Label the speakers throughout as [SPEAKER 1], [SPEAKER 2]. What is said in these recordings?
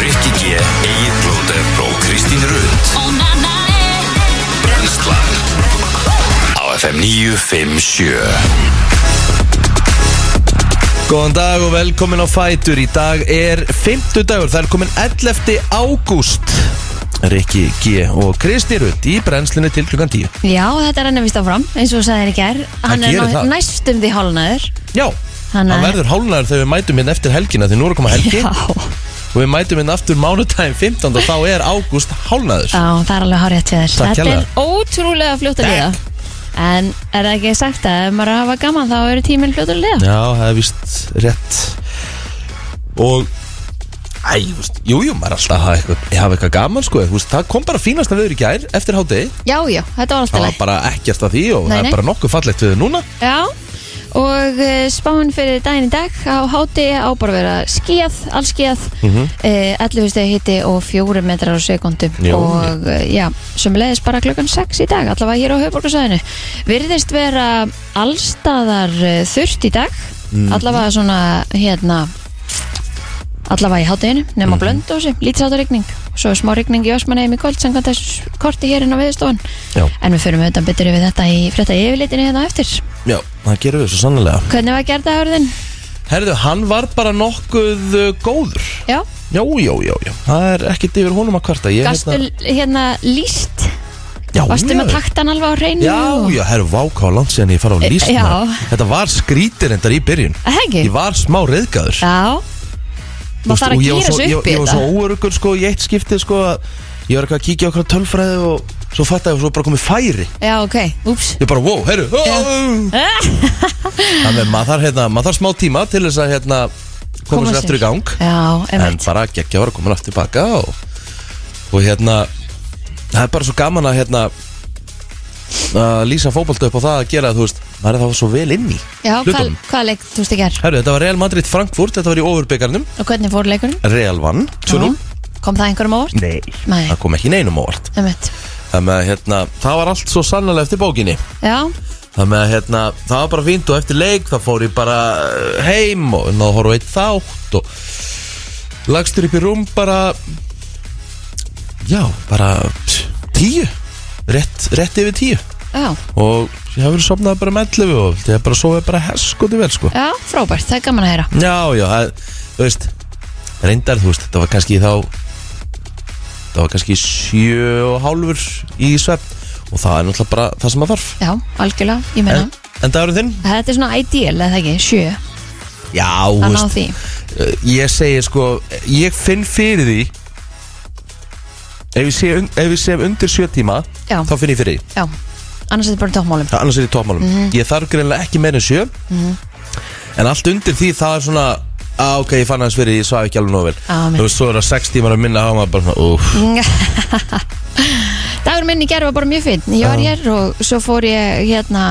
[SPEAKER 1] Rikki G, Egil Blóter og Kristín Rund Brenslan Á FM 957
[SPEAKER 2] Góðan dag og velkomin á Fætur Í dag er 50 dagur, það er komin 11. ágúst Rikki G og Kristi Rutt í brennslinu til klukkan 10
[SPEAKER 3] Já, þetta er hann að vist áfram, eins og þú sagðir í gær Hann er
[SPEAKER 2] gerir
[SPEAKER 3] ná-
[SPEAKER 2] það.
[SPEAKER 3] næstum því hálnaður
[SPEAKER 2] Já,
[SPEAKER 3] Hann
[SPEAKER 2] hann
[SPEAKER 3] að-
[SPEAKER 2] verður hálnaður þegar við mætum hérna eftir helgina Því nú er að koma helgi
[SPEAKER 3] Já,
[SPEAKER 2] og við mætum hérna aftur mánudaginn 15 Og þá er ágúst hálnaður
[SPEAKER 3] á, það er alveg hárið til þér
[SPEAKER 2] Takk
[SPEAKER 3] Þetta
[SPEAKER 2] hérlega.
[SPEAKER 3] er ótrúlega fljótt að liða En er það ekki sagt að ef maður er að hafa gaman þá eru tíminn fljótt að liða
[SPEAKER 2] Já, það er víst rétt Og Æ, þú veist, jú, jú, maður er alltaf að hafa eitthvað, hafa eitthvað gaman, sko þú veist, Það kom bara fínasta veður í gær eftir hátegi
[SPEAKER 3] Já, já, þetta var alltaf
[SPEAKER 2] Það var
[SPEAKER 3] leið
[SPEAKER 2] bara ekkert að því og
[SPEAKER 3] Nei,
[SPEAKER 2] það
[SPEAKER 3] nei.
[SPEAKER 2] er bara nokkuð fallegt við núna
[SPEAKER 3] Já, og eh, spáin fyrir daginn í dag á háti á bara að vera skíð, allskíð mm -hmm. 11 stegi hitti og 4 metrar á sekundu
[SPEAKER 2] Jú.
[SPEAKER 3] og eh, já, sem leiðis bara klukkan 6 í dag, allavega hér á höfborgarsæðinu virðist vera allstaðar eh, þurrt í dag allavega svona hérna allavega í háteginu nema mm -hmm. blöndósi, lítisáta rigning svo er smá rigning í Osmanheim í kvöld samkvæmt þessu korti hér inn á viðstofan
[SPEAKER 2] Já.
[SPEAKER 3] en við förum auðvitað betur yfir þetta í frétta yfirlitinu hérna á eftir
[SPEAKER 2] Já, það gerum við svo sannlega
[SPEAKER 3] Hvernig var gerðahörðin?
[SPEAKER 2] Herðu, hann var bara nokkuð uh, góður
[SPEAKER 3] Já,
[SPEAKER 2] Já, já, já, já Það er ekkert yfir honum að kvarta Ég,
[SPEAKER 3] gastu hérna líst
[SPEAKER 2] já,
[SPEAKER 3] Vastu
[SPEAKER 2] já.
[SPEAKER 3] með taktan alveg á hreinu
[SPEAKER 2] Já, já, herru, váká langt síðan ég fara á líst
[SPEAKER 3] Eh, já.
[SPEAKER 2] maður. Þetta var skrítir endar í byrjun
[SPEAKER 3] Það ekki?
[SPEAKER 2] Ég var smá reyðgæður
[SPEAKER 3] Já Maður þarf að gýra sig
[SPEAKER 2] ég,
[SPEAKER 3] upp í
[SPEAKER 2] ég var
[SPEAKER 3] þetta
[SPEAKER 2] svo óörugur sko í eitt skiptið sko að Ég var eitthvað að kíkja okkur tölfræði og svo fatt að ég svo bara komið færi
[SPEAKER 3] Já, ok, úps
[SPEAKER 2] Ég bara, wow, herru Þannig að maður þarf hérna, maður þarf smá tíma til þess að hérna koma sér aftur í gang
[SPEAKER 3] Já,
[SPEAKER 2] en
[SPEAKER 3] einmitt
[SPEAKER 2] bara geggja var að koma aftur baka og, og hérna það er bara svo gaman að hérna að lýsa fótbolta upp á það að gera þú veist, maður er þá svo vel inn í
[SPEAKER 3] Já, hvað,
[SPEAKER 2] hlutunum.
[SPEAKER 3] hvað leik þú veist í ger?
[SPEAKER 2] Herru, þetta var Real Madrid Frankfurt, þetta var í ofurbyggjarnum
[SPEAKER 3] Og hvernig fór leikunum?
[SPEAKER 2] Real vann, 2-0
[SPEAKER 3] Já. Kom það einhverjum á vort?
[SPEAKER 2] Nei,
[SPEAKER 3] Nei.
[SPEAKER 2] það kom ekki neinum ávart
[SPEAKER 3] Einmitt
[SPEAKER 2] Þannig að hérna, það var allt svo sannlega eftir bókinni
[SPEAKER 3] Já,
[SPEAKER 2] Þannig að hérna, það var bara fínt og eftir leik þá fór ég bara eh, heim og náðu að horfa á eitt þátt og lagstur upp í rúm bara já, bara pss, tíu, rétt, rétt yfir tíu
[SPEAKER 3] já,
[SPEAKER 2] og ég hafði verið sofnað bara með 11 og ég hafði bara sofið bara hesskoti vel sko.
[SPEAKER 3] já, frábært, það er gaman að heyra
[SPEAKER 2] Já, já, það, þú veist reyndar, þú veist, þetta var kannski þá það var kannski sjö og hálfur í svefn og það er náttúrulega bara það sem að þarf
[SPEAKER 3] Já, algjörlega, ég meina
[SPEAKER 2] En, en dagurinn þinn?
[SPEAKER 3] Þetta er svona ideal, eða ekki, sjö
[SPEAKER 2] Já, þú
[SPEAKER 3] Að ná
[SPEAKER 2] veist
[SPEAKER 3] því
[SPEAKER 2] Uh, ég segi sko ég finn fyrir því ef ég sé, un- ef ég sé undir sjö tíma
[SPEAKER 3] Já.
[SPEAKER 2] þá finn ég fyrir því,
[SPEAKER 3] Já, annars er þetta bara í tókmálum
[SPEAKER 2] Það- annars er ég í toppmálum
[SPEAKER 3] Mhm.
[SPEAKER 2] ég þarf greinlega ekki meira en sjö en allt undir því það er svona að ok, ég fann aðeins fyrir, því, ég svaf ekki alveg nóg vel
[SPEAKER 3] Á, mér.
[SPEAKER 2] þú veist, svo er það sex tímar að minna á maður bara svona, úff,
[SPEAKER 3] Dagur minn í gerð var bara mjög finn Ég var hér og svo fór ég hérna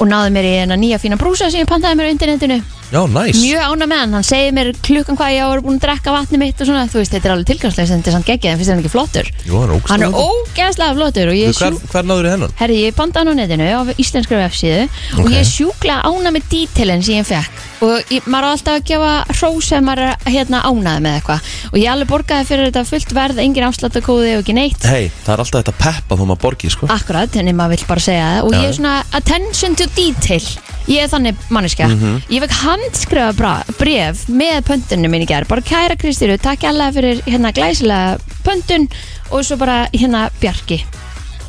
[SPEAKER 3] og náði mér í hérna nýja fína brúsa sem ég pantaði mér á internetinu
[SPEAKER 2] já, næs
[SPEAKER 3] mjög ána með hann, hann segir mér klukkan hvað ég var búin að drekka vatni mitt og svona þú veist, þetta er alveg tilgangslega sem þetta er samt geggið en finnst þér hann ekki flottur
[SPEAKER 2] Jú, hann er ógeðslega
[SPEAKER 3] hann er
[SPEAKER 2] flottur.
[SPEAKER 3] ógeðslega flottur og ég er
[SPEAKER 2] hver,
[SPEAKER 3] sjúk
[SPEAKER 2] hver náður í hennan?
[SPEAKER 3] herri, ég pantaði hann á netinu á íslenskri vefsíðu og
[SPEAKER 2] Ok.
[SPEAKER 3] ég er sjúkla ána með dítilinn sem ég fekk og ég, maður á alltaf að gefa hrós sem maður er hérna ánaði með eitthvað og ég alveg borgaði fyrir þetta fullt verð engin afsláttakóði og ekki neitt
[SPEAKER 2] hei, það er alltaf þetta peppa þú maður borgi, sko
[SPEAKER 3] Akkurat, þannig maður vill bara segja það og
[SPEAKER 2] Já,
[SPEAKER 3] ég
[SPEAKER 2] já.
[SPEAKER 3] er svona attention to detail ég er þannig manneska
[SPEAKER 2] Mhm.
[SPEAKER 3] ég fekk handskrifa bra- bréf með pöntunum minni gerð, bara kæra Kristýru takk allega fyrir hérna glæsilega pöntun og svo bara hérna Bjarki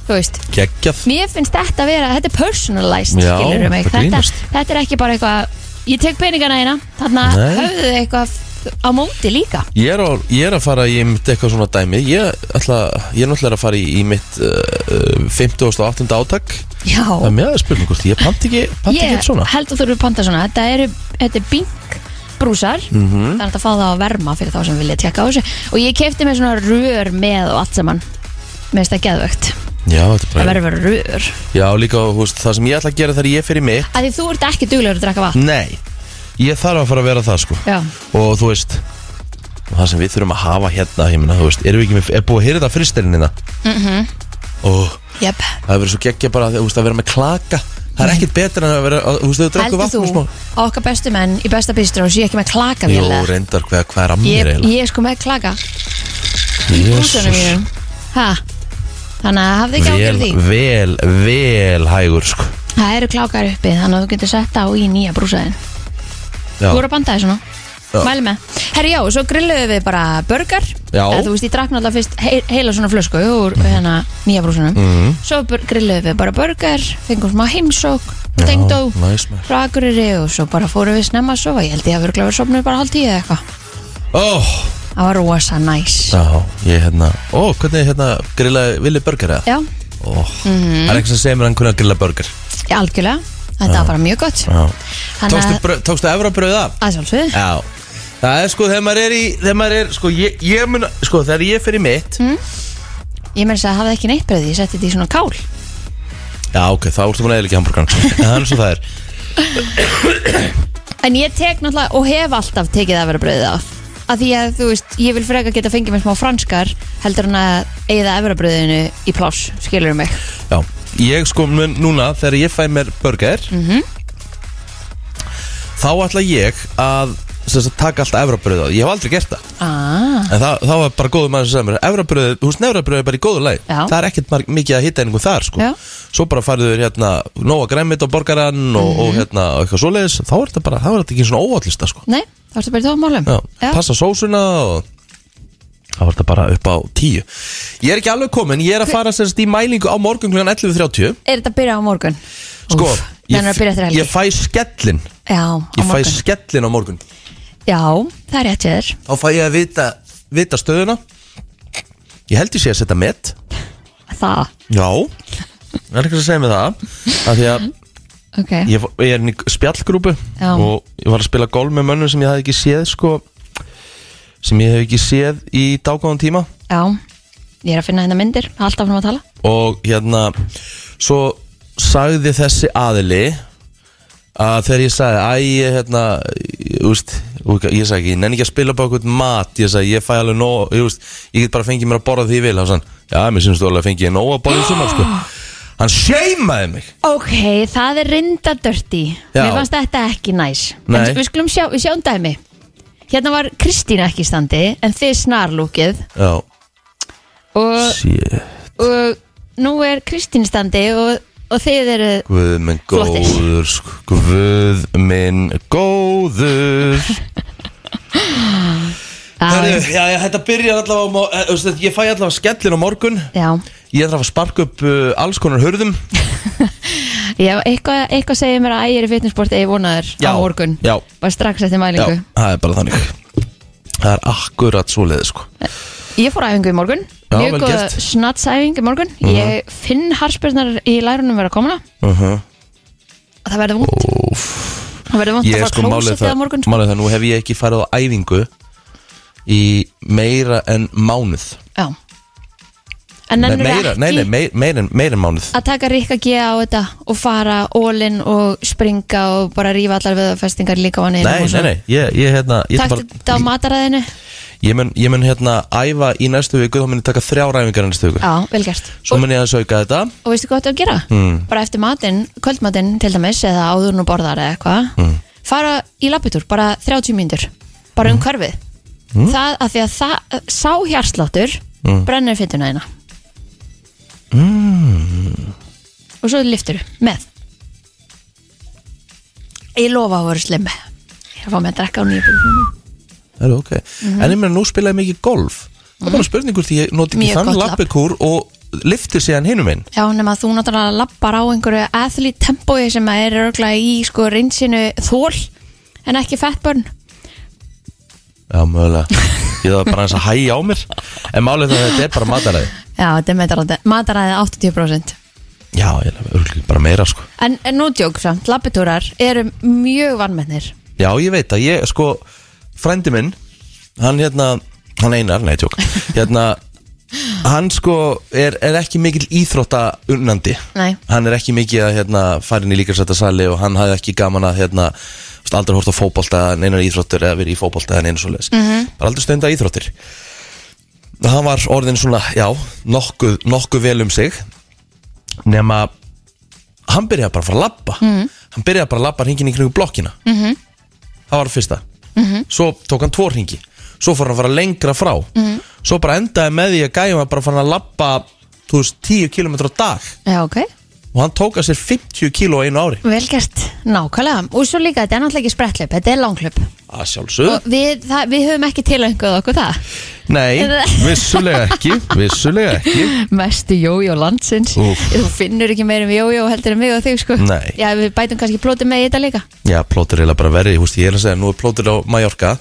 [SPEAKER 3] þú veist
[SPEAKER 2] geggjað,
[SPEAKER 3] mér finnst þetta að vera, þetta er personalized
[SPEAKER 2] Já,
[SPEAKER 3] skilurðu mig,
[SPEAKER 2] það
[SPEAKER 3] þetta,
[SPEAKER 2] grínast.
[SPEAKER 3] þetta er ekki bara eitthvað ég tek peningana eina, þannig að
[SPEAKER 2] Nei.
[SPEAKER 3] höfðu þau eitthvað á móti líka
[SPEAKER 2] Ég er, á, ég er að fara í mitt eitthvað svona dæmi Ég, ætla, ég er náttúrulega að fara í, í mitt uh, 50. og 8. átak
[SPEAKER 3] já,
[SPEAKER 2] Það er með að spurning hvort Ég panti ekki, panti ekki upp svona
[SPEAKER 3] Ég held að þú eru panta svona Þetta eru, þetta er bink brúsar
[SPEAKER 2] Mhm.
[SPEAKER 3] Það er hægt að fá það á verma fyrir þá sem vilja tjekka á þessu Og ég kefti mér svona rör með og allt saman Mér finnst það geðvögt
[SPEAKER 2] Já, þetta er
[SPEAKER 3] Það
[SPEAKER 2] bara
[SPEAKER 3] verður að vera rör
[SPEAKER 2] Já, líka þú veist, það sem ég ætla að gera þegar ég fer í mitt
[SPEAKER 3] Af því þú ert ekki duglegur að drakka vatn
[SPEAKER 2] Nei, ég þarf að fara að vera það sko
[SPEAKER 3] Já,
[SPEAKER 2] Og þú veist og Það sem við þurfum að hafa hérna ég meina, þú veist, Erum við ekki með, er búið að heyra
[SPEAKER 3] Mhm.
[SPEAKER 2] þetta fyrstelina mm -hmm. Og
[SPEAKER 3] jöp
[SPEAKER 2] það hefur verið svo geggja bara þú veist, að vera með klaka Það er ekkert betra en að vera, að- þú veist, þau drekku
[SPEAKER 3] Heldur
[SPEAKER 2] vatn og smá
[SPEAKER 3] þú að okkar bestu menn í besta bístrun sé ekki með klaka
[SPEAKER 2] Jú, reyndar hvað, hvað er að mér
[SPEAKER 3] ég,
[SPEAKER 2] eiginlega
[SPEAKER 3] ég er sko með klaka í búsunum mínum ha. Þannig að hafði ekki ágjörð því
[SPEAKER 2] Vel, vel, vel hægur sko
[SPEAKER 3] Það eru klákar uppi þannig að þú getur sett á í nýja brúsaðin
[SPEAKER 2] Já,
[SPEAKER 3] Þú voru að banda þessu nú
[SPEAKER 2] Já.
[SPEAKER 3] Mæli með Herri já, svo grilluðum við bara burger
[SPEAKER 2] Já. Mhm.
[SPEAKER 3] Eða, Þú veist, ég drakk náttúrulega fyrst he heila svona flösku úr hérna nýja brúsunum mm. Svo bur- grilluðum við bara burger Fengum smá heimsók, tengdó
[SPEAKER 2] næs maður.
[SPEAKER 3] Frá Akureyri og svo bara fórum við snemma að sofa Ég held ég að við glæður sofnum bara hálf tíu eða eitthvað
[SPEAKER 2] Ó,
[SPEAKER 3] Það var rosa næs
[SPEAKER 2] já, ég hérna Ó, hvernig hérna grillaði villi burger eða?
[SPEAKER 3] Já,
[SPEAKER 2] Ó,
[SPEAKER 3] Mhm.
[SPEAKER 2] það er eitthvað sem segir mér hann hvernig að grilla burger
[SPEAKER 3] algjörlega Þetta var bara mjög gott
[SPEAKER 2] Já.
[SPEAKER 3] Þannig
[SPEAKER 2] Tókstu
[SPEAKER 3] að,
[SPEAKER 2] brauð- Tókstu efra bröð af?
[SPEAKER 3] að sjálfsögðu
[SPEAKER 2] Já Það er sko, þegar maður er í, þegar maður er, sko, ég, ég mun, sko, þegar ég fer í mitt
[SPEAKER 3] Mm. Ég meira þess að hafði ekki neitt bröði, ég setti þetta í svona kál
[SPEAKER 2] Já, ok, þá ertu búin að eða ekki hambúrgan Það er svo það er
[SPEAKER 3] En ég tek náttúrulega og hef alltaf tekið að vera brauðið af að því að þú veist, ég vil freka geta fengið mér smá franskar heldur en að eigða efrabröðinu í pláss, skilur mig
[SPEAKER 2] Já, ég sko, mun, núna, þegar ég fæ mér burger
[SPEAKER 3] Mhm.
[SPEAKER 2] Þá ætla ég að, sem sagt, taka allt efra bröð á Ég hef aldrei gert það
[SPEAKER 3] ah,
[SPEAKER 2] En það, það var bara góður maður sem sagði mér Efrabröð, þú veist, nefrabröð er bara í góðu lagi
[SPEAKER 3] Já.
[SPEAKER 2] Það er ekkert mar- mikið að hitta einhver þar sko.
[SPEAKER 3] Já.
[SPEAKER 2] Svo bara farið þau hérna Nóa græmit á borgaran og, og
[SPEAKER 3] Mhm.
[SPEAKER 2] hérna og eitthvað svoleiðis, þá er þetta bara, þá er þetta ekki svona óallista sko.
[SPEAKER 3] Nei, þá ertu bara í tómálum
[SPEAKER 2] Já. Passa sósuna og þá er þetta bara upp á 10 Ég er ekki alveg komin, ég er að fara sérst í mælingu á morgun kl. 11.30
[SPEAKER 3] Er þetta að byrja á morgun?
[SPEAKER 2] Sko,
[SPEAKER 3] Úff,
[SPEAKER 2] ég,
[SPEAKER 3] þannig að byrja eftir helgi
[SPEAKER 2] ég fæ skellin
[SPEAKER 3] Já, á
[SPEAKER 2] Ég fæ
[SPEAKER 3] morgun
[SPEAKER 2] skellin á morgun
[SPEAKER 3] Já, það er rétt hjá þér
[SPEAKER 2] Þá fæ ég að vita, vita stöðuna Ég held ég sé að setja met
[SPEAKER 3] Það,
[SPEAKER 2] Já, það er eitthvað að segja mig það af Því að
[SPEAKER 3] ok
[SPEAKER 2] ég, ég er inn í spjallgrúpu
[SPEAKER 3] Já.
[SPEAKER 2] Og ég var að spila golf með mönnum sem ég hafði ekki séð sko, Sem ég hef ekki séð í dágóðan tíma
[SPEAKER 3] Já, ég er að finna hérna myndir Alltaf hann að tala
[SPEAKER 2] Og hérna Svo sagði þessi aðili Að þegar ég sagði Æ, ég hérna Ég, úst, ég sagði ekki, ég nenni ekki að spila upp á eitthvað mat Ég sagði, ég fæ alveg nóg Ég, úst, ég get bara að fengi mér að borða því ég vil hann, Já, mér syns þú alveg að fengi ég nóg að borða í sumar sko. Hann seimaði mig
[SPEAKER 3] Ok, það er rinda dörti
[SPEAKER 2] Já.
[SPEAKER 3] Mér fannst þetta ekki næs
[SPEAKER 2] Nei.
[SPEAKER 3] En Við skulum sjá, við sjáum dæmi Hérna var Kristína ekki í standi En þið snarlúkið
[SPEAKER 2] Já,
[SPEAKER 3] og,
[SPEAKER 2] Shit,
[SPEAKER 3] og nú er Kristín í standi og, og þið eru
[SPEAKER 2] guð minn
[SPEAKER 3] Flottir.
[SPEAKER 2] góður sko, Guð minn góður Herru,
[SPEAKER 3] að,
[SPEAKER 2] já, já, þetta byrjar allavega á mo- eh, þú veist, Ég fæ allavega skellin á morgun
[SPEAKER 3] Já,
[SPEAKER 2] Ég þarf að sparka upp uh, alls konar hurðum
[SPEAKER 3] já eitthvað, eitthvað segir mér að ægir í fitnessport eigi vonaður
[SPEAKER 2] Já,
[SPEAKER 3] á morgun
[SPEAKER 2] já.
[SPEAKER 3] Bara strax eftir
[SPEAKER 2] Já,
[SPEAKER 3] mælingu
[SPEAKER 2] það er bara þannig Það er akkurat svoleiði sko
[SPEAKER 3] Ég fór æfingu í morgun
[SPEAKER 2] Já, vel gert.
[SPEAKER 3] Mjög
[SPEAKER 2] Mhm.
[SPEAKER 3] góð snatsæfingu í morgun Ég finn harspyrnar í lærunum vera að koma
[SPEAKER 2] uh -huh.
[SPEAKER 3] og það verður vond Það verður vond
[SPEAKER 2] Ég
[SPEAKER 3] að
[SPEAKER 2] er
[SPEAKER 3] fara
[SPEAKER 2] sko málið
[SPEAKER 3] klósetið
[SPEAKER 2] það,
[SPEAKER 3] á morgun sko.
[SPEAKER 2] málið það Nú hef ég ekki farið á æfingu Í meira en mánuð
[SPEAKER 3] Já En
[SPEAKER 2] Nei,
[SPEAKER 3] nennur
[SPEAKER 2] meira,
[SPEAKER 3] ekki
[SPEAKER 2] nei, nei, meira, meira, en- meira en mánuð
[SPEAKER 3] að taka Rikka G á þetta og fara ólinn og springa og bara rífa allar veðafestingar líka á hann
[SPEAKER 2] Nei, nei, nei, ég, ég, hérna, ég ætla
[SPEAKER 3] Takk
[SPEAKER 2] bara-
[SPEAKER 3] þetta á mataræðinu
[SPEAKER 2] Ég mun, ég mun hérna æfa í næstu viku þá mun ég taka þrjá ræfingar í næstu viku
[SPEAKER 3] Já, vel gert
[SPEAKER 2] Svo mun ég að sauka þetta
[SPEAKER 3] Og veistu hvað þetta að gera? Mm. Bara eftir matinn, kvöldmatinn til dæmis eða áður nú borðar eða eitthvað fara í labbitúr, bara 30 mínútur bara um hverfið það að því að það, sá hjarsláttur brennir fytuna eina mm. og svo liftur með ég lofa að vera slemmi ég er að fá mig að drekka á nýjum
[SPEAKER 2] Það er ok En ég meina nú spilaði ég mikið golf Það er bara spurningur því ég noti ekki
[SPEAKER 3] Mhm. Mjög
[SPEAKER 2] þann
[SPEAKER 3] gott labb.
[SPEAKER 2] lappikúr og lifti síðan hinum minn
[SPEAKER 3] Já, nema að þú náttúrulega lappar á einhverju athlete tempói sem að er örgulega í sko reynsinu þól en ekki fettbörn
[SPEAKER 2] Já, mögulega Ég þarf bara eins að hæja á mér En málið það að þetta er bara mataræði
[SPEAKER 3] Já, þetta er mataræði, mataræði 80%
[SPEAKER 2] Já, ég er örugglega bara meira sko
[SPEAKER 3] En, en nú djók samt, labbitúrar eru mjög vannmennir
[SPEAKER 2] Já, ég veit að ég, sko, frændi minn Hann hérna, hann einar, nei, tjók Hérna, hann sko er, er ekki mikill íþrótta unnandi
[SPEAKER 3] Nei.
[SPEAKER 2] Hann er ekki mikið að hérna, fara inn í líkarsættasali Og hann hafði ekki gaman að hérna þú veist, Aldrei hort á fótbolta, neinar íþróttur Eða verið í fótbolta, neina svoleiðis mm -hmm. Bara aldrei stunda íþróttir Og Hann var orðin svona, já, nokkuð, nokkuð vel um sig Nema hann byrjaði bara að fara að labba hann byrjaði bara að labba hringin í kringu blokkina -hmm. það var fyrsta -hmm. svo tók hann tvo hringi svo fór hann að fara lengra frá -hmm. svo bara endaði með því að gæjum að bara fara að labba þú veist 10 km á dag
[SPEAKER 3] Já, ok,
[SPEAKER 2] og hann tók að sér 50 kg einu ári
[SPEAKER 3] vel gert, nákvæmlega Og svo líka, þetta er náttúrulega ekki sprettlöp, þetta er langklöp
[SPEAKER 2] að sjálfsögðu
[SPEAKER 3] Og við, það, við höfum ekki tilönguð okkur það
[SPEAKER 2] Nei, vissulega ekki Vissulega ekki
[SPEAKER 3] Mestu jójó landsins
[SPEAKER 2] Úff.
[SPEAKER 3] Þú finnur ekki meir um jójó heldur en mig og þig sko
[SPEAKER 2] Nei.
[SPEAKER 3] Já, við bætum kannski plóti með í þetta líka
[SPEAKER 2] Já, plótur er eiginlega bara verið, húst, ég er að segja Nú er plótur á Mallorca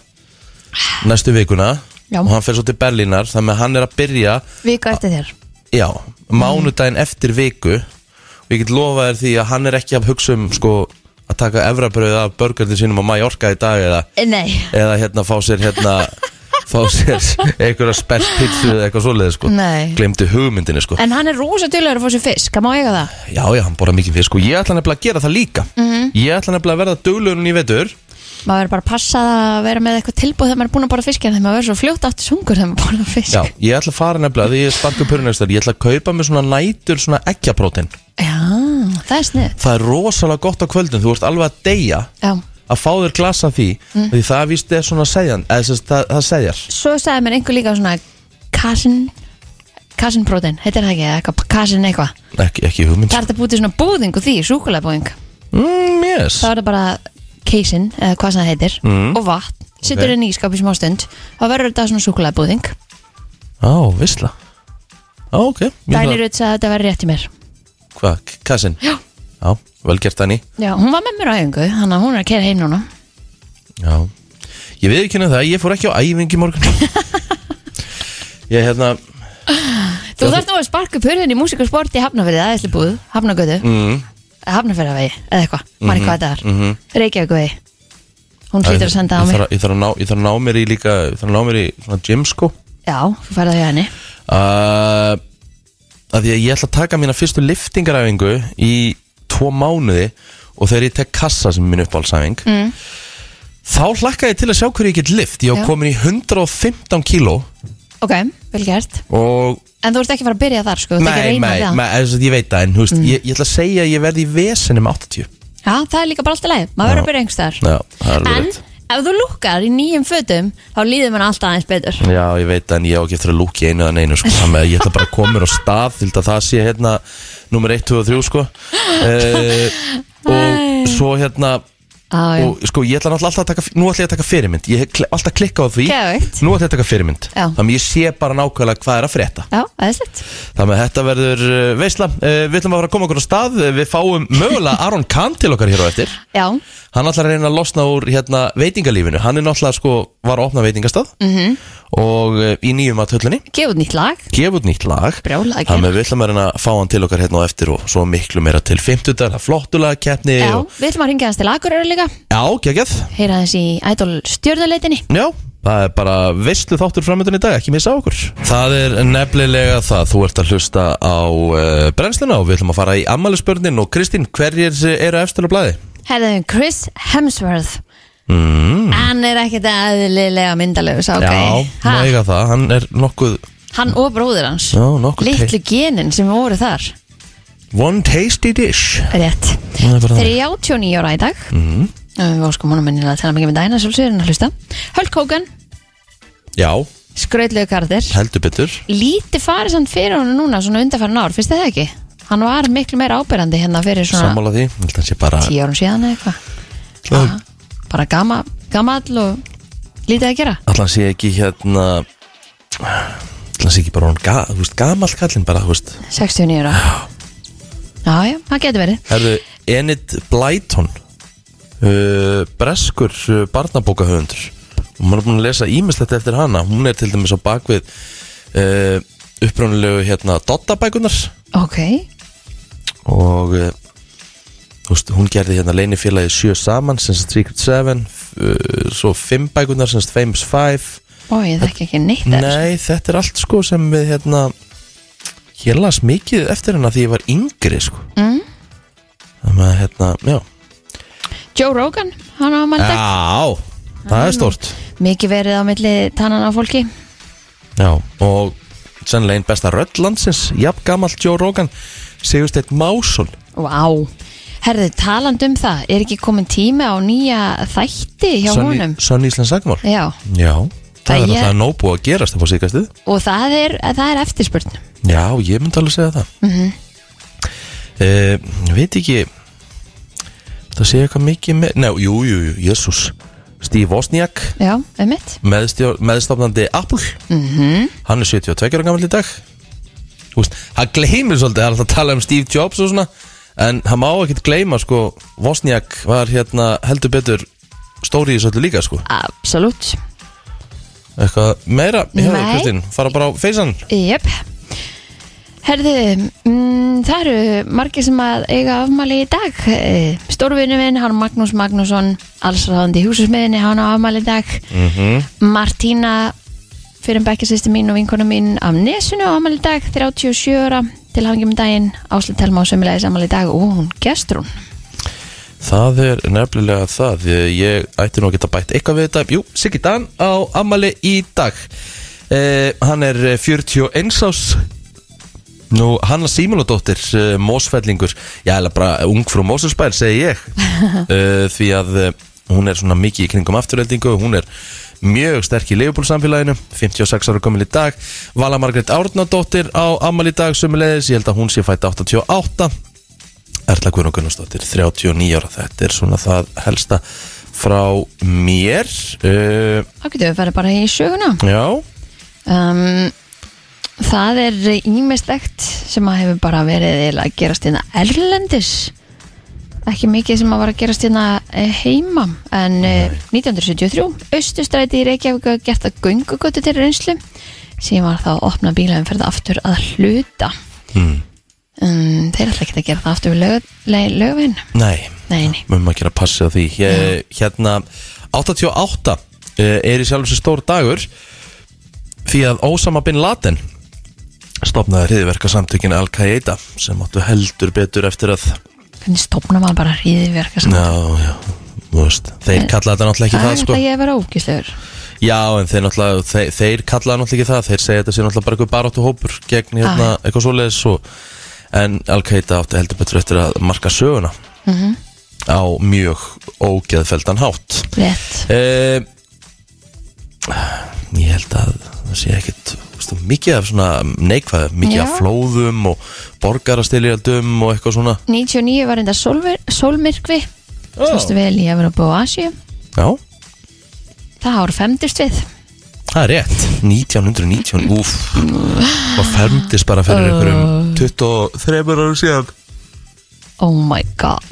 [SPEAKER 2] Næstu vikuna
[SPEAKER 3] Já.
[SPEAKER 2] Og hann fer svo til Berlínar Þannig að hann er að byrja
[SPEAKER 3] Viku eftir þér
[SPEAKER 2] Já, mánudaginn eftir viku Og ég get lofa þér því að hann er ekki að hugsa um Sko, að taka efrabröð af börgarnir sínum á Mallorca í dag Eða,
[SPEAKER 3] Eh, Nei,
[SPEAKER 2] eða hérna fá sér hérna Fá sér einhverja spelt pizzu Eða eitthvað svoleiði, sko
[SPEAKER 3] Nei.
[SPEAKER 2] Glemdi hugmyndinni, sko
[SPEAKER 3] en hann er rosa duglegur að fá sér fisk, hann má eiga það
[SPEAKER 2] Já, já, hann borða mikið fisk og ég ætla nefnilega að gera það líka
[SPEAKER 3] Mhm.
[SPEAKER 2] Ég ætla nefnilega að verða döglegunum í vetur
[SPEAKER 3] Maður verður bara að passa að vera með eitthvað tilbúð þegar maður er búin að borða fisk en þegar maður verður svo fljótt aftur sungur þegar maður er búin að borða fisk
[SPEAKER 2] Já, ég ætla að fara nefnilega því ég er sparkur pörunæstar Ég ætla að kaupa mér svona nætur svona ekkjaprótin
[SPEAKER 3] Já, það er snið
[SPEAKER 2] Það er rosalega gott á kvöldin, þú ert alveg að deyja
[SPEAKER 3] Já.
[SPEAKER 2] að fá þér glasa því
[SPEAKER 3] Mm.
[SPEAKER 2] því það víst er svona segjan eða þess að það, það segjar
[SPEAKER 3] Svo sagði mér einhver líka svona kasin kasinbrótin, heitir það ekki, eða eitthvað kasin eitthvað
[SPEAKER 2] ekki, ekki hugmynd
[SPEAKER 3] Það er þetta búið til svona búðing og því, súkulabúðing
[SPEAKER 2] mm, yes.
[SPEAKER 3] þá er það bara keisin, eða hvað sem það heitir og vatn,
[SPEAKER 2] Mhm. Ok.
[SPEAKER 3] sittur inn í skáp í smá stund þá verður þetta svona súkulabúðing
[SPEAKER 2] Á, visla Á, ok Ég ætla-
[SPEAKER 3] Dænir auðvitað að þetta verður rétt í mér
[SPEAKER 2] Hvað, kassin?
[SPEAKER 3] Já.
[SPEAKER 2] Já, vel gert Dani
[SPEAKER 3] Já, hún var með mér á æfingu, þannig að hún er að kera heim núna
[SPEAKER 2] Já Ég veið ekki það, ég fór ekki á æfingi morgun Ég hérna
[SPEAKER 3] Þú þarft nú að sparka upp hurðin í músík og sport í Hafnafyrði, það er æsli búð, Hafnagötu
[SPEAKER 2] mm,
[SPEAKER 3] Hafnafyrðavegi, eða eitthvað, maður ekki hvað þetta er
[SPEAKER 2] mhm.
[SPEAKER 3] Reykjavíkvegi Hún hlýtur að senda á
[SPEAKER 2] Ég
[SPEAKER 3] mig
[SPEAKER 2] þarf að- Ég þarf að ná- ég þarf að ná mér í líka Ég þarf að ná mér í svona gym sko
[SPEAKER 3] Já, þú færði það hjá henni
[SPEAKER 2] uh, að Því að ég ætla að taka mína fyrstu liftingaræfingu Í tvo mánuði Og þegar ég tek kassa sem er minn uppáhaldsæfing mm. Þá hlakka ég til að sjá hverju ég get lift Ég
[SPEAKER 3] Já.
[SPEAKER 2] var komin í 115 kíló
[SPEAKER 3] Ok, vel gert
[SPEAKER 2] Og
[SPEAKER 3] En þú ert ekki að fara að byrja þar, sko, þú ert ekki að reyna
[SPEAKER 2] nei,
[SPEAKER 3] við það
[SPEAKER 2] nei, þess að ég veit það En húst, mm. ég, ég ætla að segja að ég verði í vesinni með 80
[SPEAKER 3] Já, það er líka bara alltaf leið, maður verður að byrja einhvers þar
[SPEAKER 2] Já, það er
[SPEAKER 3] En
[SPEAKER 2] verið
[SPEAKER 3] ef þú lukkar í nýjum fötum þá líður mann alltaf aðeins betur
[SPEAKER 2] Já, ég veit það, en ég á ekki eftir að lúki einu að neinu sko, þannig að ég ætla bara að koma mér á stað til að það sé hérna nummer 1, 2 og 3 sko uh, og svo hérna
[SPEAKER 3] Á, já.
[SPEAKER 2] og sko ég ætla náttúrulega alltaf að taka nú ætla ég að taka fyrirmynd, ég hef kl- alltaf klikkað á því
[SPEAKER 3] Geðveikt.
[SPEAKER 2] nú ætla ég að taka fyrirmynd
[SPEAKER 3] Já.
[SPEAKER 2] þannig að ég sé bara nákvæmlega hvað er að frétta
[SPEAKER 3] Já, aðeinslegt
[SPEAKER 2] þannig að þetta verður uh, veisla, uh, við ætlum að fara að koma okkur á stað Eh, við fáum mögulega Aron Kahn til okkar hér á eftir
[SPEAKER 3] Já,
[SPEAKER 2] hann ætlar að reyna að losna úr hérna, veitingalífinu hann er náttúrulega sko, var að opna veitingastað
[SPEAKER 3] Mhm.
[SPEAKER 2] -hmm. og uh, í nýjum að
[SPEAKER 3] gefur nýtt lag
[SPEAKER 2] gefa út nýtt lag
[SPEAKER 3] Brjálað að gera.
[SPEAKER 2] Þannig að við ætlum að reyna að fá hann til okkar hérna og eftir og svo miklu meira til 50 dagar, flottulega keppni
[SPEAKER 3] Já,
[SPEAKER 2] og...
[SPEAKER 3] við ætlum að ringja hans til Akureyri líka
[SPEAKER 2] Já, geggjað
[SPEAKER 3] Heyra hans í Idol stjörðuleitinni
[SPEAKER 2] Já, það er bara veistlu þáttur framöndan í dag, ekki missa á okkur Það er nefnilega það, þú ert að hlusta á uh, brennsluna og við ætlum að fara í ammælisbörnin og Kristín, hverjir eru efstur á blæði?
[SPEAKER 3] Herðum Chris Hemsworth mm. Hann er ekkert eðlilega myndalegu sá gæi.
[SPEAKER 2] Já,
[SPEAKER 3] Ha,
[SPEAKER 2] má eiga það, hann er nokkuð
[SPEAKER 3] Hann og bróður hans
[SPEAKER 2] Já, nokkuð
[SPEAKER 3] Litlu genin sem voru þar
[SPEAKER 2] One tasty dish
[SPEAKER 3] Rétt
[SPEAKER 2] Það er bara Mhm. þannig.
[SPEAKER 3] 39 ára í dag mm. Við óskum honum minnilega að tala mikið með dæna Sjálfsögur hann að hlusta Hulk Hogan,
[SPEAKER 2] Já,
[SPEAKER 3] skrautlegu kardir
[SPEAKER 2] heldur betur
[SPEAKER 3] Lítið farið samt fyrir honum núna Svona undanfærin ár, finnst þið það ekki? Hann var miklu meira ábyrrandi hérna fyrir svona
[SPEAKER 2] Sammála því, Ég held að hann sé bara
[SPEAKER 3] 10 árum síðan eða eitthvað
[SPEAKER 2] Það-
[SPEAKER 3] Aha, Bara gama, gamall og lítið að gera
[SPEAKER 2] Allan sé ekki hérna Allan sé ekki bara hún ga, þú veist, gamall kallinn bara, þú veist
[SPEAKER 3] 69 ára Já, já, það getur verið
[SPEAKER 2] Herðu, Enid Blyton uh, Breskur uh, barnabókahöfundur og maður er búin að lesa ímislegt eftir hana hún er til dæmis á bakvið uh, uppránulegu hérna Dottabækunar
[SPEAKER 3] Ok,
[SPEAKER 2] og uh, þú veist, hún gerði hérna leinifélagi sjö saman sem sagt Secret Seven uh, svo fimm bækunar sem sagt Famous Five
[SPEAKER 3] og ég þekki ekki neitt af þessu.
[SPEAKER 2] Nei, þetta er allt sko sem við hérna Ég las mikið eftir hana því ég var yngri sko mm. Þannig að hérna, já
[SPEAKER 3] Joe Rogan, hann á mann dag
[SPEAKER 2] Já, það
[SPEAKER 3] Mm.
[SPEAKER 2] er stort
[SPEAKER 3] Mikið verið á milli tannan á fólki
[SPEAKER 2] Já, og sennilega einn besta rödd landsins Jafn gamall Joe Rogan Sigursteinn Másson
[SPEAKER 3] Vá, herði, taland um það Er ekki komin tími á nýja þætti hjá
[SPEAKER 2] Sönn í-
[SPEAKER 3] honum?
[SPEAKER 2] Sönn Íslands Sagmál
[SPEAKER 3] Já,
[SPEAKER 2] Já, það er
[SPEAKER 3] Það ég-
[SPEAKER 2] náttúrulega nóg búið að gerast upp á síkastuð
[SPEAKER 3] og það er, það er eftirspurn
[SPEAKER 2] Já, ég myndi alveg segja það mm Veit ekki Það segja eitthvað mikið með Nei, jú, jú, jú, jésús Steve Wozniak,
[SPEAKER 3] Já, einmitt
[SPEAKER 2] meðstjó- meðstofnandi Apple -hmm. Hann er 72 ára gamall í dag Þú veist, hann gleymir svolítið Það er alltaf að tala um Steve Jobs og svona En hann má ekkert gleyma, sko Wozniak var hérna heldur betur Stóri í þessu öllu líka, sko
[SPEAKER 3] Absolutt
[SPEAKER 2] Eitthvað meira, ég hefði,
[SPEAKER 3] Nei.
[SPEAKER 2] Kristín Fara bara á feysan
[SPEAKER 3] Jöp Herði, mm, það eru margir sem að eiga afmæli í dag Eh, Stórvinni minn, hann Magnús Magnússon allsráðandi í húsusmiðinni, hann á afmæli í dag -hmm. Martína fyrir um bekkjarsýsti mín og vinkona mín af Nesunu á afmæli í dag 37 ára til hangjum daginn Ásli Telma á sömulegis afmæli í dag og hún gestur hún
[SPEAKER 2] Það er nefnilega það því að Ég ætti nú að geta bætt eitthvað við þetta Jú, Siggi Dan á ammali í dag eh, Hann er eh, 41 ás Nú, Hanna Símonadóttir eh, Mósfellingur, já, eða bara ung frá Mósusbær, segi ég eh, Því að eh, hún er svona mikið í kringum afturöldingu Hún er mjög sterk í leifbólsamfélaginu 56 ára komin í dag Vala Margrét Árnadóttir á ammali í dag sömulegis Ég held að hún sé fætt 88 Erla Guðrún Gunnarsdóttir, 39 ára þetta er svona það helsta frá mér uh,
[SPEAKER 3] Þá getum við farið bara í söguna
[SPEAKER 2] Já,
[SPEAKER 3] um, Það er ímestegt sem að hefur bara verið eiginlega að gerast hérna erlendis ekki mikið sem að var að gerast hérna eh, heima en eh, 1973 Östustræti í Reykjavík var gert að göngugötu til reynslu sem var þá að opna bílaumferð aftur að hluta
[SPEAKER 2] Hmm.
[SPEAKER 3] um, Þeir ætla ekki að gera það aftur við lög, lög, lögvinn
[SPEAKER 2] nei,
[SPEAKER 3] Nei, nei,
[SPEAKER 2] mögum að gera passi á því ég, Hérna, 88 uh, er í sjálfum sér stór dagur því að Ósama bin Laden stopnaði hriðverka samtökin Al-Qaida sem áttu heldur betur eftir að
[SPEAKER 3] hvernig stofna maður bara hríði verka saman
[SPEAKER 2] Já, já, þú veist Þeir kalla þetta náttúrulega ekki
[SPEAKER 3] Eh, Það
[SPEAKER 2] það
[SPEAKER 3] er
[SPEAKER 2] sko
[SPEAKER 3] þetta ég að vera ógislegur
[SPEAKER 2] Já, en þeir náttúrulega, þeir, þeir kallaða náttúrulega ekki það, þeir segja þetta sé náttúrulega bara eitthvað baráttu hópur gegn hérna eitthvað svoleiðis og, en Al-Qaida átti heldur betur eftir að marka söguna á mjög ógeðfeldan hátt.
[SPEAKER 3] Rétt
[SPEAKER 2] Eh, ég held að það sé ekkit veistu, mikið af svona neikvæð, mikið af
[SPEAKER 3] Já.
[SPEAKER 2] flóðum og borgarastiljaldum og eitthvað svona.
[SPEAKER 3] 99 var enda sólver, sólmyrkvi Svostu vel í Evropa og Asíu
[SPEAKER 2] Já,
[SPEAKER 3] Það ár femtist við
[SPEAKER 2] það er rétt. 1919, úf, og fermdist bara fyrir einhverjum 23 árum síðan.
[SPEAKER 3] Oh my god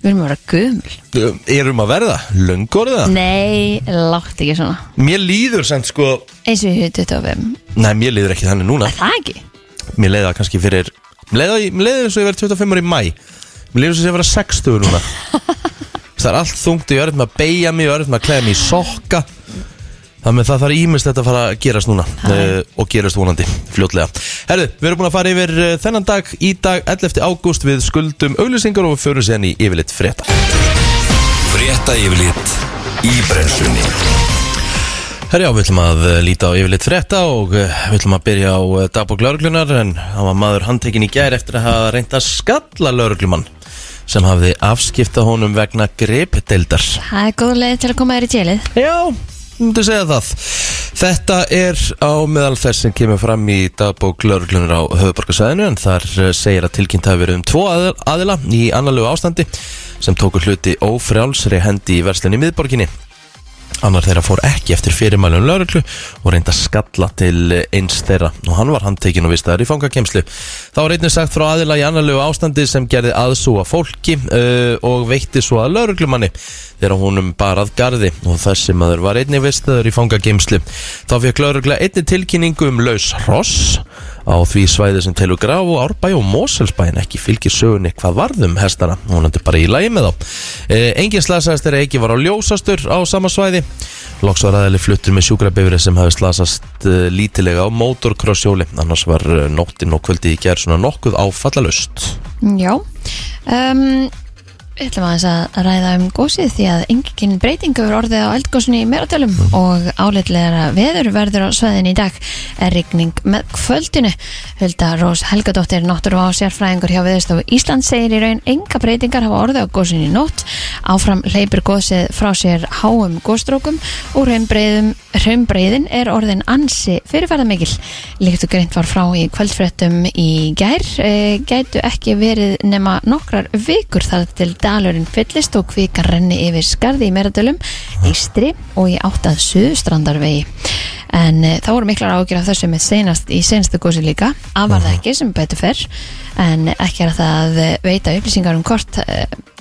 [SPEAKER 3] Við erum að vera gömul
[SPEAKER 2] Um, erum að verða, löngu orðið það
[SPEAKER 3] Nei, látt ekki svona
[SPEAKER 2] mér líður sem sko
[SPEAKER 3] Eins og ég 25
[SPEAKER 2] nei, mér líður ekki þannig núna
[SPEAKER 3] Er Það ekki
[SPEAKER 2] mér leiða kannski fyrir mér leiða, mér leiða eins og ég verið 25 ári í mæ mér leiða eins og ég verið 60 núna það er allt þungt og ég er eftir með að beigja mig og ég er eftir með að klæða mig í sokka þannig að það þarf ímest þetta að fara að gerast núna uh, og gerast vonandi fljótlega herru, við erum búin að fara yfir eh, þennan dag í dag 11. ágúst við skuldum auglýsingar og við förum séðan í yfirleitt frétta
[SPEAKER 1] Frétta yfirlit í brennslunni
[SPEAKER 2] Herjá, við ætlum að eh, líta á yfirleitt frétta og eh, við ætlum að byrja á eh, dagbók lauruglunar en hann var maður handtekinn í gær eftir að hafa reynt að skalla lauruglumann sem hafði afskipta honum vegna gripdeildar.
[SPEAKER 3] Það er góð leið til að koma þér í tjelið
[SPEAKER 2] Já, myndu segja það. Þetta er á meðal þess sem kemur fram í dagbók lauruglunar á höfuborgarsæðinu en þar eh, segir að tilkynnt hafi verið um tvo aðil- aðila í annarlegu ástandi sem tóku hluti ófrjálsri hendi í verslinni í miðborginni. Annar þeirra fór ekki eftir fyrirmælum lauruglu og reyndi að skalla til eins þeirra og hann var handtekinn og vistaðar í fangakemslu. Þá var einnig sagt frá aðila í annarlegu ástandi sem gerði aðsúa fólki uh, og veitti svo að lauruglumanni þegar honum barað garði og þessi maður var einnig vistaðar í fangakemslu. Þá fekk laurugla einnig tilkynningu um laus hross á því svæði sem telur grá og árbæ og Moselsbæin ekki fylgir sögunni hvað varðum hestana, hún endur bara í lægi með þá. E, engin slasaðist er ekki var á ljósastur á sama svæði. Loks var aðeili fluttur með sjúkrabifri sem hafi slasast e, lítilega á motorcrossjóli, annars var e, nóttin og kvöldi í gerð svona nokkuð áfallalust.
[SPEAKER 3] Já um, Við ætlum aðeins að ræða um gósið því að engin breyting hefur orðið á eldgósinu í meratölum og álitlega veður verður á sveðin í dag er rigning með kvöldinu. Hulda Rós Helgadóttir, náttúru á sérfræðingur hjá Viðstofu Ísland segir í raun enga breytingar hafa orðið á gósinu í nótt. Áfram leipur gósið frá sér háum góstrókum og raunbreyðum Hraunbreiðin er orðin ansi fyrirferðamikil. Líkt og greint var frá í kvöldfréttum í gær eh, gætu ekki verið nema nokkrar vikur þar til dalurinn fyllist og kvíkan renni yfir skarði í Meradölum, Ístri og í áttað suðustrandarvegi. En e, það voru miklar ágjur af þessu með senast í senstu gósi líka, afar það ekki sem betur fer, en ekki er að það eh, veita upplýsingar um hvort e,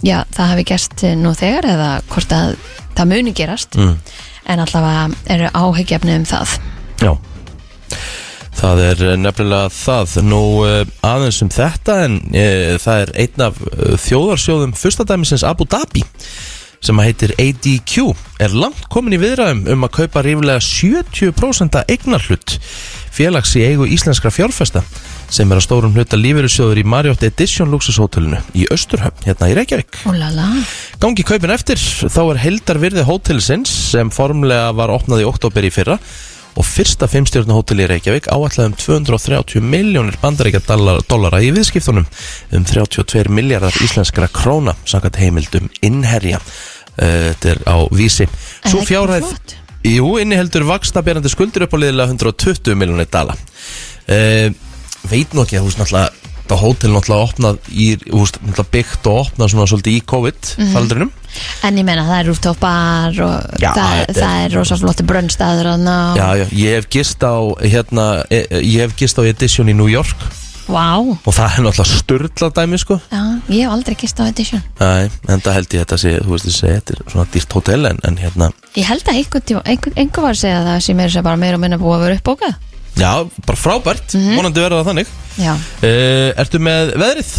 [SPEAKER 3] já, það hafi gerst eh, nú þegar eða hvort að það muni gerast en allavega eru áhyggjafni um það
[SPEAKER 2] Já Það er eh, nefnilega það Nú eh, aðeins um þetta en e, það er einn af eh, þjóðarsjóðum fyrstadæmisins Abu Dhabi sem að heitir ADQ er langt komin í viðræðum um að kaupa ríflega 70% eignarhlut félags í eigu íslenskra fjárfesta sem er að stórum hluta lífeyrissjóður í Marriott Edition Luxushótelinu í Östurhöfn hérna í Reykjavík
[SPEAKER 3] Úlala,
[SPEAKER 2] Gangi kaupin eftir, þá er heldarvirði hótelsins sem formlega var opnað í oktober í fyrra og fyrsta fimmstjörnu hótel í Reykjavík áallega um 230 miljónir bandaríkja dollara, dollara í viðskiptunum um 32 miljardar íslenskra króna samkvæmt heimildum innherja Eh, þetta er á vísi
[SPEAKER 3] Er
[SPEAKER 2] Sú
[SPEAKER 3] það ekki
[SPEAKER 2] fjárhæð
[SPEAKER 3] flott?
[SPEAKER 2] Jú, inniheldur vakstaberandi skuldur upp á liðilega 120 miljónir dala uh, Veit nú ekki að þú veist náttúrulega þetta hótel náttúrulega opnað í, þú veist, náttúrulega byggt og opnað svona svolítið í COVID-faldrinum
[SPEAKER 3] en ég meina það er rúftopar og
[SPEAKER 2] Já,
[SPEAKER 3] það,
[SPEAKER 2] þetta er-
[SPEAKER 3] það er rosa flotti brönnstæður og
[SPEAKER 2] Já, já, ég hef gist á hérna, e- e- ég hef gist á Edition í New York
[SPEAKER 3] vá
[SPEAKER 2] og það er náttúrulega styrla dæmi sko
[SPEAKER 3] Já, ég hef aldrei gist á edition
[SPEAKER 2] Æ, en það held ég þetta sé, þú veist þessi, þetta er svona dýrt hótel en, en hérna,
[SPEAKER 3] Ég held að einhver, tíma, einhver, einhver var að segja það sem er sem bara meira og minna búið að vera uppbókað
[SPEAKER 2] já, bara frábært vonandi verða það þannig
[SPEAKER 3] Já
[SPEAKER 2] uh, Ertu með veðrið?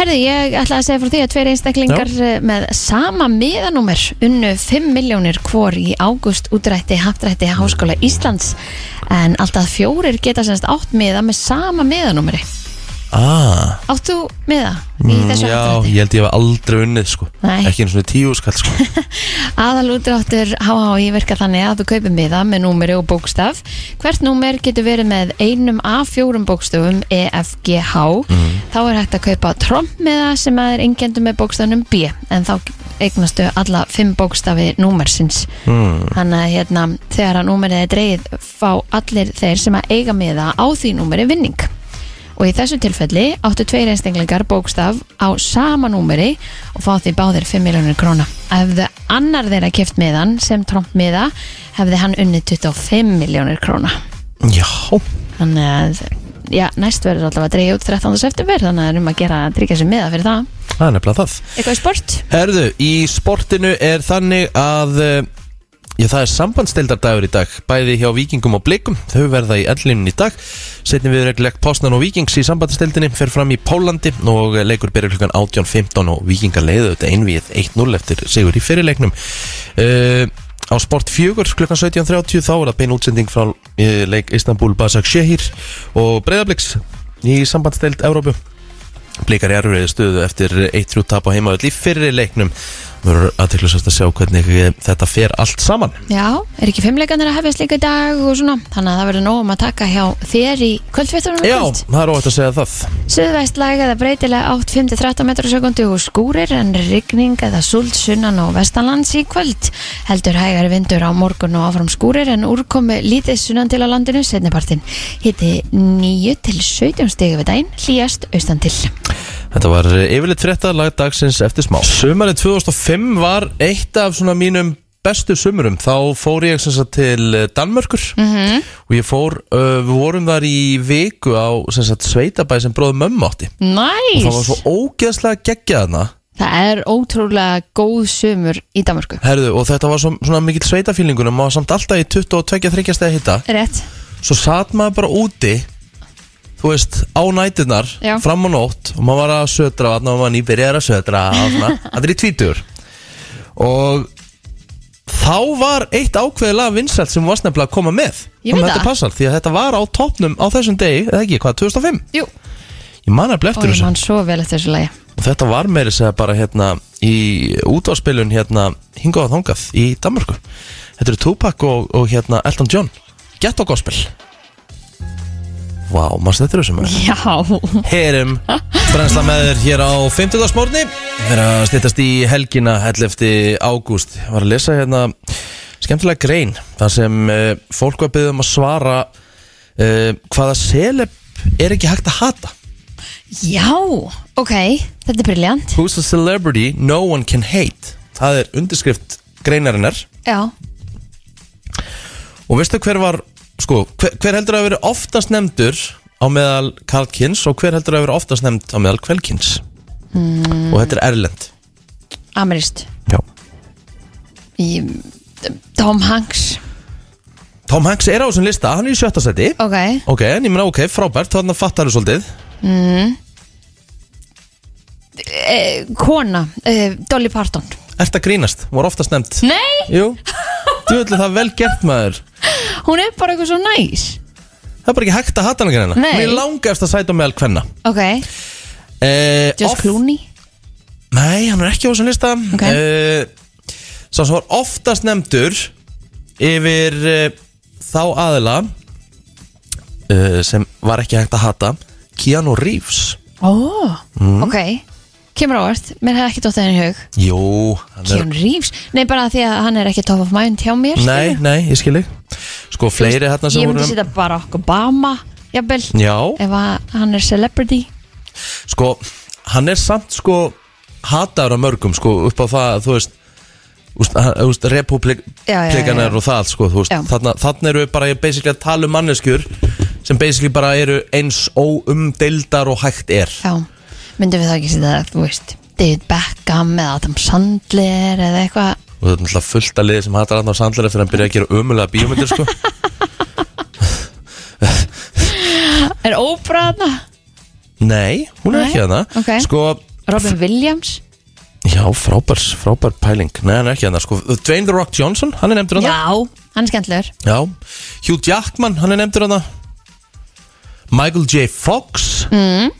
[SPEAKER 3] Herði, ég ætla að segja frá því að tveir einstaklingar eh, með sama miðanúmer unnu 5 miljónir hvor í águst útrætti haftrætti Háskóla Íslands en alltaf fjórir geta semst átt miða með sama miðanúmeri
[SPEAKER 2] Ah,
[SPEAKER 3] Áttu miða í þessu
[SPEAKER 2] Mm, Já,
[SPEAKER 3] haftrætti?
[SPEAKER 2] ég held ég hef aldrei unnið sko
[SPEAKER 3] Nei.
[SPEAKER 2] Ekki einu svona tíu skall sko
[SPEAKER 3] Aðalútráttur HHI verka þannig að þú kaupir miða með númeri og bókstaf. Hvert númer getur verið með einum af fjórum bókstafum E EFGH. Þá er hægt að kaupa trommmiða sem að er engjendum með bókstafnum B en þá eignastu alla fimm bókstafi númersins. Þannig að hérna, þegar að númerið er dreigið fá allir þeir sem að eiga miða á því númeri vinning. Og í þessu tilfelli áttu tveir einstaklingar bókstaf á sama númeri og fá því báðir 5 miljónir króna. Ef þau annar þeirra keft miðan sem tromp miða hefði hann unnið 25 miljónir króna.
[SPEAKER 2] Já,
[SPEAKER 3] Þannig að já, næst verður allavega að dreyja út 13. september þannig að það er um að gera að tryggja sér miða fyrir það.
[SPEAKER 2] það er nefnilega það
[SPEAKER 3] Eitthvað í sport?
[SPEAKER 2] Herðu, í sportinu er þannig að eh, Já, það er sambandstildardagur í dag Bæði hjá vikingum og blikum Þau verða í ellinu í dag Setjum við reglilegt Postnan og Vikings í sambandstildinni Fer fram í Pólandi og eh, leikur byrjar klukkan 18.15 og vikingar leiðu þetta einvið 1-0 eftir sigur í fyrirleiknum uh, Á sport 4 klukkan 17.30 Þá er það bein útsending frá eh, leik Istanbul Basak Shehir og Breiðabliks í sambandsdild Európu Blikar í erfiðri stöðu eftir 1-3 tap á heimavöld í fyrri leiknum Mörur aðteklisast að sjá hvernig eh, þetta fer allt saman
[SPEAKER 3] Já, er ekki fimmleikanir að hefjast líka í dag og svona, þannig að það verður nóg um að taka hjá þér í kvöldfittunum
[SPEAKER 2] Já, það er óvægt að segja það
[SPEAKER 3] Suðvæst læg eða breytilega 8-5-13 metrur sekundi og skúrir en rigning eða sult sunnan og vestanlands í kvöld. Heldur hægari vindur á morgun og áfram skúrir en úrkomi lítið sunnan til á landinu setnipartin. Hitti 9 til 17 stegi við daginn, hlýjast austan til.
[SPEAKER 2] Þetta var yfirleitt frétta lag dagsins eftir smá Sumarið 2005 var eitt af svona mínum bestu sumurum Þá fór ég sem sagt til Danmörkur -hmm. Og ég fór, uh, við vorum þar í viku á sem sagt sveitabæ sem bróðum mömmu átti
[SPEAKER 3] Næs!
[SPEAKER 2] Það var svo ógeðslega geggjaðna
[SPEAKER 3] Það er ótrúlega góð sumur í Danmarku.
[SPEAKER 2] Herðu, og þetta var svo, svona mikill sveitafílingur og maður samt alltaf í 22-23 stegi hitta
[SPEAKER 3] Rétt.
[SPEAKER 2] svo satt maður bara úti þú veist, á nætunar
[SPEAKER 3] Já.
[SPEAKER 2] fram á nótt og maður var að södra og þarna var maður nýbyrjar að södra og svona, þetta er í tvítur og þá var eitt ákveðið lag vinsælt sem var snefnilega að koma með
[SPEAKER 3] Ég veit
[SPEAKER 2] Kom þetta
[SPEAKER 3] það.
[SPEAKER 2] passar, því að þetta var á toppnum á þessum degi, eða ekki, hvað, 2005
[SPEAKER 3] Jú.
[SPEAKER 2] ég man að
[SPEAKER 3] Ó,
[SPEAKER 2] bleftur
[SPEAKER 3] ég
[SPEAKER 2] þessu
[SPEAKER 3] man svo vel eftir þessu lægi.
[SPEAKER 2] og þetta var meiri segja bara hérna í útvarspilun hérna hingað og þangað í Danmarku Þetta eru Tupac og, og hérna Elton John Ghetto Gospel Vá, maður stættir þessum maður
[SPEAKER 3] Já,
[SPEAKER 2] Herum, brennsla með þér hér á 50. smórni Það er að stýttast í helgina hell eftir ágúst Ég var að lesa hérna skemmtilega grein þar sem uh, fólk var byggðum að svara uh, hvaða celeb er ekki hægt að hata
[SPEAKER 3] já, ok, þetta er briljant
[SPEAKER 2] Who's a celebrity no one can hate Það er undirskrift greinarinnar
[SPEAKER 3] Já,
[SPEAKER 2] Og veistu hver var sko, hver, hver heldur að hafa verið oftast nefndur á meðal Karlkins og hver heldur að hafa verið oftast nefnd á meðal Kvelkins
[SPEAKER 3] Hmm.
[SPEAKER 2] mm. Og þetta er Erlend
[SPEAKER 3] amirist
[SPEAKER 2] Já.
[SPEAKER 3] í Tom Hanks
[SPEAKER 2] Tom Hanks er á þessum lista, hann er í sjötta seti
[SPEAKER 3] Ok,
[SPEAKER 2] Ok, en ég meina ok, frábært, þannig að fattar þú svolítið
[SPEAKER 3] e, kona, e, Dolly Parton
[SPEAKER 2] Ert að grínast, hún var oftast nefnd
[SPEAKER 3] Nei,
[SPEAKER 2] Jú, djúvillig það er vel gert maður
[SPEAKER 3] hún er bara eitthvað svo næs
[SPEAKER 2] Það er bara ekki hægt að hata hann ekki hennar
[SPEAKER 3] Nei.
[SPEAKER 2] Mér langast að sæta á meðal hvenna
[SPEAKER 3] Ok,
[SPEAKER 2] eh,
[SPEAKER 3] Josh
[SPEAKER 2] oft-
[SPEAKER 3] Clooney
[SPEAKER 2] Nei, hann er ekki á þessum lista
[SPEAKER 3] Ok.
[SPEAKER 2] uh, Sá sem var oftast nefndur Yfir uh, þá aðila uh, Sem var ekki hægt að hata Keanu Reeves
[SPEAKER 3] Ó, Oh.
[SPEAKER 2] Mhm.
[SPEAKER 3] ok Kemur ávart, mér hefði ekki dótt það henni í hug
[SPEAKER 2] Jú, hann er
[SPEAKER 3] Keanu Reeves, nei bara því að hann er ekki top of mind hjá mér
[SPEAKER 2] Nei, nei, ég skil ekki Sko, fleiri hérna sem
[SPEAKER 3] Ég myndi Eh,
[SPEAKER 2] voru
[SPEAKER 3] setja Barack Obama Jafnvel,
[SPEAKER 2] Já,
[SPEAKER 3] ef að hann er celebrity
[SPEAKER 2] sko, hann er samt sko Hataður af mörgum, sko, upp á það Þú veist Úst, úst,
[SPEAKER 3] Já, já, já,
[SPEAKER 2] republikanar
[SPEAKER 3] já.
[SPEAKER 2] og það sko, þú veist,
[SPEAKER 3] Já.
[SPEAKER 2] þarna, þarna eru við bara ég basically að tala um manneskjur sem basically bara eru eins óumdeildar og hægt er
[SPEAKER 3] Já, myndum við það ekki setja það, þú veist David Beckham eða Adam Sandler eða eitthvað
[SPEAKER 2] og það er náttúrulega fullt að liði sem hattar hann á sandlæri fyrir að hann byrja að gera ömulega bíómyndir sko.
[SPEAKER 3] Er Oprah þarna?
[SPEAKER 2] nei, hún er
[SPEAKER 3] Nei,
[SPEAKER 2] ekki hana
[SPEAKER 3] ok.
[SPEAKER 2] sko,
[SPEAKER 3] Robin Williams?
[SPEAKER 2] já, frábær, frábær pæling nei, hann er ekki hana, sko, Dwayne The Rock Johnson hann er nefndur hana
[SPEAKER 3] Já, hann er skemmtilegur
[SPEAKER 2] já. Hugh Jackman, hann er nefndur hana Michael J. Fox mm.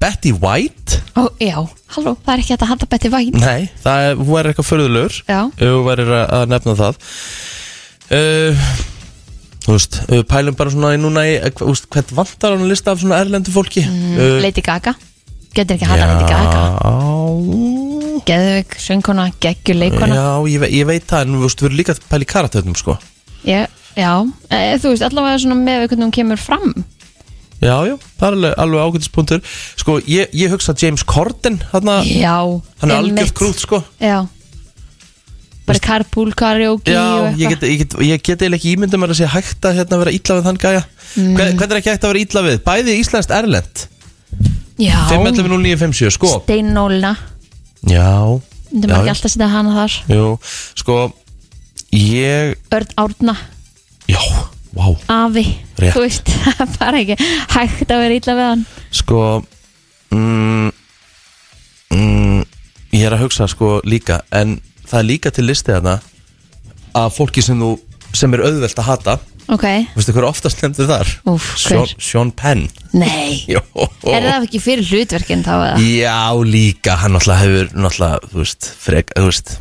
[SPEAKER 2] Betty White
[SPEAKER 3] Ó, já, halló, það er ekki hægt að hata Betty White
[SPEAKER 2] nei, það er, hún er eitthvað förðulegur
[SPEAKER 3] Já.
[SPEAKER 2] hún verður að- að nefna það uh, þú veist, ef við pælum bara svona í núna í, þú veist, hvert vantar hann að lista af svona erlendu fólki mm.
[SPEAKER 3] Lady Gaga, getur ekki að hata Lady Gaga Geðvik, söngkona, geggju leikona
[SPEAKER 2] Já, ég, ve ég veit það, en þú veist, við erum líka að pæla í karaternum, sko
[SPEAKER 3] Ég, já, e, þú veist, allavega svona með hvernig hún kemur fram
[SPEAKER 2] Já, já, það er alveg, alveg ágætispunktur Sko, ég, ég hugsa James Corden, þarna,
[SPEAKER 3] Já,
[SPEAKER 2] hann er
[SPEAKER 3] einmitt.
[SPEAKER 2] algjörð krút, sko
[SPEAKER 3] Já Bara carpool karaoke og
[SPEAKER 2] Já,
[SPEAKER 3] eitthvað
[SPEAKER 2] ég get, ég, get, ég get eiginlega ekki ímyndum að sé hægt að hérna, vera illa við þann gæja mm. Hvernig er ekki hægt að vera illa við? Bæði íslenskt erlend
[SPEAKER 3] Já,
[SPEAKER 2] 5.11.09.57, sko
[SPEAKER 3] Steinólna
[SPEAKER 2] Já,
[SPEAKER 3] Myndum
[SPEAKER 2] Já,
[SPEAKER 3] maður ekki
[SPEAKER 2] já.
[SPEAKER 3] alltaf setja hana þar
[SPEAKER 2] jú, sko Ég,
[SPEAKER 3] Örn Árna,
[SPEAKER 2] já, vá
[SPEAKER 3] Afi
[SPEAKER 2] Rétt.
[SPEAKER 3] Þú veist, það er bara ekki hægt að vera illa við hann
[SPEAKER 2] Sko mm, mm, Ég er að hugsa sko líka En það er líka til listi þarna Að fólki sem þú sem er auðvelt að hata
[SPEAKER 3] Ok,
[SPEAKER 2] Veistu hver er oftast nefndu þar?
[SPEAKER 3] Úff, hver?
[SPEAKER 2] Sean, Sean Penn
[SPEAKER 3] nei
[SPEAKER 2] Jó.
[SPEAKER 3] Er það ekki fyrir hlutverkin þá eða?
[SPEAKER 2] Já, líka, hann náttúrulega hefur náttúrulega, þú veist, frek, þú veist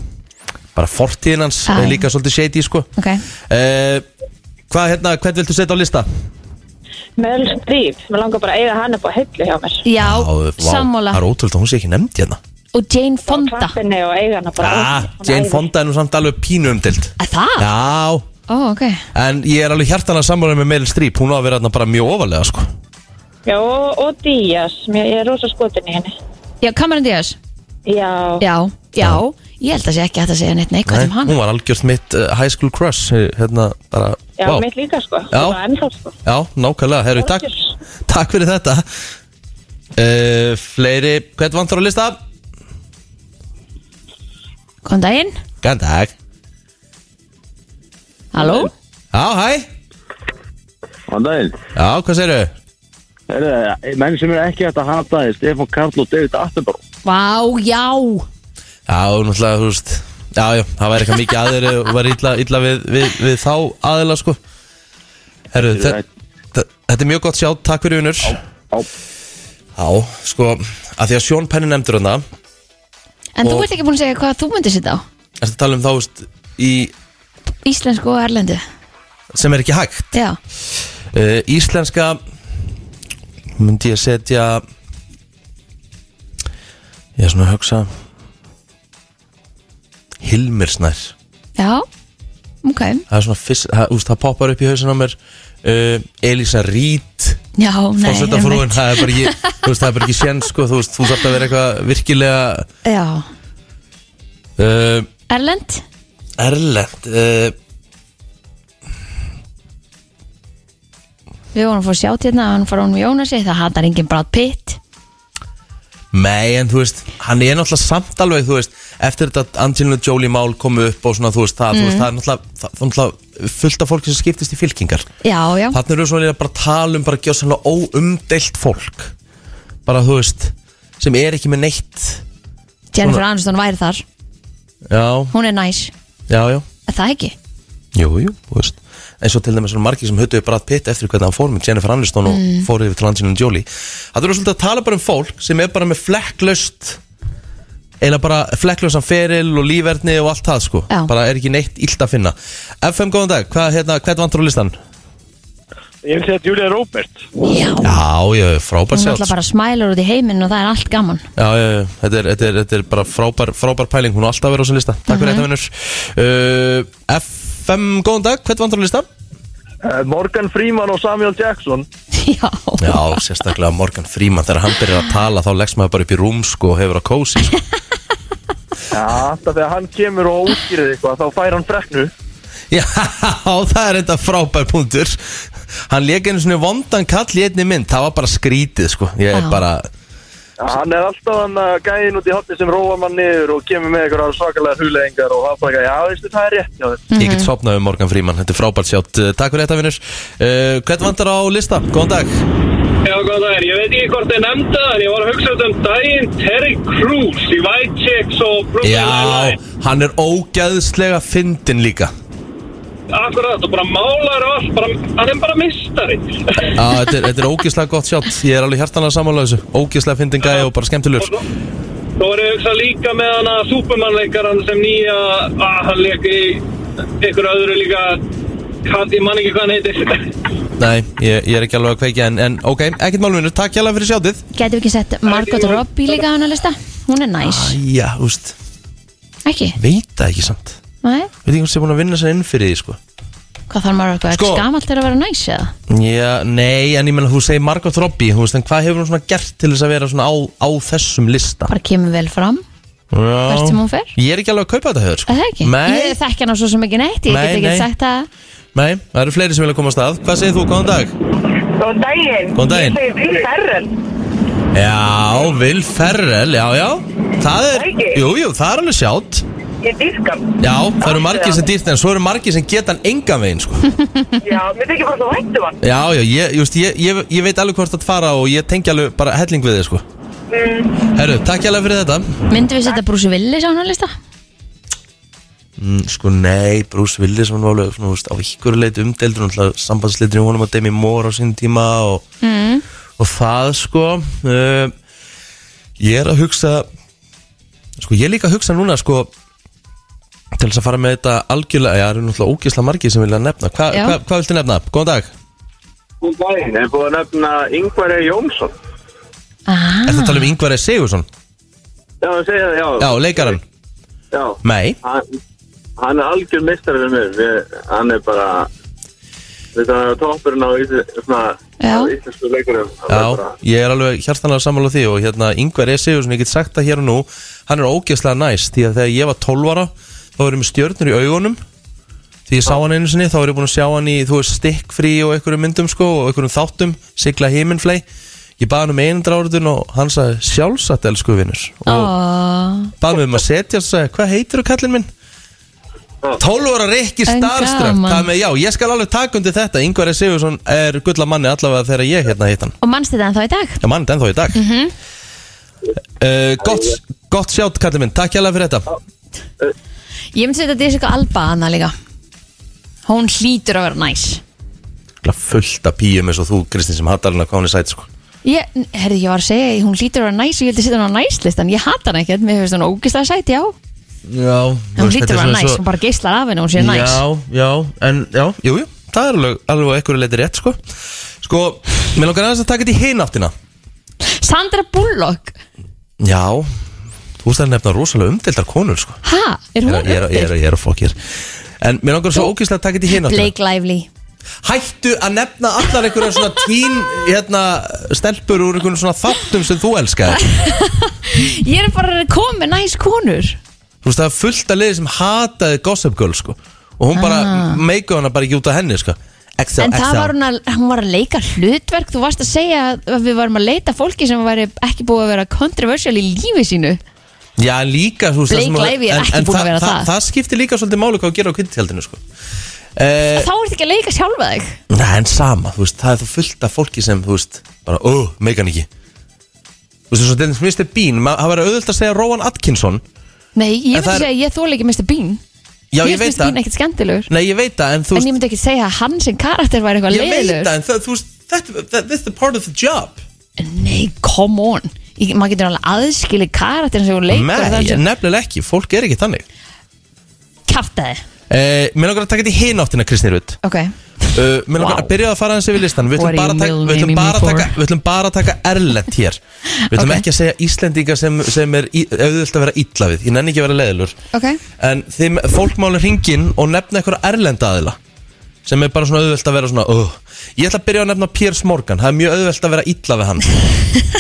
[SPEAKER 2] bara fortíðin hans
[SPEAKER 3] Já,
[SPEAKER 2] er
[SPEAKER 3] já.
[SPEAKER 2] líka svolítið shady, sko
[SPEAKER 3] Ok,
[SPEAKER 2] eh, Hvað, hérna, hvern viltu setja á lista?
[SPEAKER 4] Meryl Streep, mér langar bara að eiga hann upp á hillu hjá mér
[SPEAKER 3] já,
[SPEAKER 2] vá,
[SPEAKER 3] sammála
[SPEAKER 2] Það er ótrúlega, hún sé ekki nefnd hérna
[SPEAKER 3] Og Jane Fonda
[SPEAKER 4] Klappinni og eiga hann bara
[SPEAKER 2] ah, Jane Fonda er nú samt alveg pínu umdild
[SPEAKER 3] Að það?
[SPEAKER 2] Já,
[SPEAKER 3] Ó, ok
[SPEAKER 2] en ég er alveg hjartan að sammála með Meryl Streep Hún á að vera þarna bara mjög ofalega sko
[SPEAKER 4] Já, og, og Díaz, mér, ég er rosa skotin í henni
[SPEAKER 3] Já, Cameron Diaz
[SPEAKER 4] Já,
[SPEAKER 3] Já, já, ég held að sé ekki hægt að segja neitt neikvægt um hann
[SPEAKER 2] Hún var algjört mitt uh, high school crush eh, Hérna bara,
[SPEAKER 4] já
[SPEAKER 2] vá.
[SPEAKER 4] mitt líka sko
[SPEAKER 2] Já.
[SPEAKER 4] Bara ennþá sko
[SPEAKER 2] Já, nákvæmlega, herru, takk, takk fyrir þetta uh, Fleiri, hvern vantur á lista?
[SPEAKER 3] Kom daginn,
[SPEAKER 2] Gæn dag
[SPEAKER 3] halló
[SPEAKER 2] Já, hæ
[SPEAKER 5] Þann daginn,
[SPEAKER 2] Já, hvað segirðu?
[SPEAKER 5] er það, menn sem er ekki hægt að hata er Stefán Karl og David Attenborough.
[SPEAKER 3] Vá, já
[SPEAKER 2] Já, náttúrulega, þú veist Já, já, það væri eitthvað mikið aðeir og var illa, illa við, við, við þá aðeila, sko Herru, þe- þe- þetta er mjög gott sjá, takk fyrir unur
[SPEAKER 5] á.
[SPEAKER 2] Já, sko, að því að Sjón Penni nefndur hana
[SPEAKER 3] En þú
[SPEAKER 2] Og-
[SPEAKER 3] ert ekki búin að segja hvað þú myndir sitta á
[SPEAKER 2] Ertu að tala um þá veist, í,
[SPEAKER 3] Íslensku og erlendu
[SPEAKER 2] sem er ekki hægt
[SPEAKER 3] Já,
[SPEAKER 2] uh, Íslenska myndi ég setja ég er svona að hugsa Hilmir Snær
[SPEAKER 3] já, ok
[SPEAKER 2] það er svona fyrst, það, úst, það poppar upp í hausin á mér uh, Elisa Rít
[SPEAKER 3] Já, nei,
[SPEAKER 2] fórsetafrúin,
[SPEAKER 3] einmitt.
[SPEAKER 2] það er bara ekki þú veist, það er bara ekki sén sko, þú veist, þú þarf að vera eitthvað virkilega
[SPEAKER 3] Já,
[SPEAKER 2] uh,
[SPEAKER 3] erlend
[SPEAKER 2] erlend uh,
[SPEAKER 3] Við vorum að fá sjátt hérna að hann fara honum Jónasi Það hattar enginn Brad Pitt
[SPEAKER 2] Nei, en þú veist, hann er náttúrulega samt alveg, þú veist, eftir þetta Angelina Jolie mál komu upp og svona, þú veist, það, þú veist, það er náttúrulega, það, það er náttúrulega fullt af fólki sem skiptist í fylkingar.
[SPEAKER 3] Já, já,
[SPEAKER 2] Þannig eru svona líka bara að tala um bara að gjóða svona óumdeilt fólk, bara, þú veist, sem er ekki með neitt.
[SPEAKER 3] Jennifer Aniston væri þar
[SPEAKER 2] Já,
[SPEAKER 3] Hún er næs,
[SPEAKER 2] já, já,
[SPEAKER 3] er það ekki?
[SPEAKER 2] jú, jú, þú veist. En svo til dæmis svona margir sem hötuðu bara að pitta eftir hvernig hann fór með Jennifer Aniston og
[SPEAKER 3] Mm.
[SPEAKER 2] fór yfir til Angelina Jolie. Það eru svolítið að tala bara um fólk sem er bara með flekklaust eiginlega bara flekklösan feril og lífverðni og allt það sko
[SPEAKER 3] Já.
[SPEAKER 2] bara er ekki neitt illt að finna FM góðan dag, hvað hérna, hvern vantur á listan?
[SPEAKER 5] Ég vil segja að Julia Robert
[SPEAKER 3] Já, hún
[SPEAKER 2] Já, já, frábær
[SPEAKER 3] er
[SPEAKER 2] sjálf
[SPEAKER 3] alltaf bara smælur út í heiminn og það er allt gaman
[SPEAKER 2] Já, já, já, þetta er, þetta er, þetta er bara frábær, frábær pæling, hún er alltaf að vera á þessum lista Takk
[SPEAKER 3] Mhm.
[SPEAKER 2] fyrir þetta vinnur uh, FM góðan dag, hvern vantur á listan?
[SPEAKER 5] uh, Morgan Freeman og Samuel Jackson
[SPEAKER 3] Já,
[SPEAKER 2] Já, sérstaklega Morgan Freeman þegar hann byrjar að tala þá leggst maður bara upp í rúm sko og hefur að kósi sko.
[SPEAKER 5] Já, alltaf þegar hann kemur og útskýrið eitthvað þá fær hann freknu
[SPEAKER 2] Já, það er þetta frábær punktur Hann leik einu svona vondan kall í einni mynd Það var bara skrítið sko Ég er
[SPEAKER 3] Já.
[SPEAKER 2] bara,
[SPEAKER 5] Já, Hann er alltaf hann að gæðin út í hotni sem róa mann niður og kemur með eitthvað svakalega hulengar og það bara, já, veistu, það er rétt hjá þér
[SPEAKER 2] ég get sopnað um Morgan Freeman Þetta er frábært sjátt, Uh, takk fyrir þetta vinnur uh, Hvern vantar á lista? Góðan dag
[SPEAKER 6] Já, góðan daginn. Ég veit ekki hvort þið nefnda það, en ég var að hugsa þetta um daginn Terry Crews í White Chicks og Brooklyn
[SPEAKER 2] Já,
[SPEAKER 6] Nine-Nine.
[SPEAKER 2] hann er ógæðslega fyndin líka
[SPEAKER 6] Akkurat, og bara málar og allt, bara, hann er bara mistari.
[SPEAKER 2] Já, þetta er, þetta er ógæðslega gott sjátt Ég er alveg hjartanlega samanlega þessu Ógæðslega fyndin gæði og bara skemmtilegur
[SPEAKER 6] Svo var ég að hugsa líka með hann að Superman-leikaran sem nýja, að hann leik í einhverju öðru líka, hvað, ég man ekki hvað hann heitir.
[SPEAKER 2] Nei, ég, ég er ekki alveg að kveikja En, en ok, ekkert málvinnur, takk hjálpa fyrir sjáttið
[SPEAKER 3] Getum við ekki sett Margot Robbie líka á hann að lista? Hún er næs,
[SPEAKER 2] Æja, úst,
[SPEAKER 3] ekki?
[SPEAKER 2] veit það ekki samt
[SPEAKER 3] Nei,
[SPEAKER 2] Veit ekki hvað sem búin að vinna sér inn fyrir því sko
[SPEAKER 3] hvað þarf maður eitthvað?
[SPEAKER 2] Sko.
[SPEAKER 3] Sko. Skamalt er að vera næs eða?
[SPEAKER 2] Já, nei, en ég menna þú segir Margot Robbie, þú veist, en hvað hefur hún svona gert til þess að vera svona á, á þessum lista?
[SPEAKER 3] Bara kemur vel fram, hvert sem
[SPEAKER 2] Já,
[SPEAKER 3] hún fer
[SPEAKER 2] ég er ekki alveg að kaupa þetta höfður,
[SPEAKER 3] Er
[SPEAKER 2] sko.
[SPEAKER 3] það ekki?
[SPEAKER 2] Nei,
[SPEAKER 3] Ég þekki hana svo sem ekki neitt, ég
[SPEAKER 2] Nei,
[SPEAKER 3] get ekki
[SPEAKER 2] nei.
[SPEAKER 3] sagt það
[SPEAKER 2] nei, það eru fleiri sem vilja koma að stað. Hvað segir þú, góðan dag?
[SPEAKER 4] Góðan daginn.
[SPEAKER 2] Góðan daginn.
[SPEAKER 4] Ég segi Will Ferrell.
[SPEAKER 2] Já, Will Ferrell, já, já, það er,
[SPEAKER 4] Það ekki?
[SPEAKER 2] jú, jú, það er alveg sjátt.
[SPEAKER 4] Ég dýrka hann.
[SPEAKER 2] Já, það eru margir sem dýrt, en svo eru margir sem geta hann engan veginn, sko.
[SPEAKER 4] Já, mér þykir bara svo vænt um hann.
[SPEAKER 2] Já, já, ég, just, ég, ég, ég veit alveg hvort það fara og ég tengi alveg bara helling við þið, sko.
[SPEAKER 4] Mm.
[SPEAKER 2] Herru, takk alveg fyrir þetta.
[SPEAKER 3] Myndum við setja Bruce Willis á hann að lista?
[SPEAKER 2] Mm, sko nei, Bruce Willis hann var alveg svona, þú veist, á ykkur leit umdeldur náttúrulega sambandsleitur í honum að Demi Moore á sín tíma og,
[SPEAKER 3] Mm.
[SPEAKER 2] og það sko uh, ég er að hugsa sko ég er líka að hugsa núna sko til þess að fara með þetta algjörlega já, það eru náttúrulega ógisla margir sem vilja nefna Hva,
[SPEAKER 3] Já.
[SPEAKER 2] hva, hvað viltu nefna? Góðan dag
[SPEAKER 5] Góðan daginn, er búið að nefna Yngvar E. Jónsson
[SPEAKER 3] Ah,
[SPEAKER 2] Er það að tala um Yngvar E. Sigursson?
[SPEAKER 5] Já, segja það, já
[SPEAKER 2] Já, leikarann
[SPEAKER 5] Já,
[SPEAKER 2] Nei,
[SPEAKER 5] hann, hann er algjör mistari við mér við, Hann er bara Við það er toppurinn á ísl- svona,
[SPEAKER 3] Já.
[SPEAKER 5] á íslensku leikurum Hann er
[SPEAKER 2] já,
[SPEAKER 5] bara-
[SPEAKER 2] ég er alveg hjartanlega sammála því og hérna Yngvar E. Sigursson, ég get sagt það hér og nú hann er ógeðslega næs því að þegar ég var 12 ára þá var ég með stjörnur í augunum því ég sá hann einu sinni þá var ég búin að sjá hann í þú veist stikkfrí og einhverjum myndum sko og einhverjum þáttum, sigla heiminflei ég baði hann um einundra áriðun og hann sagði sjálfsagt elsku vinnur og
[SPEAKER 3] ó,
[SPEAKER 2] baði mig um að setja og sagði hvað heitir þú kallinn minn? 12 ára Rikki
[SPEAKER 3] En
[SPEAKER 2] Starströkk
[SPEAKER 3] gaman.
[SPEAKER 2] það með já, ég skal alveg taka undir þetta Yngvar E. Sigursson er gulla manni allavega þegar ég hérna hitt hann
[SPEAKER 3] Og mannst þetta ennþá í dag?
[SPEAKER 2] Já, mann, ennþá í dag mm
[SPEAKER 3] Mhm.
[SPEAKER 2] gott, gott sjátt, kallið minn Takk hérlega fyrir þetta
[SPEAKER 3] Ég myndi setja Jessica Alba hann að líka Hún hlýtur að vera næs
[SPEAKER 2] Ætla Fullt af píum eins og þú, Kristín, sem hattar hana hvað hún er sæt sko.
[SPEAKER 3] Ég, herði, ég var að segja, hún lítur að vera næs og ég vildi setja hún á næslistan, ég hata hann ekkert mér finnst hún ógislega sætt, já en
[SPEAKER 2] Já þú
[SPEAKER 3] hún
[SPEAKER 2] veist, þetta
[SPEAKER 3] lítur
[SPEAKER 2] er
[SPEAKER 3] að vera
[SPEAKER 2] svona
[SPEAKER 3] næs,
[SPEAKER 2] svo-
[SPEAKER 3] hún bara geislar af henni og hún sé næs
[SPEAKER 2] Já, já, en já, jú, jú Það er alveg, alveg ekkur leiti rétt, sko Sko, mér langar aðeins að taka þetta í hináttina
[SPEAKER 3] Sandra Bullock,
[SPEAKER 2] Já, þú veist það er nefna rosalega umdeldar konur, sko
[SPEAKER 3] ha, er hún
[SPEAKER 2] Ég er, ég er, ég er, ég er að fokk hér En mér langar svo ógíslega að taka þetta í hináttina
[SPEAKER 3] Blake Lively
[SPEAKER 2] Hættu að nefna allar einhverja svona tín hérna, stelpur úr einhverjum svona þáttum sem þú elskaði
[SPEAKER 3] Ég er bara að koma með næs konur
[SPEAKER 2] Þú veist það er fullt að liði sem hataði Gossip Girl sko og hún bara,
[SPEAKER 3] Ah.
[SPEAKER 2] ah. meika hana bara ekki út af henni sko XL,
[SPEAKER 3] En það var hún að, hún var að leika hlutverk Þú varst að segja að við varum að leita fólki sem væri ekki búið að vera controversial í lífi sínu
[SPEAKER 2] Já, en líka, þú veist það
[SPEAKER 3] Blake
[SPEAKER 2] sem hún-
[SPEAKER 3] Lively er
[SPEAKER 2] en-
[SPEAKER 3] ekki
[SPEAKER 2] en
[SPEAKER 3] búin að vera það.
[SPEAKER 2] Það, það skiptir líka svolítið máli hvað að gera á kvintihaldinu sko eh,
[SPEAKER 3] Þá ertu ekki að leika sjálfa þig
[SPEAKER 2] Nei, en sama, þú veist, það er þú fullt af fólki sem, þú veist, bara, ó, meika hann ekki Þú veist, það er svona Mr. Bean, ma- það verður auðvitað að segja Rowan Atkinson
[SPEAKER 3] Nei, ég
[SPEAKER 2] En
[SPEAKER 3] myndi
[SPEAKER 2] það er-
[SPEAKER 3] segja að ég þóla ekki Mr. Bean
[SPEAKER 2] Já, ég
[SPEAKER 3] Mér
[SPEAKER 2] veit
[SPEAKER 3] finnst Mr. Bean
[SPEAKER 2] það
[SPEAKER 3] ekkert skemmtilegur
[SPEAKER 2] Nei, ég veit það, en þú
[SPEAKER 3] En ég myndi ekki segja að hann sem karakter væri eitthvað
[SPEAKER 2] Ég veit
[SPEAKER 3] leiðilegur
[SPEAKER 2] það, en það, þú veist, þetta, that, that's the part of the job
[SPEAKER 3] Nei, come on Ég- Maður getur alveg aðskili karakterin sem hún leikur og
[SPEAKER 2] Nei,
[SPEAKER 3] þann sem
[SPEAKER 2] nefnilega ekki, fólk er ekki þannig
[SPEAKER 3] kaftaði
[SPEAKER 2] eh, Mér langar að taka þetta í hináttina, Kristi Rutt
[SPEAKER 3] Ok,
[SPEAKER 2] uh, Mér langar
[SPEAKER 3] Wow.
[SPEAKER 2] að byrja að fara aðeins yfir listan Við
[SPEAKER 3] What
[SPEAKER 2] ætlum bara,
[SPEAKER 3] you
[SPEAKER 2] að taka-
[SPEAKER 3] will
[SPEAKER 2] við ætlum
[SPEAKER 3] name me
[SPEAKER 2] bara, að
[SPEAKER 3] for.
[SPEAKER 2] taka- við ætlum bara að taka erlend hér Við ætlum
[SPEAKER 3] Ok.
[SPEAKER 2] ekki að segja Íslendinga sem, sem er í- auðvelt að vera illa við Ég nenni ekki að vera leiðilur
[SPEAKER 3] ok
[SPEAKER 2] En þeim fólkmáli hringin og nefna eitthvað erlenda aðila sem er bara svona auðvelt að vera svona uh. Ég ætla að byrja að nefna Piers Morgan Það er mjög auðvelt að vera illa við hann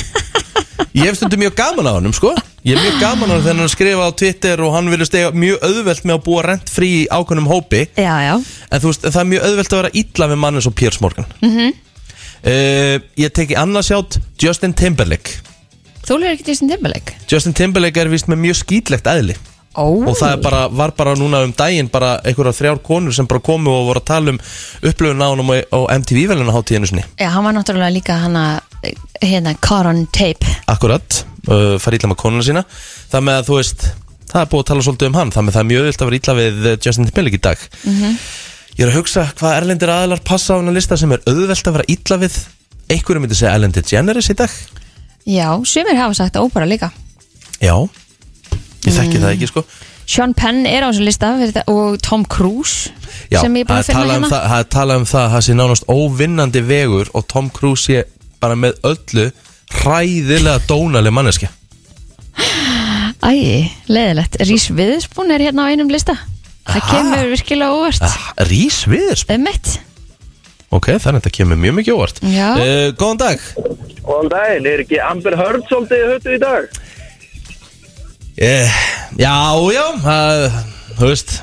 [SPEAKER 2] Ég hef stundum mjög gaman á hann sko. Ég er mjög gaman á hann þegar hann er að skrifa á Twitter og hann vilja stega mjög auðvelt með að búa rent frí í ákveðnum hópi
[SPEAKER 3] Já, já,
[SPEAKER 2] En þú veist, það er mjög auðvelt að vera illa við mann eins og Piers Morgan mm Ég teki annars hjátt Justin Timberlake
[SPEAKER 3] þú lýður ekki Justin Timberlake
[SPEAKER 2] Justin Timberlake er vist með mjög skýtlegt eðli
[SPEAKER 3] Ó,
[SPEAKER 2] Og það er bara, var bara núna um daginn bara einhverja þrjár konur sem bara komu og voru að tala um upplöfun á honum á á MTV velina hátíðinu sinni
[SPEAKER 3] Já, hann var náttúrulega líka hana hérna, caught on tape
[SPEAKER 2] Akkurat, uh, fara illa með konuna sína Það með að þú veist, það er búið að tala svolítið um hann Það með það er mjög auðvelt að vera illa við eh, Justin Timberlake í dag Ég er að hugsa hvað erlendir aðlar passa á hennar lista sem er auðvelt að vera illa við Einhverju myndi segja Ellen DeGeneres í dag
[SPEAKER 3] Já, sumir hafa sagt ópera líka
[SPEAKER 2] Já, ég þekki það ekki sko
[SPEAKER 3] Sean Penn er á þessu lista fyrir þetta- og Tom Cruise
[SPEAKER 2] Já,
[SPEAKER 3] sem ég er búin
[SPEAKER 2] það
[SPEAKER 3] að
[SPEAKER 2] er
[SPEAKER 3] finna
[SPEAKER 2] talað um
[SPEAKER 3] hérna
[SPEAKER 2] það- það er talað um það að það sé nánast óvinnandi vegur og Tom Cruise sé bara með öllu hræðilega dónaleg manneski
[SPEAKER 3] Æ, leðilegt, Rís Viðspún er hérna á einum lista Það
[SPEAKER 2] Aha.
[SPEAKER 3] kemur virkilega óvart
[SPEAKER 2] ah, Rís viður
[SPEAKER 3] Um mitt
[SPEAKER 2] Ok, þannig að þetta kemur mjög mikið óvart
[SPEAKER 3] Já.
[SPEAKER 2] Eh, Góðan dag
[SPEAKER 5] Góðan um daginn, er ekki Amber Heard svolítið höttu í dag?
[SPEAKER 2] Eh, Já, já, það, þú veist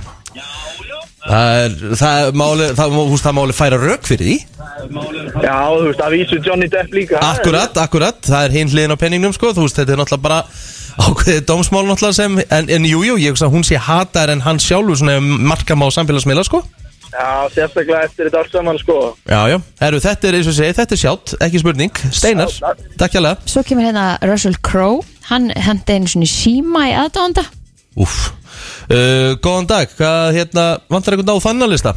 [SPEAKER 2] Það er, það er máli, það, má- þú veist, það máli færa rauk fyrir því
[SPEAKER 5] Já, þú veist, það vísu Johnny Depp líka
[SPEAKER 2] Akkurat, akkurat, það er hinn hliðin á penningnum, sko Þú veist, þetta er náttúrulega bara ákveðið dómsmál náttúrulega sem En, en jú, jú, ég hugsa að hún sé hatar en hann sjálfur svona ef marka má samfélagsmiðla, sko
[SPEAKER 5] Já, sérstaklega eftir þetta allt saman, sko
[SPEAKER 2] Já, já, herru, þetta er eins og segi, þetta er sjátt, ekki spurning Steinar, takk hérlega
[SPEAKER 3] Svo kemur hérna Russell Crowe Hann hendi einu svona síma í aðdónda
[SPEAKER 2] Úff, uh, góðan dag, hvað, hérna, vantar einhvern dag á þannan lista?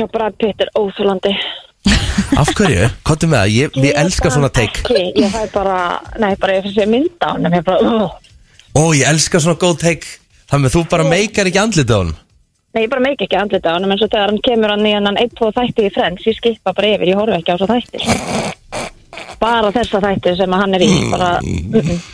[SPEAKER 4] Og Brad Pitt er óþúlandi
[SPEAKER 2] Af hverju? Kottum með það, ég, ég elska svona teik
[SPEAKER 4] Ekki, ég fæ bara, nei, bara ég finnst ég mynd á hann Ég bara, uh.
[SPEAKER 2] Ó, ég elska svona góð take Þannig að þú bara meikar ekki andlitið á hann
[SPEAKER 4] nei, ég bara meik ekki andlit á hann En svo þegar hann kemur hann í hann einn, tvo þætti í Friends Ég skipa bara yfir, ég horfi ekki á þessa þætti Bara þessa þætti sem að hann er í Bara, mm -mm.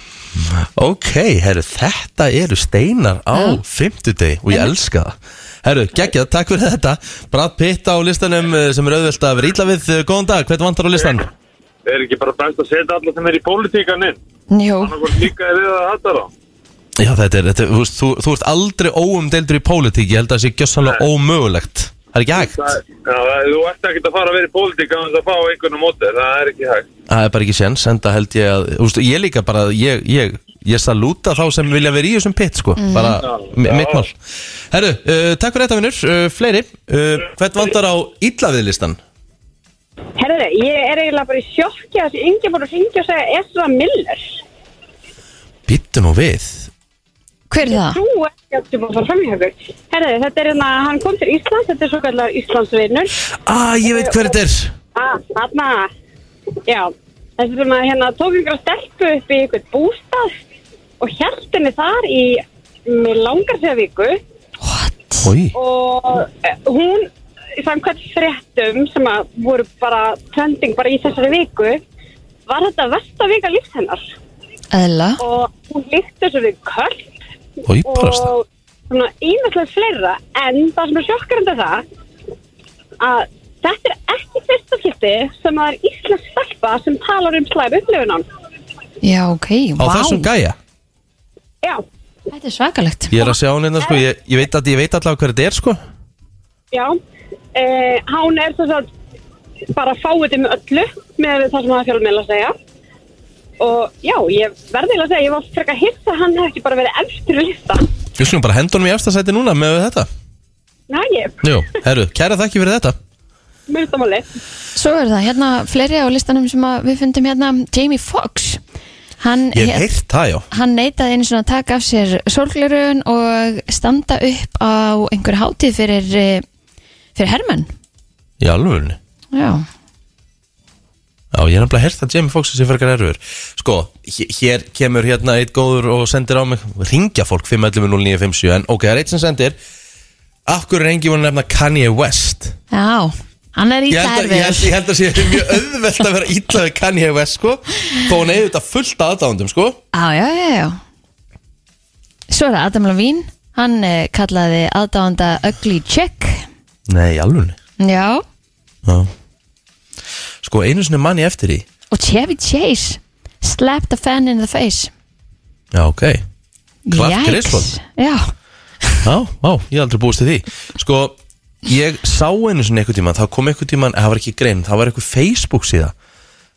[SPEAKER 2] Ok, herru, þetta eru steinar á fimmtudegi og ég elska það Herru, geggjað, takk fyrir þetta Brad Pitt á listanum eh, sem er auðvelt að vera ítla við Eh, Góðan dag, hvernig vantar á listan?
[SPEAKER 7] Er ekki bara best að setja alla sem er í pólitíkan inn?
[SPEAKER 3] Jú,
[SPEAKER 7] Það voru líka við að hætta þá.
[SPEAKER 2] Já, þetta er, þetta, er- þú, veist, þú, þú ert aldrei óumdeildur í pólitík Ég held að það sé gjössanlega ómögulegt Það er ekki
[SPEAKER 7] Það,
[SPEAKER 2] hægt,
[SPEAKER 7] já, það- þú ert ekki að fara að vera í pólitíkan þannig að fá einhvern mótir, það er ekki hægt.
[SPEAKER 2] það er bara ekki séns Enda held ég að, þú veist, ég líka bara Ég, ég, ég salúta þá sem vilja vera í þessum pitt, sko Bara, mi- mitt mál Herru, uh, takk fyrir þetta, vinnur, uh, fleiri uh, Hvernig vantar á ítla við listan?
[SPEAKER 4] Herðu, ég er eiginlega bara í sjokki að þessi yngi búin að ringja og segja Ezra Miller.
[SPEAKER 2] Býttu nú við
[SPEAKER 3] hver er það?
[SPEAKER 4] Þú ekki aftur búin að fara fram í hengur. Herðu, þetta er hérna, hann kom til Íslands, þetta er svo kallar Íslandsvinnur.
[SPEAKER 2] Ah, ég veit hver þetta er
[SPEAKER 4] Ah, þarna, já,
[SPEAKER 8] þessi sem að hérna tók einhverja stelpu upp í einhvern bústað og hjælt henni þar í með langar þegar viku
[SPEAKER 2] Í,
[SPEAKER 8] og eh, hún samkvæmt fréttum sem að voru bara trending bara í þessari viku var þetta versta vika lífs hennar
[SPEAKER 3] Eðla
[SPEAKER 8] og hún líkt þessu við köll
[SPEAKER 2] í barasta
[SPEAKER 8] og svona ímestlega fleira en það sem er sjokkarandi það að þetta er ekki fyrsta skipti sem það er íslensk stelpa sem talar um slæm upplifunan
[SPEAKER 3] Já, ok,
[SPEAKER 2] Á þessum gæja
[SPEAKER 8] já,
[SPEAKER 3] Þetta er svakalegt
[SPEAKER 2] Ég er að sjá hann hérna sko Ég, ég veit að ég veit allavega hver þetta er sko
[SPEAKER 8] já eh, hán er þess að bara fáið um öllu með það sem það fjölmiðla segja og já, ég verði eiginlega að segja ég var frekar hitt að hann hef ekki bara verið efstur í lista
[SPEAKER 2] Við slum bara hendunum í efstasæti núna með þetta
[SPEAKER 8] næ, ég,
[SPEAKER 2] Jú, herru, kæra þakki fyrir þetta
[SPEAKER 8] mjög stamáli
[SPEAKER 3] Svo er það, hérna fleiri á listanum sem að við fundum hérna Jamie Foxx Hann,
[SPEAKER 2] Ég
[SPEAKER 3] hét-
[SPEAKER 2] hef heyrt það, já
[SPEAKER 3] hann neitaði einu svona að taka af sér sólglerun og standa upp á einhver hátíð fyrir, eh, fyrir hermenn
[SPEAKER 2] Í alvörunni
[SPEAKER 3] Já,
[SPEAKER 2] Já, ég er nefnilega að hérta Jamie Foxx sem frekar erfur Sko, hé- hér kemur hérna eitt góður og sendir á mig Ringja fólk 511-0957 En ok, það er eitt sem sendir Af hverju er engi voru að nefna Kanye West
[SPEAKER 3] já Hann er
[SPEAKER 2] Ég
[SPEAKER 3] ítla
[SPEAKER 2] held, að, ég, held,
[SPEAKER 3] erfiður
[SPEAKER 2] ég held að sé mjög auðvelt að vera illa við Kanye West sko Þó hann eigi þetta fullt aðdándum sko
[SPEAKER 3] Já, já, já, já Svo er það Adam Levine Hann eh, kallaði aðdáanda Ugly Chick
[SPEAKER 2] Nei, alveg
[SPEAKER 3] Já,
[SPEAKER 2] Já. Sko, einu sinni manni eftir því
[SPEAKER 3] og Chevy Chase Slapped a fan in the face
[SPEAKER 2] Já, ok Já, Clark
[SPEAKER 3] Yikes.
[SPEAKER 2] Griswold.
[SPEAKER 3] Já,
[SPEAKER 2] já, ég hef aldrei búist til því Sko, ég sá einu sinni einhvern tímann, þá kom einhvern tímann, það var ekki grein Það var einhver Facebook síða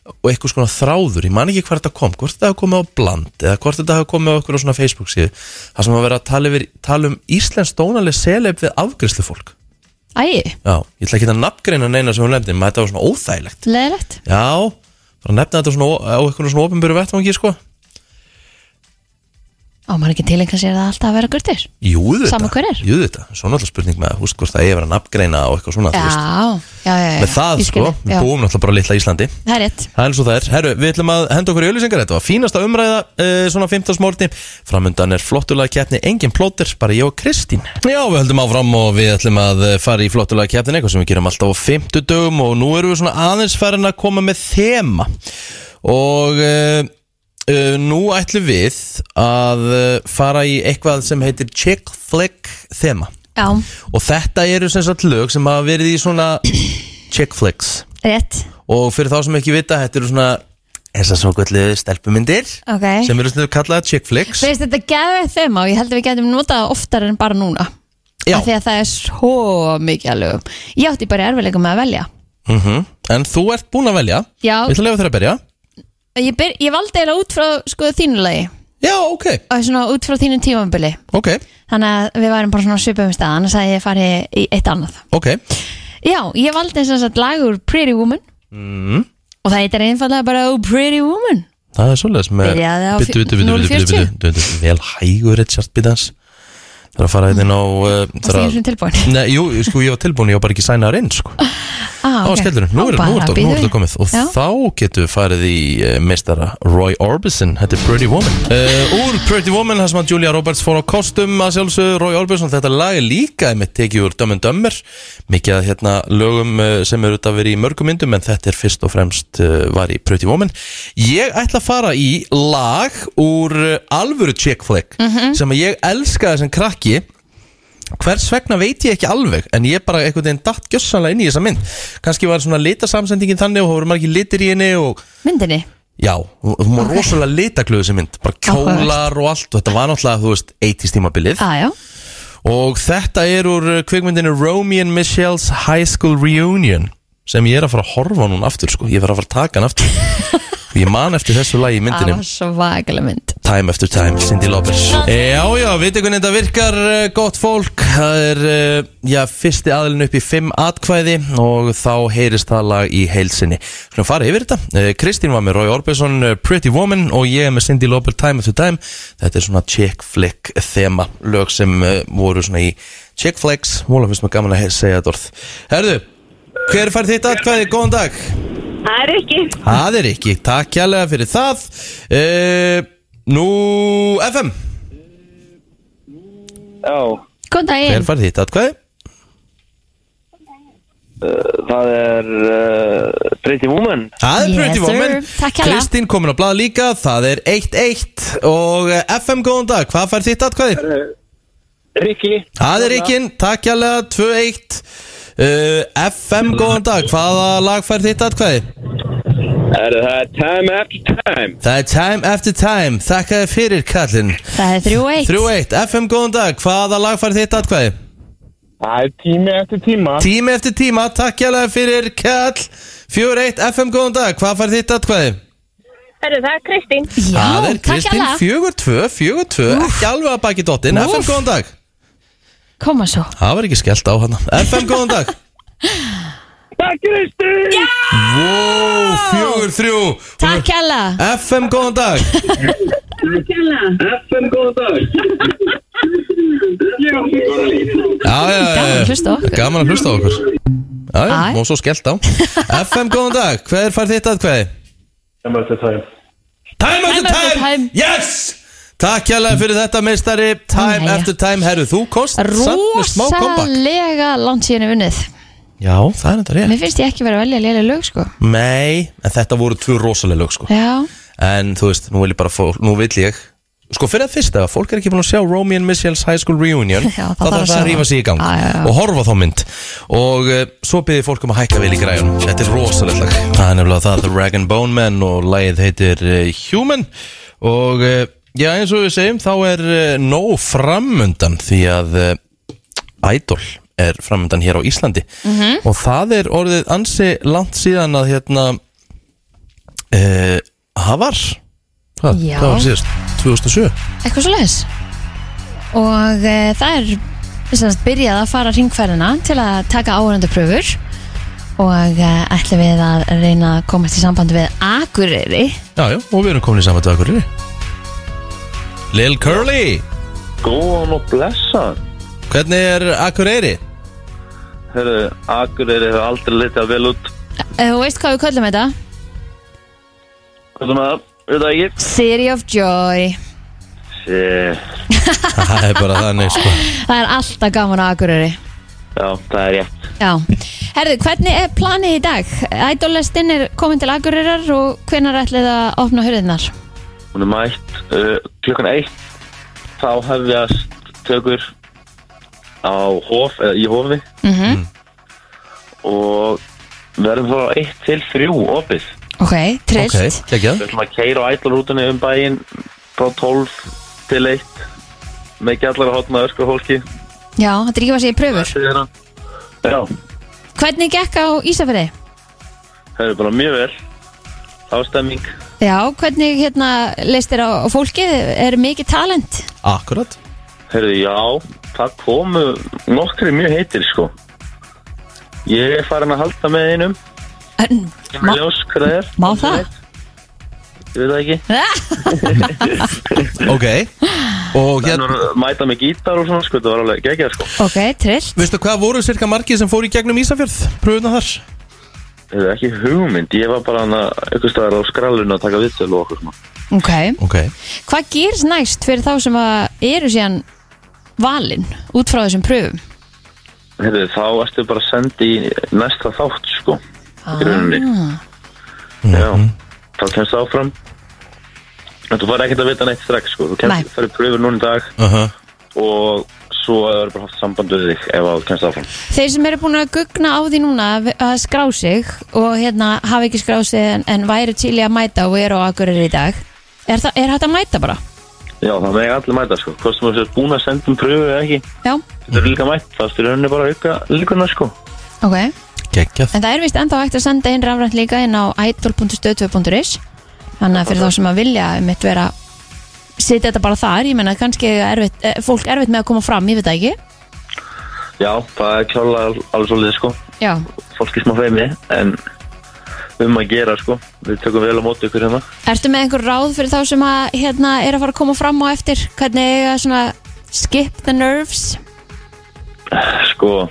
[SPEAKER 2] Og einhvers konar þráður, ég man ekki hvað þetta kom Hvort þetta hafa komið á bland Eða hvort þetta hafa komið á einhverjum svona Facebook síðu Það sem að vera að tala, yfir, tala um Íslensk dónaleg seleb við afgriðslu fólk
[SPEAKER 3] æ,
[SPEAKER 2] Já, ég ætla ekki að nafngreina neina sem hún nefndi Menn þetta var svona óþægilegt
[SPEAKER 3] leðilegt
[SPEAKER 2] Já, bara nefna þetta svona á einhvern svona ofinböru vettvangi, sko
[SPEAKER 3] Á, maður ekki tilengar sér það alltaf að vera gurtir
[SPEAKER 2] Jú, þetta
[SPEAKER 3] Sama hver er.
[SPEAKER 2] Jú, þetta Svo náttúrulega spurning með, húst, hvort það er að vera nafngreina og eitthvað svona, þú veist
[SPEAKER 3] Já, já, já, já
[SPEAKER 2] Með það,
[SPEAKER 3] Ég skil
[SPEAKER 2] sko,
[SPEAKER 3] þig,
[SPEAKER 2] við
[SPEAKER 3] já.
[SPEAKER 2] búum náttúrulega bara á litla Íslandi
[SPEAKER 3] Það er rétt
[SPEAKER 2] Það er eins og það er Herru, við ætlum að henda okkur í auðlýsingar Þetta var fínasta umræða, uh, svona 15 smórni Framundan er flottulega keppni, engin plóter Bara ég og Kristín Já, við höldum áfram og við ætlum að eh, fara í flottulega keppnin Eitthvað sem við gerum alltaf á 50 dögum Og nú erum við svona aðeins farin að koma með þema Og uh, uh, nú ætlum við að eh, fara í eitthvað sem heitir Chick Flick þema
[SPEAKER 3] Já,
[SPEAKER 2] Og þetta eru sem sagt lög sem hafa verið í svona Chick Flicks
[SPEAKER 3] rétt
[SPEAKER 2] Og fyrir þá sem ekki vita, þetta eru svona Þessar svo göllu stelpumindir
[SPEAKER 3] Ok
[SPEAKER 2] Sem eru svona kallaða chick flicks
[SPEAKER 3] Veist þetta gefið þeim á, ég held að við getum notað oftar en bara núna
[SPEAKER 2] Já,
[SPEAKER 3] Af Því að það er svo mikið að lögum Ég átti bara erfiðleikum með að velja
[SPEAKER 2] mm en þú ert búin að velja
[SPEAKER 3] Já,
[SPEAKER 2] Við ætlum að lefa þér að byrja
[SPEAKER 3] ég, byr, ég valdi eiginlega út frá sko þínu lagi
[SPEAKER 2] Já, ok,
[SPEAKER 3] Og svona út frá þínu tímambili
[SPEAKER 2] ok,
[SPEAKER 3] Þannig að við værum bara svona svipum stað Annars að ég fari í eitt annað
[SPEAKER 2] ok
[SPEAKER 3] Já, ég valdi eins og þess að lagur Pretty Woman
[SPEAKER 2] mm.
[SPEAKER 3] Og það heitir einfallega bara Oh Pretty Woman
[SPEAKER 2] Það er svolítið með
[SPEAKER 3] Byrjaði á
[SPEAKER 2] Bittu, bittu, bittu, bittu, bittu,
[SPEAKER 3] 040.
[SPEAKER 2] bittu, bittu Vel hægur Richard Bittans Það er að fara hérna á uh,
[SPEAKER 3] Það
[SPEAKER 2] þarf
[SPEAKER 3] er
[SPEAKER 2] að-
[SPEAKER 3] svona tilbúin
[SPEAKER 2] Nei, jú, sko, ég var tilbúin, ég var bara ekki sænaðar inn, sko
[SPEAKER 3] ah,
[SPEAKER 2] Á
[SPEAKER 3] ok.
[SPEAKER 2] skellurinn, nú er
[SPEAKER 3] Þá
[SPEAKER 2] nú
[SPEAKER 3] bara
[SPEAKER 2] er þetta- nú
[SPEAKER 3] bíðum
[SPEAKER 2] er
[SPEAKER 3] við.
[SPEAKER 2] þetta komið Og
[SPEAKER 3] Já.
[SPEAKER 2] þá getum við farið í uh, meistara Roy Orbison, þetta er Pretty Woman uh, Úr Pretty Woman, það sem að Julia Roberts fór á kostum að sjálfsögðu Roy Orbison Þetta lag er líka einmitt tekið úr Dumb and Dumber Mikið að hérna lögum uh, sem eru þetta verið í mörgum myndum En þetta er fyrst og fremst uh, var í Pretty Woman Ég ætla að fara í lag úr uh, alvöru chick flick
[SPEAKER 3] Mhm.
[SPEAKER 2] Sem að ég elskaði sem krakki hvers vegna veit ég ekki alveg en ég bara einhvern veginn datt gjössanlega inn í þessa mynd kannski var svona litasamsendingin þannig og það voru margir litir í henni og
[SPEAKER 3] Myndinni
[SPEAKER 2] já, hún var rosalega litagluð þessi mynd, bara
[SPEAKER 3] Áhugavert.
[SPEAKER 2] kjólar og allt og þetta var náttúrulega, þú veist, 80s tímabilið
[SPEAKER 3] ah, já.
[SPEAKER 2] og þetta er úr uh, kvikmyndinu Romy and Michelle's High School Reunion sem ég er að fara að horfa á núna aftur sko, ég er að fara að taka hann aftur og ég man eftir þessu lagi í
[SPEAKER 3] Það
[SPEAKER 2] myndinni
[SPEAKER 3] var svakalega mynd
[SPEAKER 2] Time after time, Cindy Lauper Já, já, veitu hvernig þetta virkar eh, gott fólk Það er, eh, já, fyrsti aðlun upp í fimm atkvæði og þá heyrist það lag í heilsinni Skulum fara yfir þetta Eh, Kristín var með Roy Orbison, eh, Pretty Woman og ég er með Cindy Lauper, Time after time Þetta er svona chick flick þema lög sem eh, voru svona í chick flicks Móla finnst mér gaman að he- segja þetta orð Herðu, hver fær þitt atkvæði? Góðan dag
[SPEAKER 8] Það er ekki.
[SPEAKER 2] Það er ekki, takk kjærlega fyrir það e, Nú, FM
[SPEAKER 5] Já,
[SPEAKER 3] Góðan
[SPEAKER 2] Hver
[SPEAKER 3] daginn,
[SPEAKER 2] fær þitt atkvæði?
[SPEAKER 5] það er uh, Pretty Woman
[SPEAKER 2] Það er
[SPEAKER 3] Yes,
[SPEAKER 2] Pretty
[SPEAKER 3] sir.
[SPEAKER 2] Woman
[SPEAKER 3] Takk kærlega.
[SPEAKER 2] Kristín komin á blað líka, það er 1-1 Og eh, FM góðan dag, hvað fær þitt atkvæði?
[SPEAKER 5] Rikki
[SPEAKER 2] Það er Ríkin, takk kjærlega, 2-1 Uh, FM, góðan dag, hvaða lag fær þitt atkvæði?
[SPEAKER 7] Er það time after time?
[SPEAKER 2] Það er Time After Time, þakka þér fyrir kallinn
[SPEAKER 3] það er 3-1
[SPEAKER 2] 3-1, FM, góðan dag, hvaða lag fær þitt atkvæði?
[SPEAKER 5] Það er tími eftir tíma
[SPEAKER 2] Tími eftir tíma, takk hjálpa fyrir Kjall 4-1, FM góðan dag, hvað fær þitt atkvæði?
[SPEAKER 8] Herru, það er Kristín.
[SPEAKER 3] Já,
[SPEAKER 2] Það er
[SPEAKER 3] takk
[SPEAKER 2] Kristín
[SPEAKER 3] hérlega.
[SPEAKER 2] 4-2, 4-2, ekki alveg að baki dottinn
[SPEAKER 3] Úff.
[SPEAKER 2] FM góðan dag,
[SPEAKER 3] Koma svo
[SPEAKER 2] það var ekki skellt á hana FM góðan dag Takk Kristi Vó, 4-3
[SPEAKER 3] Takk hella
[SPEAKER 2] FM góðan dag Já, já, já,
[SPEAKER 3] Gaman að hlusta á okkur.
[SPEAKER 2] Eh, Gaman að hlusta á okkur Já, já,
[SPEAKER 3] Æ.
[SPEAKER 2] og svo skellt á FM góðan dag, hver fær þitt atkvæði?
[SPEAKER 5] Time after time
[SPEAKER 2] Time after
[SPEAKER 3] Time after
[SPEAKER 2] time,
[SPEAKER 3] time.
[SPEAKER 2] Yes Takk hérlega fyrir þetta meistari Time
[SPEAKER 3] Jæja.
[SPEAKER 2] after time, herru þú kost samt með smá comeback.
[SPEAKER 3] Rosalega langt síðan er unnið
[SPEAKER 2] Já, það er þetta rétt
[SPEAKER 3] Mér finnst ég ekki vera að velja lélega lög sko
[SPEAKER 2] Nei, en þetta voru tvö rosalega lög sko
[SPEAKER 3] Já,
[SPEAKER 2] En þú veist, nú vil ég bara fó, Nú vil ég Sko fyrir að fyrsta, ef fólk er ekki búin að sjá Romy and Michelle's High School Reunion
[SPEAKER 3] Já,
[SPEAKER 2] Þá
[SPEAKER 3] það þarf
[SPEAKER 2] þarf
[SPEAKER 3] að
[SPEAKER 2] það
[SPEAKER 3] sjá
[SPEAKER 2] að rífa sig í gang
[SPEAKER 3] Já, já, já.
[SPEAKER 2] Og horfa þá mynd Og uh, svo byrði fólk um að hækka vel í græjunum Þetta er rosalegt lag Það er nefnilega það, The Rag and Bone Man Og lagið heitir uh, Human Og uh, já, eins og við segjum Þá er uh, nóg framundan Því að uh, Idol er framundan hér á Íslandi
[SPEAKER 3] Mhm.
[SPEAKER 2] -hmm. Og það er orðið ansi langt síðan að hérna uh, Havar Hvað,
[SPEAKER 3] Já.
[SPEAKER 2] hvað var síðast? 2007
[SPEAKER 3] eitthvað svo leis Og e, það er sem sagt, byrjað að fara ringferðina til að taka áhörundapröfur og e, ætlum við að reyna að komast í samband við Akureyri
[SPEAKER 2] Já, já, og við erum komin í saman til Akureyri Lil Curly
[SPEAKER 5] Góðan og blessan
[SPEAKER 2] Hvernig er Akureyri?
[SPEAKER 5] Herru, Akureyri hefur aldrei litið vel út
[SPEAKER 3] Eh, Þú veist hvað við köllum þetta?
[SPEAKER 5] Hvað sem að, veit það ekki
[SPEAKER 3] City of Joy
[SPEAKER 5] Sí,
[SPEAKER 2] Það er bara þannig sko
[SPEAKER 3] Það er alltaf gaman á Akureyri
[SPEAKER 5] Já, það er rétt
[SPEAKER 3] Já, herðu, hvernig er planið í dag? Ædólestinn er komin til Akureyrar og hvenar ætlið að opna hurðinnar?
[SPEAKER 5] Hún er mætt uh, klukkan eitt Þá hefjast tökur á hof, eða í hofi
[SPEAKER 3] Mm
[SPEAKER 5] og verðum þá eitt til þrjú opið.
[SPEAKER 3] Ok, trist
[SPEAKER 2] Ok, geggjað
[SPEAKER 5] Við ætlum að keira á ætlarútunni um bæinn frá 12 til 1 með gjallara hotna öskur hólki.
[SPEAKER 3] Já, þetta er ekki hvað sem ég pröfur
[SPEAKER 5] Já,
[SPEAKER 3] Hvernig gekk á Ísafjörði?
[SPEAKER 5] það er bara mjög vel. Ástemming.
[SPEAKER 3] Já, hvernig hérna leist þér á á fólkið? Er mikið talent?
[SPEAKER 2] Akkurat
[SPEAKER 5] Herðu, já, það komu nokkri mjög heitir, sko. Ég er farin að halda með einum.
[SPEAKER 3] En,
[SPEAKER 5] Kemur
[SPEAKER 3] Má,
[SPEAKER 5] í ljós, hvað það er?
[SPEAKER 3] má það?
[SPEAKER 5] Ég veit það ekki.
[SPEAKER 2] Ok Og
[SPEAKER 5] Þannig
[SPEAKER 2] hérna
[SPEAKER 5] var að mæta með gítar og svona, sko, það var alveg geggjað, sko.
[SPEAKER 3] Ok, trist
[SPEAKER 2] Veistu hvað voru cirka margið sem fóru í gegnum Ísafjörð? Pröfuna þar
[SPEAKER 5] Það er ekki hugmynd, ég var bara hann að, eitthvað staðar á skrallinu að taka vittölu og okkur, svona.
[SPEAKER 3] Ok,
[SPEAKER 2] Ok
[SPEAKER 3] hvað gerist næst fyrir þá sem að eru síðan valin út frá þessum pröfum?
[SPEAKER 5] Heyrðu, þá ertu bara að senda í næsta þátt, sko. Í rauninni. Já,
[SPEAKER 2] Mhm.
[SPEAKER 5] þá kemst það áfram. En þú fari ekkert að vita neitt strax, sko. Þú
[SPEAKER 3] Nei.
[SPEAKER 5] kemst, farið pröfur núna í dag
[SPEAKER 2] uh -huh.
[SPEAKER 5] og svo hefur bara haft samband við þig ef að þú kemst áfram.
[SPEAKER 3] Þeir sem eru búin að gugna á því núna að- að skrá sig og hérna hafa ekki skrá sig en, en væri til í að mæta og eru á Akureyri í dag er, það, er hægt að mæta bara?
[SPEAKER 5] Já, það megir allir mæta, sko. Hvort sem þú sért búin að senda um pröfu eða ekki,
[SPEAKER 3] Já,
[SPEAKER 5] þetta er líka mætt. Það styrir henni bara að auka líkunar, sko.
[SPEAKER 3] ok
[SPEAKER 2] Geggjað
[SPEAKER 3] En það er vist ennþá hægt að senda inn rafrænt líka inn á idol.stöð2.is Þannig að fyrir þá sem að vilja mitt vera setja þetta bara þar, ég menna kannski eiga erfitt, eh, fólk erfitt með að koma fram, ég veit það ekki
[SPEAKER 5] Já, það er klálega al- alveg svolítið, sko.
[SPEAKER 3] Já,
[SPEAKER 5] Fólk er smá feimi, en um að gera, sko. Við tökum vel á móti ykkur hérna.
[SPEAKER 3] ertu með einhver ráð fyrir þá sem að hérna er að fara að koma fram á eftir hvernig eiga svona skip the nerves
[SPEAKER 5] Sko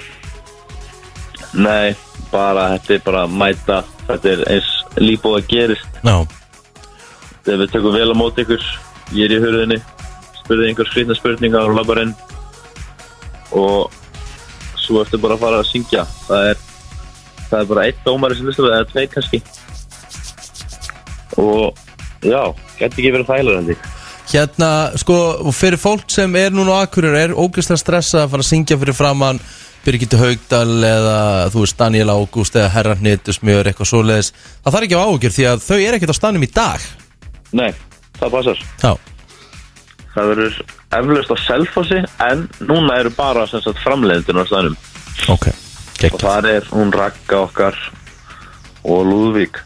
[SPEAKER 5] Nei, bara þetta er bara að mæta Þetta er eins líf og að gerist
[SPEAKER 2] Já,
[SPEAKER 5] Þegar við tökum vel á móti ykkur Ég er í hurðinni Spurði einhver skrýtna spurningar og labbarinn Og Svo ertu bara að fara að syngja Það er, það er bara einn dómari sem listar Það er tveit kannski Og já Gæti ekki verið þægilega held ég
[SPEAKER 2] hérna, sko, og fyrir fólk sem er núna á Akureyri er ógeðslega stressað að fara að syngja fyrir framann Birgitta Haugdal eða, þú veist, Daniel Ágúst eða Herran Nýttusmjör, eitthvað svoleiðis Það þarf ekki á ágjör því að þau eru ekkert á stanum í dag
[SPEAKER 5] Nei, það passar
[SPEAKER 2] Já,
[SPEAKER 5] Það verður eflaust á selfossi En núna eru bara sem sagt framleiðindin á staðnum
[SPEAKER 2] ok,
[SPEAKER 5] Og
[SPEAKER 2] geggjað
[SPEAKER 5] þar er hún rakka okkar Og Lúðvík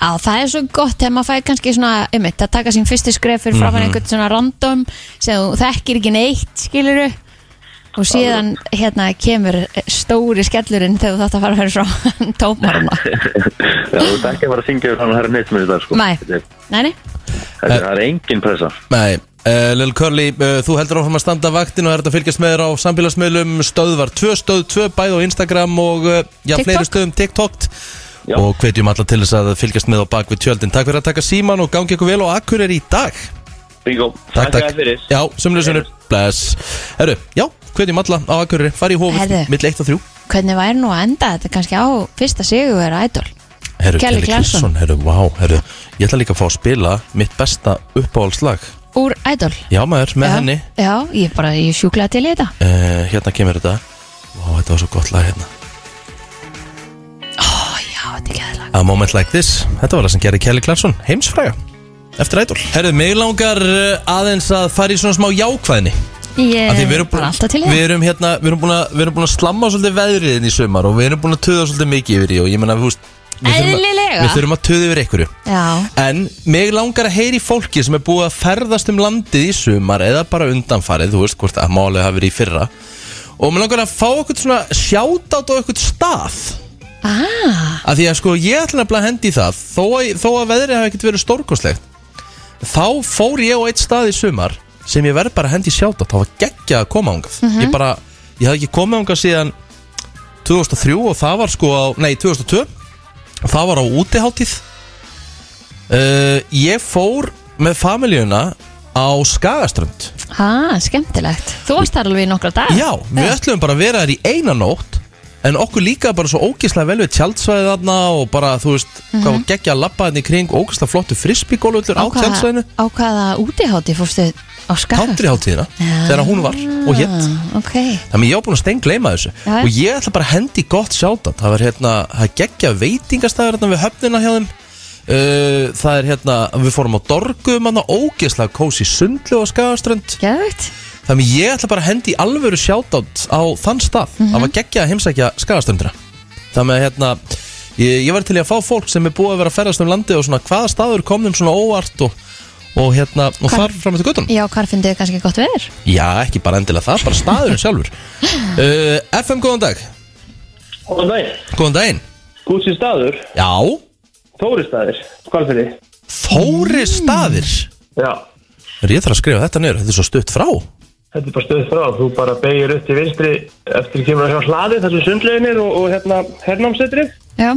[SPEAKER 3] Á, það er svo gott þegar maður fæði kannski svona einmitt, að taka sín fyrstu skref fyrir
[SPEAKER 5] Mhm.
[SPEAKER 3] framar einhvern svona random sem þú þekkir ekki neitt skiluru og síðan hérna kemur stóri skellurinn þegar þú þátt að fara að höra frá tómaruna
[SPEAKER 5] Já, þú ert ekki að fara að syngja yfir hann og herra neitt með þetta sko.
[SPEAKER 3] Nei.
[SPEAKER 5] Þetta er-
[SPEAKER 3] Nei, nei,
[SPEAKER 5] þetta er- Það er engin pressa
[SPEAKER 2] Nei, uh, Lil Curly, uh, þú heldur áfram að standa vaktin og er þetta að fylgjast með þér á samfélagsmiðlum stöðvar, tvö stöð, tvö bæð á Instagram og uh, já,
[SPEAKER 3] TikTok.
[SPEAKER 2] fleiri stöðum TikTok
[SPEAKER 5] Já.
[SPEAKER 2] og hvetjum alla til þess að fylgjast með á bak við tjöldin. Takk fyrir að taka síman og gangi ykkur vel og akkur er í dag.
[SPEAKER 5] Bingo,
[SPEAKER 2] Takk,
[SPEAKER 5] þakka þér fyrir
[SPEAKER 2] Já, sumljusunur, bless. Herru, já, hvetjum alla á akkurir, fari í hófið,
[SPEAKER 3] Herðu.
[SPEAKER 2] mill 1 og 3.
[SPEAKER 3] hvernig væri nú að enda þetta kannski á fyrsta sigur að ædol
[SPEAKER 2] Herru,
[SPEAKER 3] Kelly
[SPEAKER 2] Kelly
[SPEAKER 3] Clarkson.
[SPEAKER 2] Clarkson, herru, vá, herru, ég ætla líka að fá að spila mitt besta uppáhaldslag.
[SPEAKER 3] úr ædol
[SPEAKER 2] Já maður, með
[SPEAKER 3] já,
[SPEAKER 2] henni.
[SPEAKER 3] Já, ég bara, ég sjúkla til í þetta
[SPEAKER 2] Uh, hérna kemur þetta. Vá, þetta var svo gott lag hérna.
[SPEAKER 3] Ó, já, þetta er geðlag
[SPEAKER 2] A Moment Like This Þetta var það sem gerði Kelly Clarkson heimsfræga Eftir ædol Herðu, mig langar uh, aðeins að fara í svona smá jákvæðni Af því
[SPEAKER 3] Ég
[SPEAKER 2] við
[SPEAKER 3] er
[SPEAKER 2] erum búin-
[SPEAKER 3] Eh, bara alltaf til í
[SPEAKER 2] Við
[SPEAKER 3] þetta
[SPEAKER 2] erum hérna, við erum búin að, við erum búin að slamma svolítið veðriðin í sumar Og við erum búin að töða svolítið mikið yfir í Og ég menna, þú veist við þurfum að-
[SPEAKER 3] Eðlilega.
[SPEAKER 2] Við þurfum að töða yfir einhverju
[SPEAKER 3] Já,
[SPEAKER 2] En mig langar að heyri fólki sem er búið að ferðast um landið í sumar eða bara undanfarið, þú veist hvort að málið hafi verið í fyrra og mig langar að fá eitthvað svona sjátátt á eitthvað stað ah. að því að sko ég ætla nefnilega að hendi í það þó að, þó að veðrið hafi ekkert verið stórkoslegt þá fór ég á eitt stað í sumar sem ég verð bara að hendi sjátátt þá var geggja að koma ángað ég bara, ég hafði ekki komið ángað síðan 2003 og það var sko á, nei 2002 og það var á útiháttíð Uh, ég fór með familjuna á Skagaströnd
[SPEAKER 3] ah, skemmtilegt Þú varst þar alveg í nokkra dag
[SPEAKER 2] Já, við ætlum bara að vera þær í eina nótt En okkur líka bara svo ógislega vel við tjaldsvæðið þarna Og bara, þú veist,
[SPEAKER 3] Mhm.
[SPEAKER 2] hvað var geggja að labba þarna í kring Ógislega flottu frisbygólvöldur á
[SPEAKER 3] Á hvaða-
[SPEAKER 2] tjaldsvæðinu
[SPEAKER 3] Á hvaða útihátti fórstu á skara?
[SPEAKER 2] Country hátíðina, þegar hún var og hétt
[SPEAKER 3] Ok,
[SPEAKER 2] Þannig ég var búin að stengleima þessu
[SPEAKER 3] Já, já.
[SPEAKER 2] Og ég ætla bara að hendi gott sjáta Það var hérna, það geggja veitingastæður hérna við höfnina hjá þeim uh, Það er hérna, við fórum á Dorgum hérna, Ógislega kósi sundlu á Skagaströnd
[SPEAKER 3] geðvægt
[SPEAKER 2] Þannig ég ætla bara að hendi alvöru sjátátt á þann stað mm -hmm. að var geggja að heimsækja skagastundina Þannig að hérna ég, ég var til í að fá fólk sem er búið að vera að ferðast um landið og svona hvaða staður komnum svona óvart og, og hérna og
[SPEAKER 3] Hvar-
[SPEAKER 2] þar fram eftir göttunum
[SPEAKER 3] Já, hvar fyndið þið kannski gott veður?
[SPEAKER 2] Já, ekki bara endilega það, bara staðurinn sjálfur uh, FM, góðan dag
[SPEAKER 9] Góðan daginn.
[SPEAKER 2] Góðan daginn
[SPEAKER 9] Gúsi staður,
[SPEAKER 2] Já,
[SPEAKER 9] Þóri staður, Hvalfirði.
[SPEAKER 2] Þóri staðir
[SPEAKER 9] Já,
[SPEAKER 2] Er ég þarf að skrifa þetta niður, þetta er svo stutt frá
[SPEAKER 9] þetta er bara stöð frá. Þú bara beigir upp til vinstri eftir kemur að sjá hlaðið þar sem sundleginir og, og hérna hernámsetrið.
[SPEAKER 3] Já,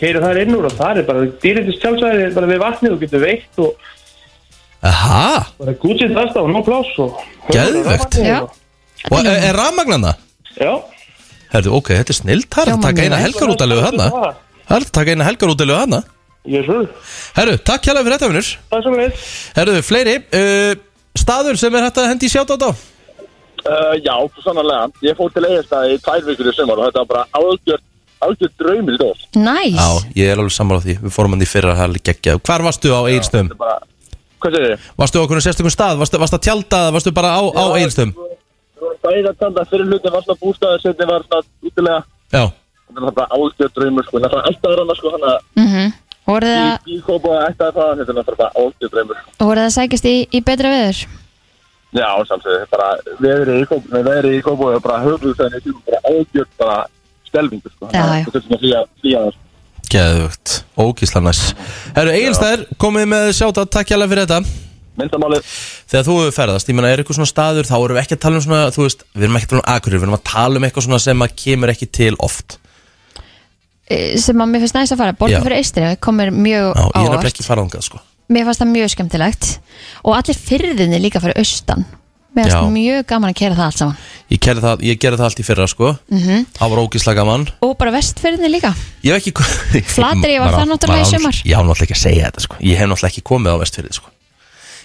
[SPEAKER 9] Keirir þar inn úr og þar er bara dýrindist sjálfsæðið, er bara við vatnið og getur veitt og
[SPEAKER 2] Aha,
[SPEAKER 9] bara Gúsi þarsta og nóg pláss og...
[SPEAKER 2] Geðvegt.
[SPEAKER 3] já
[SPEAKER 2] og er, er rafmagnana?
[SPEAKER 9] Já.
[SPEAKER 2] Herðu, ok, þetta er snillt, það er að
[SPEAKER 3] Hljómar
[SPEAKER 2] taka
[SPEAKER 3] mjög
[SPEAKER 2] eina
[SPEAKER 3] vel.
[SPEAKER 2] helgarútalegu hana Það er að taka eina helgarútalegu hana
[SPEAKER 9] Yes, sir.
[SPEAKER 2] Herru, takk hérlega fyrir þetta, vinnur
[SPEAKER 9] Það er sem leið.
[SPEAKER 2] Herru, fleiri, uh, staður sem er hægt að hendi sjátt á þá
[SPEAKER 7] Uh, já, sannarlega. Ég fór til eigastæði í tvær vikur í sumar og þetta var bara algjör, algjör draumil dór.
[SPEAKER 3] Næs
[SPEAKER 2] Já, ég er alveg samar á því, við fórum hann í fyrra, það er alveg geggjað Hvar varstu á eiginstöðum?
[SPEAKER 7] Bara, hvað segir þið?
[SPEAKER 2] Varstu á okkur sérstökum stað, varstu, varstu að tjálta, varstu bara á, á eiginstöðum?
[SPEAKER 7] Bæða tanda fyrir hlutin var svona bústæður, setni var svona útilega.
[SPEAKER 2] Já,
[SPEAKER 7] Þetta var bara algjör draumur sko. Það var alltaf rannar sko hann að
[SPEAKER 3] mm -hmm. Voruð þið að-
[SPEAKER 7] bíkópa og ætti að það. Þetta var bara algjör draumur. sko.
[SPEAKER 3] voruð þið að sækjast í, í betra veður?
[SPEAKER 7] Já, samsöðu. Bara veðrið í kópa, nei veðrið í kópa og bara höfðuðsæðin í tíma bara algjör bara stelvingu sko.
[SPEAKER 3] Já, já.
[SPEAKER 7] Það er svona flýja, flýja það sko.
[SPEAKER 2] geðvögt, ógísla næs Herru, eiginstæður, komið með sjátt takk hérlega fyrir þetta
[SPEAKER 7] Myndamálið
[SPEAKER 2] þegar þú hefur ferðast, ég meina er eitthvað svona staður þá erum við ekki að tala um svona, þú veist, við erum ekki að tala um akurir, við erum að tala um eitthvað svona sem að kemur ekki til oft
[SPEAKER 3] eh, sem að mér finnst næst að fara
[SPEAKER 2] Já.
[SPEAKER 3] Borgin fyrir Eistinu komir
[SPEAKER 2] Já,
[SPEAKER 3] mjög
[SPEAKER 2] ég er nefnilega
[SPEAKER 3] ávart
[SPEAKER 2] ekki farað þangað sko
[SPEAKER 3] Mér fannst það mjög skemmtilegt og allir fyrðinni líka fyrir austan Mér
[SPEAKER 2] Já.
[SPEAKER 3] fannst mjög gaman að kera það allt saman
[SPEAKER 2] Ég gerði það, ég gerði það allt í fyrra sko
[SPEAKER 3] Mhm.
[SPEAKER 2] Það var ógislega gaman
[SPEAKER 3] og bara vestfyrðinni líka
[SPEAKER 2] Ég hef ekki komið
[SPEAKER 3] Flateyri var
[SPEAKER 2] Maður á-
[SPEAKER 3] það náttúrulega í
[SPEAKER 2] maður á-
[SPEAKER 3] sumar.
[SPEAKER 2] Ég hef náttúrulega ekki að segja þetta sko Ég hef náttúrulega ekki komið á vestfyrði sko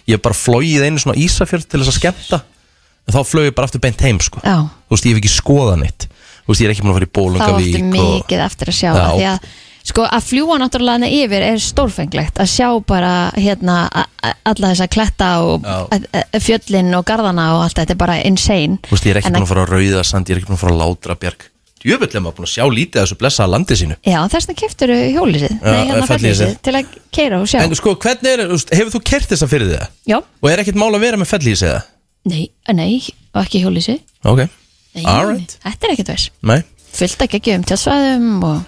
[SPEAKER 2] Ég hef bara flóið einu svona Ísafjörð til þess að skemmta En þá flög ég bara aftur beint heim sko
[SPEAKER 3] Já.
[SPEAKER 2] Þú veist, ég hef ekki skoðað neitt Þú veist, ég er ekki búin að fara í
[SPEAKER 3] þá áttu
[SPEAKER 2] Bólungavík og...
[SPEAKER 3] mikið eftir að sjá
[SPEAKER 2] Já.
[SPEAKER 3] já. því að sko að fljúa náttúrulega hana yfir er stórfenglegt að sjá bara hérna a- a- alla þessa kletta og
[SPEAKER 2] Já.
[SPEAKER 3] a- a- fjöllin og garðana og allt þetta er bara insane
[SPEAKER 2] Þú veist, ég er ekki
[SPEAKER 3] En
[SPEAKER 2] búin að fara á Rauðasand Ég er ekki búin að fara á Látrabjarg Jöfull er maður búin að sjá lítið af þessu blessaða landi sínu
[SPEAKER 3] Já, þess vegna keftur hjólísið
[SPEAKER 2] Já,
[SPEAKER 3] Nei, hérna
[SPEAKER 2] fellihýsið.
[SPEAKER 3] fellísið til að keira og sjá
[SPEAKER 2] En sko, hvernig er, þú veist, hefur þú kert þessa fyrir þið?
[SPEAKER 3] Já,
[SPEAKER 2] Og er ekkert mál að vera með fellís eða?
[SPEAKER 3] nei, nei, og ekki hjólísið
[SPEAKER 2] Ok,
[SPEAKER 3] Nei,
[SPEAKER 2] alright,
[SPEAKER 3] Þetta er ekkert vers
[SPEAKER 2] nei
[SPEAKER 3] Fyllt ekki ekki um tjálsvæðum og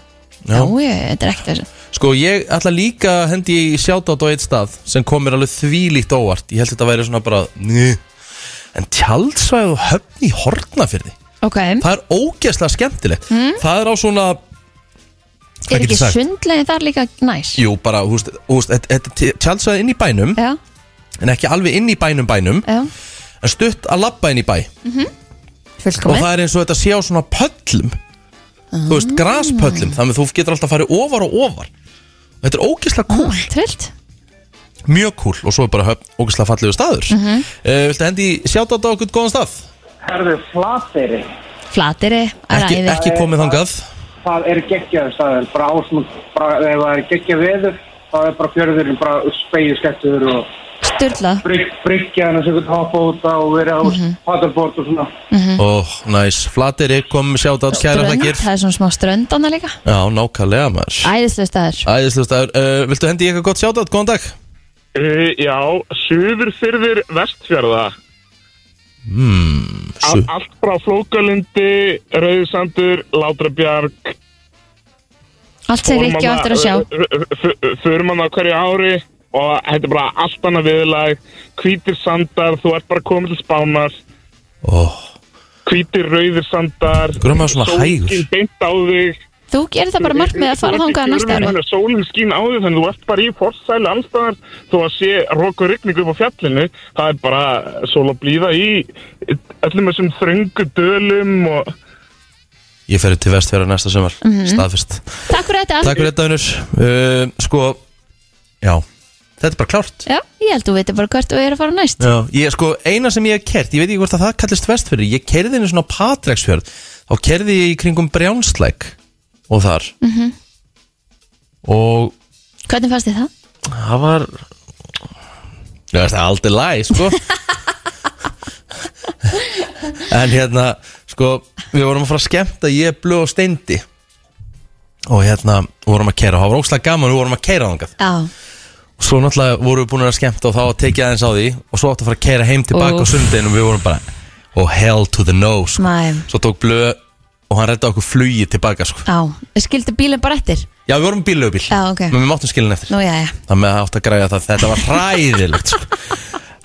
[SPEAKER 3] Já,
[SPEAKER 2] Já.
[SPEAKER 3] ég, þetta er ekkert vers
[SPEAKER 2] Sko ég ætla líka að hendi í sjátátt á eitt stað sem komir alveg þvílíkt óvart Ég held þetta væri svona bara njö. En tjaldsvæð og höfn í hornafyrði
[SPEAKER 3] Ok,
[SPEAKER 2] Það er ógeðslega skemmtilegt
[SPEAKER 3] Hmm?
[SPEAKER 2] Það er á svona,
[SPEAKER 3] er
[SPEAKER 2] get ég
[SPEAKER 3] ekki
[SPEAKER 2] sagt?
[SPEAKER 3] sundlegin þar líka næs?
[SPEAKER 2] jú bara, þú veist, þú veist þetta- þetta er tjaldsvæð inn í bænum
[SPEAKER 3] Já,
[SPEAKER 2] En ekki alveg inn í bænum bænum
[SPEAKER 3] já,
[SPEAKER 2] En stutt að labba inn í bæ Og
[SPEAKER 3] fullkomin
[SPEAKER 2] það er eins og þetta sé á svona pöllum Þú veist, graspöllum Þannig að þú getur alltaf að fara ofar og ofar Og Þetta er ógeðslega kúl
[SPEAKER 3] Trillt
[SPEAKER 2] mjög cool og svo er bara höfn ógeðslega fallegu staður mm -hmm. Viltu hendi sjátt á okkur góðan stað?
[SPEAKER 9] Herðu flateri,
[SPEAKER 3] Flateri,
[SPEAKER 2] Ekki,
[SPEAKER 3] ræði
[SPEAKER 2] ekki komið þangað
[SPEAKER 9] það er geggjaður staður, bara ásmund, bara ef það er geggjað veður, þá er bara fjörðurinn bara spegjuskettur og
[SPEAKER 3] Sturla
[SPEAKER 9] brygg, bryggjaðan sem við hoppa út á og vera á mm og svona.
[SPEAKER 2] Ó, næs, flateri kom sjátt á kæra
[SPEAKER 3] Strönd,
[SPEAKER 2] þakkir
[SPEAKER 3] það er svona smá strönd annað líka
[SPEAKER 2] Já, nákvæmlega maður
[SPEAKER 3] Æðislega staður
[SPEAKER 2] Æðislega staður, uh, viltu hendi í eitthvað gott sjátt á, góðan dag
[SPEAKER 7] Uh, já, Suðurfyrðir Vestfjörða
[SPEAKER 2] Su-
[SPEAKER 7] Allt frá Flókalundi, Rauðsandur, Látrabjarg
[SPEAKER 3] Allt sem við ekki á eftir að sjá
[SPEAKER 7] Förum hann á hverju ári og þetta er bara allt annað viðlag Hvítir sandar, þú ert bara komið til spánar
[SPEAKER 2] Ó,
[SPEAKER 7] Hvítir rauðir sandar
[SPEAKER 2] Af hverju er maður oh, svona
[SPEAKER 7] sólskin
[SPEAKER 2] hægur?
[SPEAKER 7] beint á þig
[SPEAKER 3] Þú gerir það bara markmið að fara þangað næsta ári
[SPEAKER 7] ári Sólinn skín á þig þannig þú ert bara í forsælu allstaðar þó að sé rokku rigningu upp á fjallinu það er bara sól að blíða í öllum þessum þröngu dölum og
[SPEAKER 2] ég ferði til vestfjara næsta sumar staðfist
[SPEAKER 3] Takk fyrir þetta
[SPEAKER 2] Takk fyrir þetta, Unur uh, Sko, já, þetta er bara klárt
[SPEAKER 3] Já, ég held þú veitir bara hvert þú er að fara næst
[SPEAKER 2] Já, ég sko, eina sem ég hef kert, ég veit ekki hvort að það kallist vestfjörður, ég kerði henni svona á Patreksfjörð, þá kerði ég í kringum Brjánslæk og þar -hmm. og
[SPEAKER 3] Hvernig fannst þið það?
[SPEAKER 2] það var Já, það er aldrei læg, sko En hérna, sko við vorum að fara að skemmta, ég blöð og steindi og hérna vorum að kera, það var óslega gaman, við vorum að kera þangað
[SPEAKER 3] Já,
[SPEAKER 2] og svo náttúrulega vorum við búin að skemmta og þá að tekið aðeins á því og svo áttu að fara að keira heim tilbaka á
[SPEAKER 3] Úff.
[SPEAKER 2] sundin og við vorum bara oh hell to the no sko.
[SPEAKER 3] næm
[SPEAKER 2] svo tók blöð og hann redda okkur flugi tilbaka sko.
[SPEAKER 3] Já, skildi bílinn bara eftir
[SPEAKER 2] já við vorum bílaugubíl
[SPEAKER 3] Já, ok.
[SPEAKER 2] menn við máttum skilin eftir
[SPEAKER 3] Nú, já, já
[SPEAKER 2] þannig að áttu að græja það þetta var hræðilegt sko.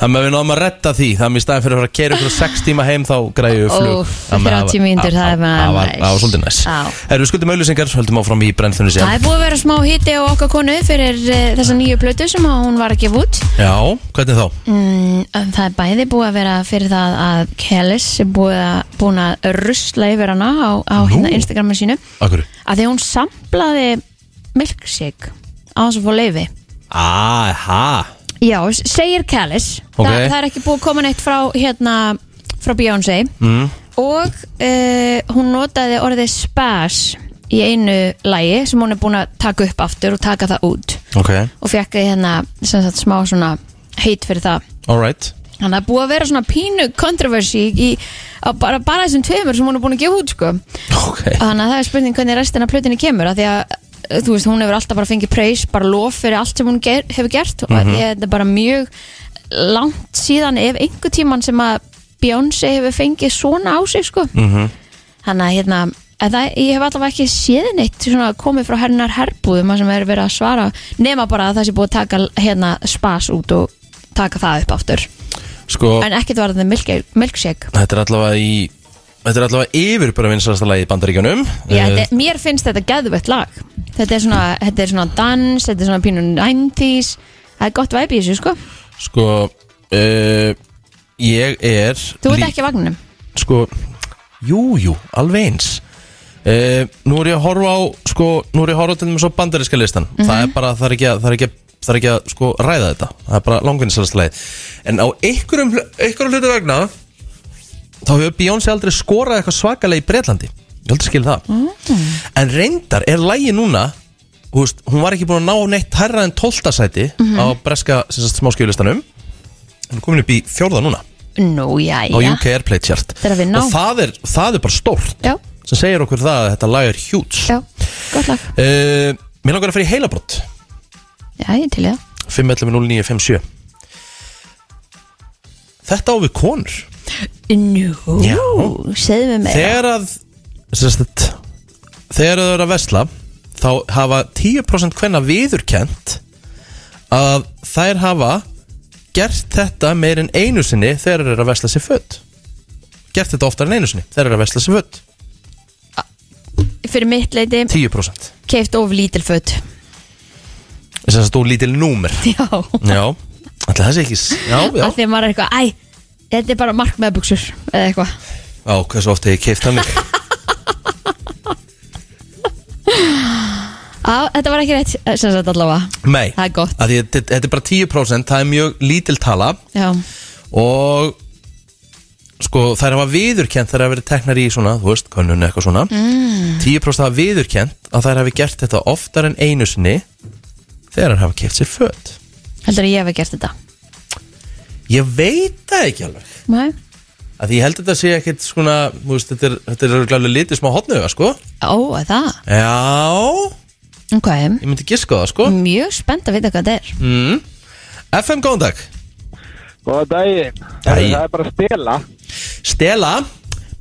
[SPEAKER 2] þannig að við náðum að redda því þannig að í staðin fyrir að fara að keira okkur 6 tíma heim þá græju við flug
[SPEAKER 3] Úff,
[SPEAKER 2] Þannig að
[SPEAKER 3] 30 mínútur, það er bara
[SPEAKER 2] það var-
[SPEAKER 3] næs.
[SPEAKER 2] það var svolítið næs
[SPEAKER 3] Já.
[SPEAKER 2] Herru, við skuldum auðlýsingar, höldum áfram í brennþunni
[SPEAKER 3] Það er
[SPEAKER 2] síðan
[SPEAKER 3] búið að vera smá hiti á okkar konu fyrir uh, þessa nýju plötu sem að hún var að gefa út
[SPEAKER 2] Já, hvernig þá?
[SPEAKER 3] Mm, en það er bæði búið að vera fyrir það að Kellis er búið að, búin að rusla yfir hana á, á
[SPEAKER 2] Nú.
[SPEAKER 3] hérna Instagramu sínu
[SPEAKER 2] Akkur?
[SPEAKER 3] að því að hún samplaði milkshake á þess að fá leifi
[SPEAKER 2] Aha
[SPEAKER 3] Já, s- segir Callis
[SPEAKER 2] Ok.
[SPEAKER 3] það, það er ekki búið að koma neitt frá hérna, frá Beyoncé
[SPEAKER 2] mm.
[SPEAKER 3] og uh, hún notaði orðið spas í einu lægi sem hún er búin að taka upp aftur og taka það út
[SPEAKER 2] Ok,
[SPEAKER 3] og fekk hérna sem sagt, smá svona heit fyrir það
[SPEAKER 2] alright
[SPEAKER 3] Þannig að búið að vera svona pínu kontroversi í á bara, bara þessum tveimur sem hún er búin að gefa út sko.
[SPEAKER 2] Ok
[SPEAKER 3] Þannig að það er spurning hvernig restina af plötinu kemur af því að eh, þú veist, hún hefur alltaf bara fengið preys bara lof fyrir allt sem hún ger, hefur gert og mm þetta er bara mjög langt síðan ef einhver tíman sem að Beyoncé hefur fengið svona á sig sko.
[SPEAKER 2] Mhm.
[SPEAKER 3] Þannig að hérna að það, ég hef allavega ekki séð neitt svona komið frá hennar herbúðum að sem er verið að svara nema bara að það sé búið að taka hérna spas út og taka það upp aftur
[SPEAKER 2] Sko,
[SPEAKER 3] En ekkert var það milkshake
[SPEAKER 2] þetta er allavega í Þetta er allavega yfir bara vinsalasta lagi í Eh, bandaríkjanum
[SPEAKER 3] Já, þetta, mér finnst þetta geðvett lag þetta er, svona, þetta er svona dans Þetta er svona pínur 90s Það er gott væp í þessu sko
[SPEAKER 2] Sko uh, Ég er
[SPEAKER 3] Þú ert
[SPEAKER 2] lí-
[SPEAKER 3] ekki á vagninum
[SPEAKER 2] Sko Jú, jú, alveg eins uh, Nú er ég að horfa á Sko, nú er ég að horfa til þeim svo bandaríska listan Það er bara, það er ekki að, það er ekki að Það er ekki að sko ræða þetta Það er bara langvinnisalasta lagi En á einhverjum, hlu- einhverjum hlutu vegna Þá hefur Beyoncé aldrei skorað eitthvað svakalega í Breitlandi Ég heldur skil það En reyndar er lægi núna þú veist, Hún var ekki búin að ná neitt hærra en 12. sæti Á breska sem sagt, smáskjöflistanum Hún er komin upp í fjórða núna
[SPEAKER 3] Nú, já,
[SPEAKER 2] Á
[SPEAKER 3] já
[SPEAKER 2] UK Airplay chart
[SPEAKER 3] Þetta er að vinna á.
[SPEAKER 2] Og það er, það er bara stórt
[SPEAKER 3] Já,
[SPEAKER 2] Sem segir okkur það að þetta lag er huge
[SPEAKER 3] já, gott lag
[SPEAKER 2] uh, Mér langar að fara í heilabrott
[SPEAKER 3] Já, ég er til í það
[SPEAKER 2] 5.11.09.57 Þetta á við konur
[SPEAKER 3] Nú,
[SPEAKER 2] Já.
[SPEAKER 3] segðu mig meira
[SPEAKER 2] Þegar að sérst, Þegar að þau eru að vesla Þá hafa 10% hvenna viðurkent Að þær hafa Gert þetta meir en einu sinni Þegar þær eru að vesla sér föt Gert þetta oftar en einu sinni Þegar þær eru að vesla sér föt
[SPEAKER 3] Fyrir mitt leiti,
[SPEAKER 2] 10%
[SPEAKER 3] keift of lítil föt
[SPEAKER 2] Þess að þú lítil númer
[SPEAKER 3] Já,
[SPEAKER 2] Já, ætla það sé ekki s- Já, já,
[SPEAKER 3] af því að maður er eitthvað Æ, þetta er bara mark með buksur Eða eitthvað
[SPEAKER 2] já, hversu oft hef ég keift hann
[SPEAKER 3] Á, Þetta var ekki rétt, eh, sem sagt allavega
[SPEAKER 2] Nei,
[SPEAKER 3] Það er gott.
[SPEAKER 2] Af því að þetta þetta er bara 10% Það er mjög lítil tala
[SPEAKER 3] Já,
[SPEAKER 2] Og sko, þær hafa viðurkent Þær hafa verið teknar í svona, þú veist, könnun eitthvað svona mm. 10% hafa viðurkent Að þær hafi gert þetta oftar en einu sinni Þegar þær hafa keift sér föt
[SPEAKER 3] heldur að ég hef gert þetta
[SPEAKER 2] Ég veit það ekki alveg
[SPEAKER 3] Nei
[SPEAKER 2] Af því ég held að þetta sé ekkit svona þú veist, Þetta er, þetta er örugglega litið smá hotnöga, sko
[SPEAKER 3] Ó, er það,
[SPEAKER 2] Já,
[SPEAKER 3] ok
[SPEAKER 2] ég myndi giska á það, sko
[SPEAKER 3] Mjög spennt að vita hvað þetta er
[SPEAKER 2] mm. FM, góðan dag
[SPEAKER 6] Góða daginn.
[SPEAKER 2] Daginn.
[SPEAKER 6] Það er bara að stela.
[SPEAKER 2] Stela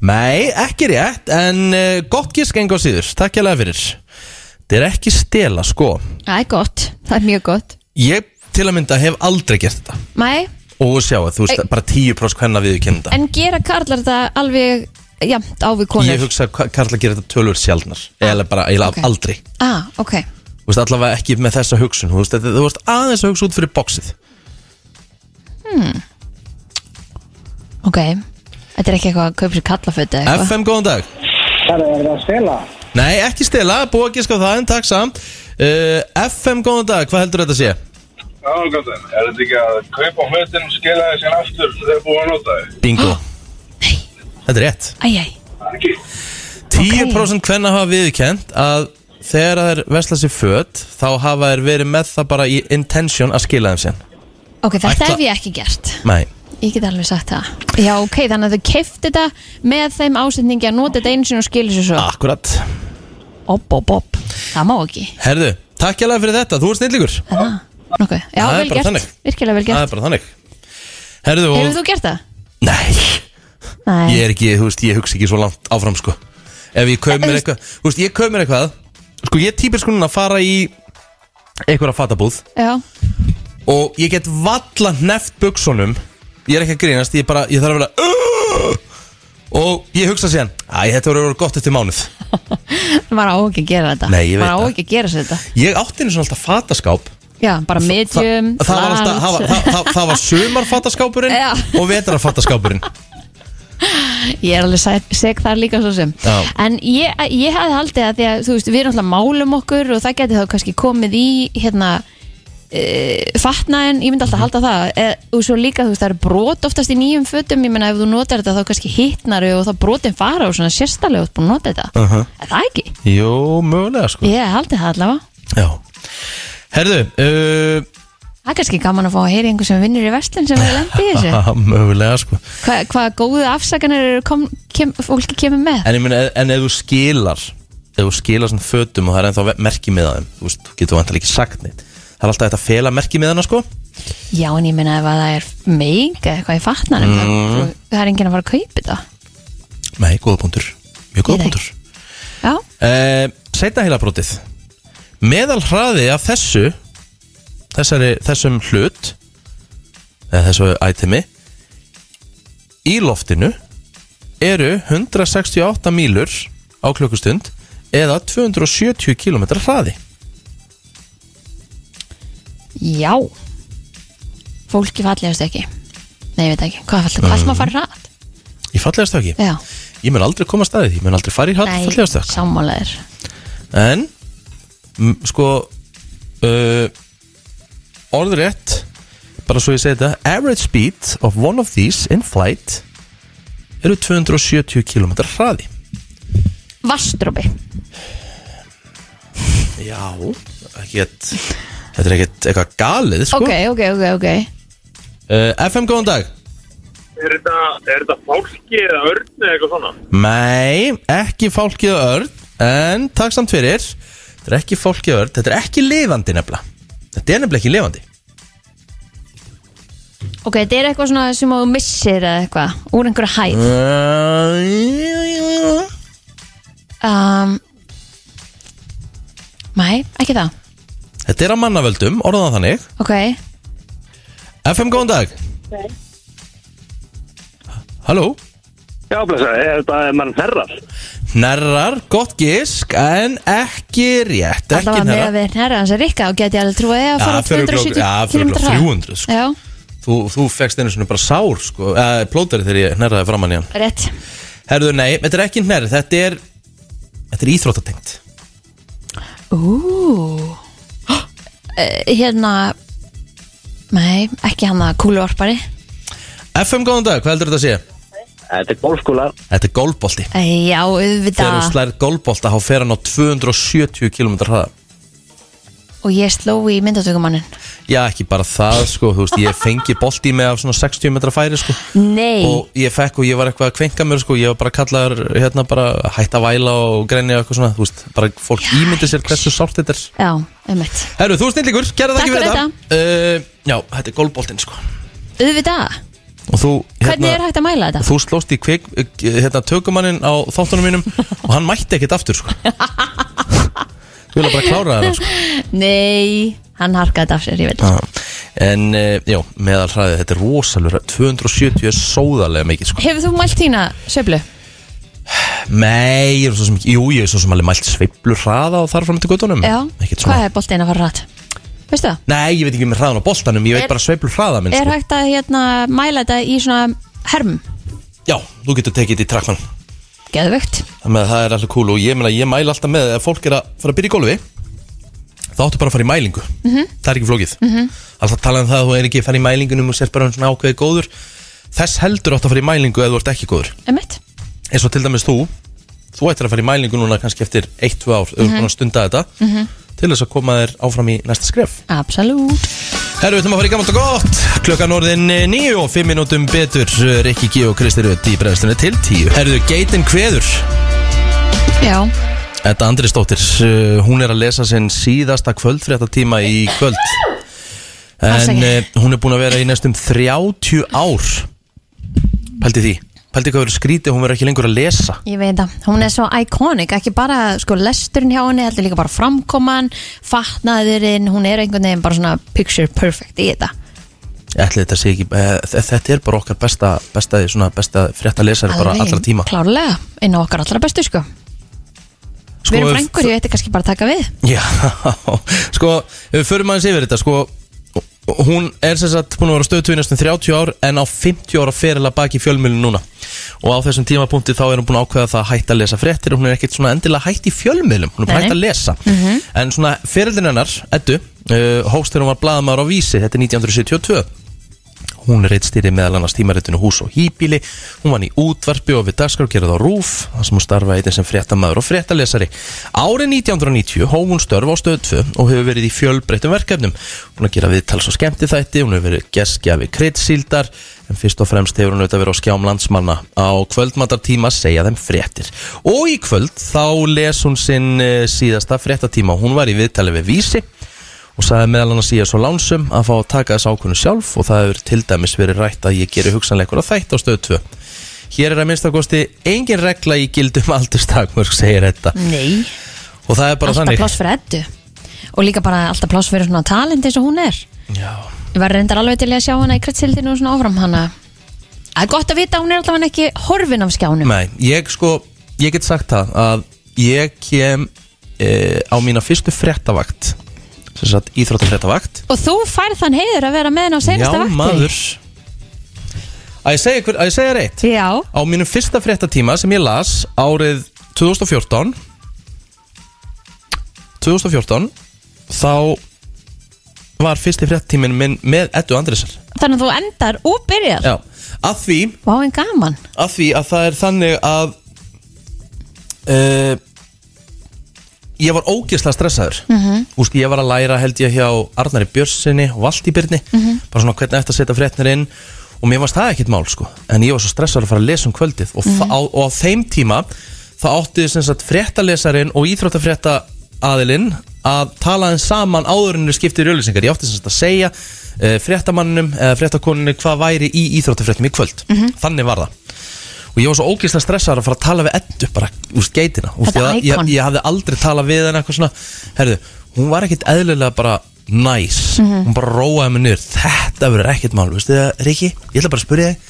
[SPEAKER 2] Nei, ekki rétt En uh, gott gísk engu á síður Takk ég fyrir Þetta er ekki stela, sko
[SPEAKER 3] Það er gott, það er mjög gott
[SPEAKER 2] Ég til að mynda hef aldrei gert þetta
[SPEAKER 3] Nei,
[SPEAKER 2] Og sjá, þú veist,
[SPEAKER 3] Ei.
[SPEAKER 2] bara 10% hvenna við kenda
[SPEAKER 3] en gera karlar þetta alveg jafnt á við konur Ah,
[SPEAKER 2] Ég hugsa að Karla gerir þetta tölur sjálfnar Eða bara, ég
[SPEAKER 3] ok.
[SPEAKER 2] aldrei
[SPEAKER 3] Ah, ok
[SPEAKER 2] Þú veist, allavega ekki með þessa hugsun Þú veist, þetta- þú veist aðeins að hugsa út fyrir boxið
[SPEAKER 3] Ok, þetta er ekki eitthvað að kaupa sér kallafötu eða eitthvað
[SPEAKER 2] FM, góðan dag
[SPEAKER 9] Það er að stela
[SPEAKER 2] Nei, ekki stela, búið að gíska á það en takk samt uh, FM, góðan dag, hvað heldur þetta sé?
[SPEAKER 6] Já, gættin. Er þetta ekki að kaupa hlutin, skila þið sér aftur þegar búið að nota þið?
[SPEAKER 2] Bingo Þetta er rétt
[SPEAKER 3] Æjæj,
[SPEAKER 2] 10% okay. hvenna hafa viðkent að þegar þær vesla sér föt þá hafa þær verið með það bara í intention að skila þeim sér
[SPEAKER 3] ok, þetta
[SPEAKER 2] Ætla-
[SPEAKER 3] hef ég ekki gert
[SPEAKER 2] Nei,
[SPEAKER 3] Ég get alveg sagt það Já, ok, þannig að þau kefti þetta með þeim ásetningi að nota þetta einu sinni og skilja sér
[SPEAKER 2] Ah.
[SPEAKER 3] svo
[SPEAKER 2] akkurat
[SPEAKER 3] Opp, opp, opp, það má ekki
[SPEAKER 2] Herðu, takk ég alveg fyrir þetta, þú ert snillingur
[SPEAKER 3] Ok, já,
[SPEAKER 2] Það er
[SPEAKER 3] vel
[SPEAKER 2] bara
[SPEAKER 3] gert,
[SPEAKER 2] þannig.
[SPEAKER 3] virkilega vel
[SPEAKER 2] Það
[SPEAKER 3] gert
[SPEAKER 2] er bara þannig Herðu,
[SPEAKER 3] Hefur
[SPEAKER 2] og...
[SPEAKER 3] þú gert það?
[SPEAKER 2] Nei,
[SPEAKER 3] Nei,
[SPEAKER 2] ég er ekki, þú veist, ég hugsa ekki svo langt áfram sko Ef ég kaup mér eitthvað, þú veist, ég kaup mér eitthvað Sko, ég er típir sko núna að fara í einhverja fatabúð
[SPEAKER 3] já,
[SPEAKER 2] og ég get valla neft buksunum ég er ekki að grínast, ég bara, ég þarf að vera og ég hugsa síðan æ, þetta voru gott eftir mánuð
[SPEAKER 3] maður á ekki að gera þetta
[SPEAKER 2] Nei, ég veit
[SPEAKER 3] Maður á
[SPEAKER 2] það.
[SPEAKER 3] ekki að gera sér þetta
[SPEAKER 2] ég átti einu svona alltaf fataskáp
[SPEAKER 3] Já, bara
[SPEAKER 2] Þa,
[SPEAKER 3] medium,
[SPEAKER 2] það, var alltaf, það, var,
[SPEAKER 3] large.
[SPEAKER 2] það, það, það var sumarfataskápurinn
[SPEAKER 3] Um, Já.
[SPEAKER 2] og vetrarfataskápurinn
[SPEAKER 3] Ég er alveg seg- seg þar líka svo sem
[SPEAKER 2] Já.
[SPEAKER 3] En ég, ég hafði haldið að því að þú veist, við erum alltaf málum okkur og það geti þá kannski komið í hérna e, fatnaðin, ég myndi alltaf halda það e, og svo líka þú veist, það er brot oftast í nýjum fötum, ég meina ef þú notar þetta þá kannski hittnar og þá brotin fara og svona sérstælega út búin að nota þetta,
[SPEAKER 2] Uh-huh.
[SPEAKER 3] er það ekki?
[SPEAKER 2] jú, mögulega sko
[SPEAKER 3] Ég haldi það allavega
[SPEAKER 2] já herðu, uh,
[SPEAKER 3] Það er kannski gaman að fá að heyra einhver sem vinnur í vestlun sem er lendið í þessu
[SPEAKER 2] haha, mögulega sko
[SPEAKER 3] Hva, Hvaða góðu afsakanir eru kom, kem, fólki kemur með?
[SPEAKER 2] en, myn, en ef þú skilar ef þú skilar svona fötum og það er ennþá ve- merki með þeim þú veist, þú getur vantilega ekki sagt neitt það er alltaf þetta að fela merki með hana sko
[SPEAKER 3] Já, en ég meina ef að það er meik eða eitthvað í fatnanum mm. það er enginn að fara að kaupa þetta
[SPEAKER 2] Nei, góða punktur Mjög
[SPEAKER 3] Ég
[SPEAKER 2] góða
[SPEAKER 3] veit
[SPEAKER 2] punktur
[SPEAKER 3] Já,
[SPEAKER 2] uh, Seinna heilabrótið Meðal hraði af þessu þessari, Þessum hlut eða þessu itemi Í loftinu eru 168 mílur á klukkustund eða 270 km hraði
[SPEAKER 3] Já Fólki fallegast ekki Nei, ég veit ekki, hvað fallegast, hvað
[SPEAKER 2] Mm.
[SPEAKER 3] ætlum að fara rætt?
[SPEAKER 2] í fallegastöki
[SPEAKER 3] Já,
[SPEAKER 2] Ég mun aldrei koma að staðið, ég mun aldrei fara í
[SPEAKER 3] nei,
[SPEAKER 2] fallegastöki
[SPEAKER 3] sammálaður
[SPEAKER 2] En, m, sko uh, Orðrétt Bara svo ég segi þetta Average speed of one of these in flight Eru 270 km hraði
[SPEAKER 3] Vastrópi,
[SPEAKER 2] Já ekkert, Þetta er ekkert eitthvað galið sko.
[SPEAKER 3] ok, ok, ok, ok
[SPEAKER 2] uh, FM, góðan dag
[SPEAKER 6] Er þetta, er þetta fólki eða örn eða eitthvað svona?
[SPEAKER 2] Nei, ekki fólkið og örn En takk samt fyrir Þetta er ekki fólkið og örn Þetta er ekki lifandi nefnilega Þetta er nefnilega ekki lifandi
[SPEAKER 3] Ok, þetta er eitthvað svona sem þú missir eða eitthvað Úr einhverju hæð
[SPEAKER 2] Uh, Mm.
[SPEAKER 3] um, Nei, ekki það
[SPEAKER 2] Þetta er á mannavöldum, orðan þannig
[SPEAKER 3] Ok,
[SPEAKER 2] FM, góðan dag Halló
[SPEAKER 9] Já, blessa, er þetta að mann herrar?
[SPEAKER 2] Nerrar, gott gisk En ekki rétt Ekki
[SPEAKER 3] allavega með að
[SPEAKER 2] nerrar
[SPEAKER 3] við nærra hans er rikka og geti alveg trúið að
[SPEAKER 2] Ja,
[SPEAKER 3] fara á
[SPEAKER 2] fyrir örugglega-
[SPEAKER 3] 270
[SPEAKER 2] ja, fyrir
[SPEAKER 3] km
[SPEAKER 2] örugglega 300, sko.
[SPEAKER 3] Já,
[SPEAKER 2] þú, þú fegst einu svona bara sár sko, eh, Plótari þegar ég nerraði framann í hann
[SPEAKER 3] rétt
[SPEAKER 2] Herðu, nei, þetta er ekki nerr Þetta er, þetta er íþróttatengt
[SPEAKER 3] Ú Eh, Hérna Nei, ekki hann að kúluvarpari
[SPEAKER 2] FM, góðan dag, hvað heldur þetta að sé?
[SPEAKER 9] Þetta er golfskóla.
[SPEAKER 2] Þetta er golfbolti
[SPEAKER 3] Eh, Já,
[SPEAKER 2] Þegar þú
[SPEAKER 3] auðvitað
[SPEAKER 2] slærið golfbolta, þá fer hann á 270 km hraða
[SPEAKER 3] Og ég sló í myndatökumannin
[SPEAKER 2] Já, ekki bara það, sko, þú veist, ég fengi bolti með af svona 60 metra færi, sko
[SPEAKER 3] Nei,
[SPEAKER 2] Og ég fekk og ég var eitthvað að kvenka mér, sko Ég var bara kallaður, hérna, bara hætt að væla og grenja og eitthvað svona Þú veist, bara fólk ímyndi sér hversu sárt þetta er
[SPEAKER 3] já, einmitt
[SPEAKER 2] Herru, þú snillíkur, gerða það ekki
[SPEAKER 3] Takk fyrir
[SPEAKER 2] fyrir þetta uh, Já, þetta er golfboltinn, sko
[SPEAKER 3] Auðvitað,
[SPEAKER 2] Og þú, hérna,
[SPEAKER 3] hvernig er hægt að mæla þetta?
[SPEAKER 2] Þú slóst í kvik, hérna, tökumannin á þáttunum mínum og hann mætti ekkert aftur sko. Þú vilja bara klára það sko.
[SPEAKER 3] Nei, hann harkaði þetta af sér, ég veit
[SPEAKER 2] Ah. En, uh, já, meðal hraðið, þetta er rosalega 270 er sóðarlega mikið sko.
[SPEAKER 3] Hefur þú mælt þína sveiflu?
[SPEAKER 2] Mm, Nei, ég er svo sem ekki Jú, ég er svo sem alveg mælt sveiflu hraða og þar fram til göttunum
[SPEAKER 3] Já,
[SPEAKER 2] Ekkert
[SPEAKER 3] hvað
[SPEAKER 2] svona
[SPEAKER 3] er boltinn að fara rætt? Veistu það?
[SPEAKER 2] Nei, ég veit ekki með hraðan á boltanum, ég veit
[SPEAKER 3] Er-
[SPEAKER 2] bara sveiflu hraða minn
[SPEAKER 3] Er
[SPEAKER 2] sko.
[SPEAKER 3] hægt að hérna, mæla þetta í svona herm?
[SPEAKER 2] Já, þú getur tekið þetta í trakman
[SPEAKER 3] Geðvögt
[SPEAKER 2] Þannig að það er alltaf cool og ég, meina, ég mæla alltaf með ef fólk er að fara að byrja í golfi þá áttu bara að fara í mælingu
[SPEAKER 3] Mhm.
[SPEAKER 2] það er ekki flókið mm -hmm. alltaf talað um það að þú er ekki að fara í mælingunum og sér bara um svona ákveði góður þess heldur áttu að fara í mælingu ef þú ert ekki góður
[SPEAKER 3] Einmitt
[SPEAKER 2] eins og til dæmis þú þú ættir að fara í mælingu núna kannski eftir 1-2 ár ef þú
[SPEAKER 3] Mhm.
[SPEAKER 2] ert búin að stunda þetta til þess að koma þér áfram í næsta skref
[SPEAKER 3] Absolút
[SPEAKER 2] Herru, við ætlum að fara í gammalt og gott Klokkan orðin 9 og 5 minútum betur eh, Rikki G og Kristi Rödd í bregðstunni til 10 Herru, geitin kveður
[SPEAKER 3] Já,
[SPEAKER 2] Edda Andrisdóttir, uh, hún er að lesa sinn síðasta kvöldfréttatíma í kvöld En
[SPEAKER 3] Afsakið.
[SPEAKER 2] uh, hún er búin að vera í næstum 30 ár Pældi því Pældi hvað verið skrítið, hún verið ekki lengur að lesa
[SPEAKER 3] Ég veit það, hún er svo iconic, ekki bara sko lesturinn hjá henni, heldur líka bara framkoman, fatnaðurinn, hún er einhvern veginn bara svona picture perfect í þetta.
[SPEAKER 2] Ætli þetta sé ekki, uh, þetta er bara okkar besta, besta, svona besta frétta lesari bara
[SPEAKER 3] Alveg,
[SPEAKER 2] allra tíma
[SPEAKER 3] Klárlega, inn á okkar allra bestu sko.
[SPEAKER 2] Sko,
[SPEAKER 3] Við erum
[SPEAKER 2] ef-
[SPEAKER 3] frængur, ég ætti kannski bara að taka við.
[SPEAKER 2] Já, sko, ef við förum aðeins yfir þetta, sko, hún er sem sagt búin að vera stöðtu í næstum 30 ár en á 50 ára ferila baki fjölmjölinu núna og á þessum tímapunkti þá er hún búin að ákveða það að hætta að lesa fréttir og hún er ekkert svona endilega hætt í fjölmjölum, hún er bara
[SPEAKER 3] Nei, Mhm. nei.
[SPEAKER 2] hætt að lesa en svona ferildin hennar, Eddu, uh, hóst þegar hún var blaðamaður á Vísi, þetta er 1972 Hún er eittstýri meðal annars tímaritinu Hús og Hýbíli. Hún vann í útvarpi og við dagskrafgerð á Rúf, þar sem hún starfaði einnig sem fréttamaður og fréttalesari. Árið 1990 hóf hún störf á stöð 2 og hefur verið í fjölbreyttum verkefnum. Hún er að gera viðtals og skemmtiþætti, hún hefur verið geskjafi kryddsíldar, en fyrst og fremst hefur hún auðvitað verið á skjám landsmanna á kvöldmatartíma segja þeim fréttir. Og í kvöld þá les hún sinn eh, síðasta fréttatíma. Hún var í viðtali við Vísi og sagði meðal annars ég er svo lánsum að fá að taka þess ákvöndu sjálf og það hefur til dæmis verið rætt að ég geri hugsanleikur að þætt á stöð 2 Hér er að minnstakosti engin regla í gildum aldurstakmörk segir þetta
[SPEAKER 3] Nei,
[SPEAKER 2] og það er bara
[SPEAKER 3] alltaf
[SPEAKER 2] þannig
[SPEAKER 3] pláss fyrir eddu. Og líka bara alltaf pláss fyrir svona talent eins og hún er.
[SPEAKER 2] Já,
[SPEAKER 3] Ég var reyndar alveg til í að sjá hana í kretsildinu og svona áfram hana. Það er gott að vita að hún er allavega ekki horfin af skjánum
[SPEAKER 2] Nei, ég sko, ég get sagt það að ég kem e, á mína fyrstu frettavakt sem sagt íþróttafrettavakt
[SPEAKER 3] Og þú færð þann heiður að vera með henn á senasta
[SPEAKER 2] Já,
[SPEAKER 3] vakti
[SPEAKER 2] maður Að ég segja, hver, að ég segja reitt
[SPEAKER 3] Já,
[SPEAKER 2] Á mínum fyrsta frettatíma sem ég las árið 2014 2014 þá var fyrsti frettatímin minn með Eddu Andrisar
[SPEAKER 3] þannig að þú endar og byrjar
[SPEAKER 2] Já, að því
[SPEAKER 3] Vá, en gaman
[SPEAKER 2] að því að það er þannig að uh, ég var ógeðslega stressaður mm ég var að læra held ég hjá Arnari Björnssoni og Valdi Byrni bara svona hvernig eftir að setja fréttnir inn og mér varst það ekkit mál sko en ég var svo stressaður að fara að lesa um kvöldið og, mm á, og á þeim tíma þá átti sem sagt fréttalesarin og íþróttafrétta aðilinn að tala þeim saman áður en þeir skiptið í auðlýsingar ég átti sem sagt að segja uh, fréttamanninum eða fréttakonunni hvað væri í íþróttafréttum í kvöld þannig var það og ég var svo ógeðslega stressaður að fara að tala við Eddu bara úr skeitina úr
[SPEAKER 3] Þetta
[SPEAKER 2] ég, ég,
[SPEAKER 3] icon.
[SPEAKER 2] ég hafði aldrei talað við henni eitthvað svona herðu, hún var ekkit eðlilega bara næs,
[SPEAKER 3] Mhm.
[SPEAKER 2] hún bara róaði mig niður þetta verður ekkit mál, veistu það Ríki, ég ætla bara að spyrja þig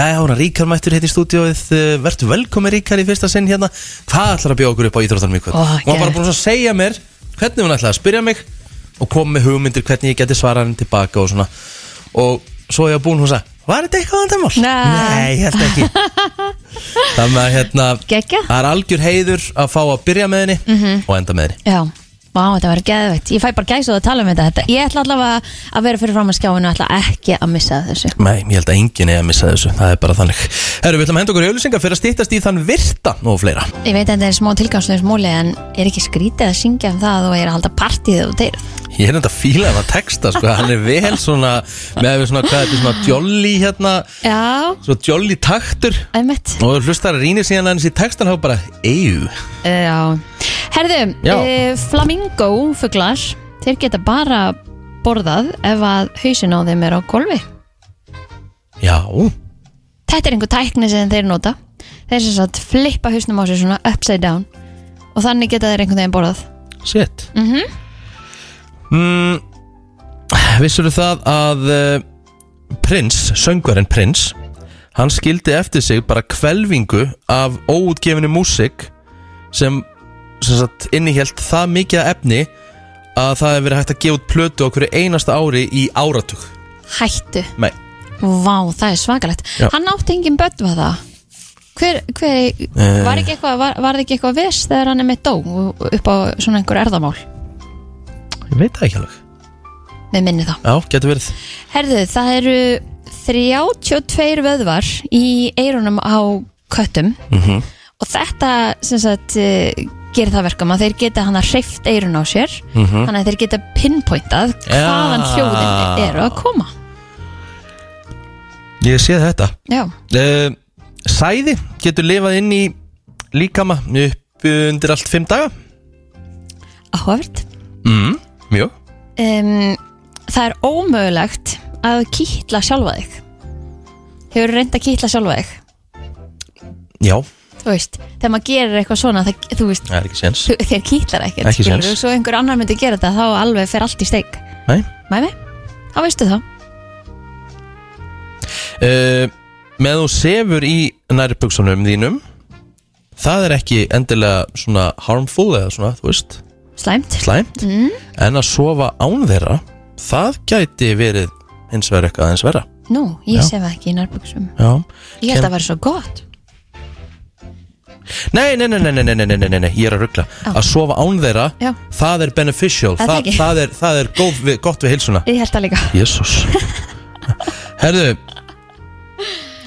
[SPEAKER 2] Jæja, hún er Ríkar mættur hér í stúdíóið eh, Vertu velkomin Ríkar í fyrsta sinn hérna Hvað ætlar að bjóða okkur upp á íþróttanum í kvöld?
[SPEAKER 3] Ó,
[SPEAKER 2] hún var bara
[SPEAKER 3] geðveikt.
[SPEAKER 2] búin að segja mér Hvernig hún ætlaði að spyrja mig Og kom með hugmyndir hvernig ég geti svarað henni tilbaka og svona Og svo ég var búin hún sagði Var þetta eitthvað andan mál?
[SPEAKER 3] Nei.
[SPEAKER 2] Nei, ég held ekki Þannig að hérna
[SPEAKER 3] Geggjað.
[SPEAKER 2] Það er algjör heiður að fá að byrja með henni Og enda með henni
[SPEAKER 3] Já, vá, þetta var geðveitt Ég fæ bara gæs að tala um þetta þetta. Ég ætla allavega að vera fyrir fram að skjáinu og ætla ekki að missa af þessu
[SPEAKER 2] Nei, ég held að enginn er að missa þessu Það er bara þannig Herru, við ætlum að henda okkur í auðlýsingar fyrir að stýttast í þann virta og fleira
[SPEAKER 3] Ég veit að þetta er smá tilgangslöðis múli en er ekki skrítið að syngja um það og er að halda partíð og deyr
[SPEAKER 2] Ég er enda að fíla hann að texta sko. Hann er vel svona Með að við svona, hvað þetta er svona jolly hérna
[SPEAKER 3] Já,
[SPEAKER 2] Svo jolly taktur
[SPEAKER 3] einmitt
[SPEAKER 2] Og hlustar að rýni síðan aðeins í textan Há bara, eyju
[SPEAKER 3] Já Herðu,
[SPEAKER 2] Já.
[SPEAKER 3] E, flamingo fuglar þeir geta bara borðað ef að hausin á þeim er á golfi
[SPEAKER 2] Já,
[SPEAKER 3] Þetta er einhver tækni sem þeir nota þeir sem sagt flippa hausnum á sig svona upside down og þannig geta þeir einhvern veginn borðað
[SPEAKER 2] shit mm -hmm. mm, Vissur það að uh, Prins, söngvarinn Prins Hann skildi eftir sig bara kvelvingu Af óútgefinu músik Sem, sem sagt, innihjælt það mikið af efni Að það hefur verið hægt að gefa út plötu Okkur einasta ári í áratug
[SPEAKER 3] Hættu,
[SPEAKER 2] Nei,
[SPEAKER 3] vá, það er svakalegt
[SPEAKER 2] Já.
[SPEAKER 3] Hann átti engin börn var það Hver, hver,
[SPEAKER 2] Eh.
[SPEAKER 3] var ekki eitthvað var, var það ekki eitthvað viss þegar hann er með dó upp á svona einhver erðamál
[SPEAKER 2] ég veit það ekki alveg
[SPEAKER 3] með minni þá
[SPEAKER 2] Já, getur verið
[SPEAKER 3] Herðu, það eru 32 vöðvar í eyrunum á köttum
[SPEAKER 2] Mhm.
[SPEAKER 3] og þetta sem sagt eh, gerir það verkum að þeir geta hann að hreift eyrun á sér
[SPEAKER 2] Mhm.
[SPEAKER 3] þannig að þeir geta pinpointað hvaðan
[SPEAKER 2] Ja.
[SPEAKER 3] hljóðin eru að koma
[SPEAKER 2] Ég sé þetta
[SPEAKER 3] Já,
[SPEAKER 2] uh, Sæði getur lifað inn í líkama upp undir allt fimm daga
[SPEAKER 3] áhverfð
[SPEAKER 2] mm, Mjög
[SPEAKER 3] um, Það er ómögulegt að kýtla sjálfa þig Hefur reynd að kýtla sjálfa þig
[SPEAKER 2] Já,
[SPEAKER 3] Þú veist, þegar maður gerir eitthvað svona það, þú veist,
[SPEAKER 2] það er ekki séns
[SPEAKER 3] þú- þér kýtlar ekkert
[SPEAKER 2] Ekki
[SPEAKER 3] skilurðu,
[SPEAKER 2] séns.
[SPEAKER 3] Svo einhver annar myndi gera þetta þá alveg fer allt í steik
[SPEAKER 2] Nei
[SPEAKER 3] Mæmi, þá veistu það
[SPEAKER 2] uh, Með þú sefur í nærbuksunum þínum Það er ekki endilega svona harmful eða svona, þú veist,
[SPEAKER 3] Slæmt
[SPEAKER 2] slæmt
[SPEAKER 3] Mm.
[SPEAKER 2] En að sofa án þeirra Það gæti verið hins vegar eitthvað eins verra
[SPEAKER 3] Nú, ég
[SPEAKER 2] Já.
[SPEAKER 3] sef ekki í nærbuksum
[SPEAKER 2] Já
[SPEAKER 3] Ég held
[SPEAKER 2] Kem-
[SPEAKER 3] að vera svo gott
[SPEAKER 2] Nei, nei, nei, nei, nei, nei, nei, nei, nei, nei, ég er að ruggla Að sofa án þeirra,
[SPEAKER 3] Já.
[SPEAKER 2] það er beneficial
[SPEAKER 3] Er það
[SPEAKER 2] Það,
[SPEAKER 3] ekki?
[SPEAKER 2] það er, það er góð við, gott við heilsuna
[SPEAKER 3] Ég held það líka
[SPEAKER 2] Jésús Herðu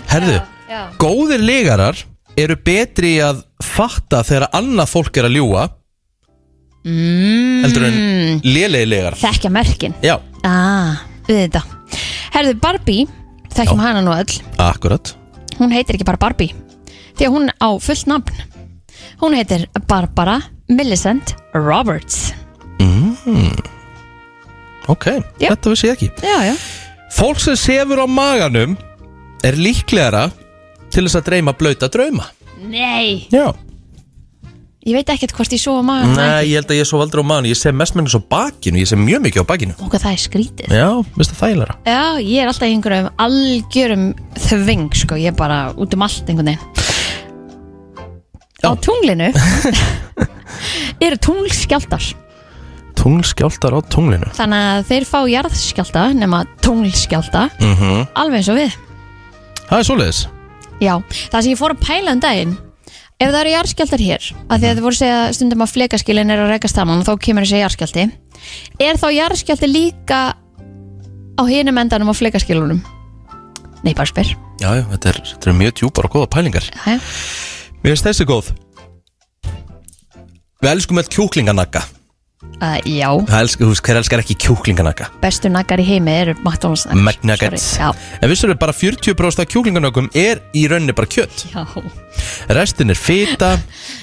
[SPEAKER 2] Herðu
[SPEAKER 3] já.
[SPEAKER 2] Góðir legarar eru betri í að fatta þegar annað fólk er að ljúa mm. heldur en lélegi legarar
[SPEAKER 3] Þekkja merkin
[SPEAKER 2] Já,
[SPEAKER 3] ah, Við þetta Herðu, Barbie, þekkjum hana nú öll
[SPEAKER 2] akkurat
[SPEAKER 3] Hún heitir ekki bara Barbie Því að hún á fullt nafn Hún heitir Barbara Millicent Roberts
[SPEAKER 2] Ok,
[SPEAKER 3] Já.
[SPEAKER 2] þetta vissi ég ekki
[SPEAKER 3] Já, já
[SPEAKER 2] Fólk sem sefur á maganum er líklegara til þess að dreyma blauta drauma
[SPEAKER 3] Nei,
[SPEAKER 2] Já
[SPEAKER 3] Ég veit ekkert hvort ég svo á magan
[SPEAKER 2] Nei, ég held að ég svo aldrei á maður Ég sé mest mennins á bakinu, ég sé mjög mikið á bakinu
[SPEAKER 3] Og hvað það er skrítið
[SPEAKER 2] Já, minnst það þægilega
[SPEAKER 3] Já, ég er alltaf í einhverjum algjörum þving, sko, ég er bara út um allt einhvern veginn.
[SPEAKER 2] Já.
[SPEAKER 3] Á tunglinu eru tunglskjaldar,
[SPEAKER 2] Tunglskjáltar á tunglinu
[SPEAKER 3] þannig að þeir fá jarðskjálta nema tunglskjálta,
[SPEAKER 2] mm -hmm.
[SPEAKER 3] alveg eins og við.
[SPEAKER 2] Það er svoleiðis
[SPEAKER 3] Já, það sem ég fór að pæla um daginn, ef það eru jarðskjaldar hér, að því að þið voru að segja stundum að flekaskilin eru að rekast saman og þá kemur þessi jarðskjaldi, er þá jarðskjaldi líka á hinum endanum á flekaskilunum? Nei, bara spyr.
[SPEAKER 2] Já, já, þetta er, þetta er mjög djúpar og góða pælingar
[SPEAKER 3] Jæja.
[SPEAKER 2] Mér finnst þessi góð Við elskum öll kjúklinganakka
[SPEAKER 3] Uh, já,
[SPEAKER 2] Það elsk- Þú veist, hver elskar ekki kjúklinganakka?
[SPEAKER 3] bestu naggar í heimi eru McDonald's naggar.
[SPEAKER 2] McNuggets.
[SPEAKER 3] Sorry,
[SPEAKER 2] En vissur við bara 40% af kjúklinganökum er í rauninni bara kjött
[SPEAKER 3] Já, já.
[SPEAKER 2] Restin er fita,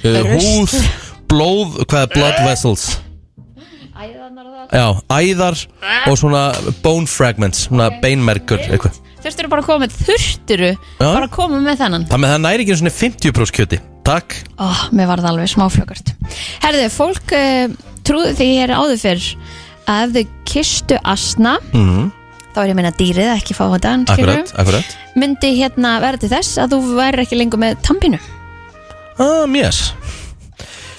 [SPEAKER 2] uh,
[SPEAKER 3] Rusl.
[SPEAKER 2] húð, blóð, hvað er blood vessels Já, æðar og svona bone fragments, svona beinmergur eitthvað
[SPEAKER 3] Þurfturu bara að koma með þurfturu
[SPEAKER 2] Já.
[SPEAKER 3] bara að koma með þennan.
[SPEAKER 2] Það með það næri ekki svona 50% kjöti Takk
[SPEAKER 3] Ó, mér var það alveg smáflökkart. Herðu, fólk uh, trúðu því hér áður fyrr að ef þau kistu asna,
[SPEAKER 2] mm,
[SPEAKER 3] þá er ég að minna dýrið að ekki fá þetta, skilurðu,
[SPEAKER 2] Akkurat, akkurat
[SPEAKER 3] myndi hérna verða til þess að þú væri ekki lengur með tampinu.
[SPEAKER 2] Ah, mjöss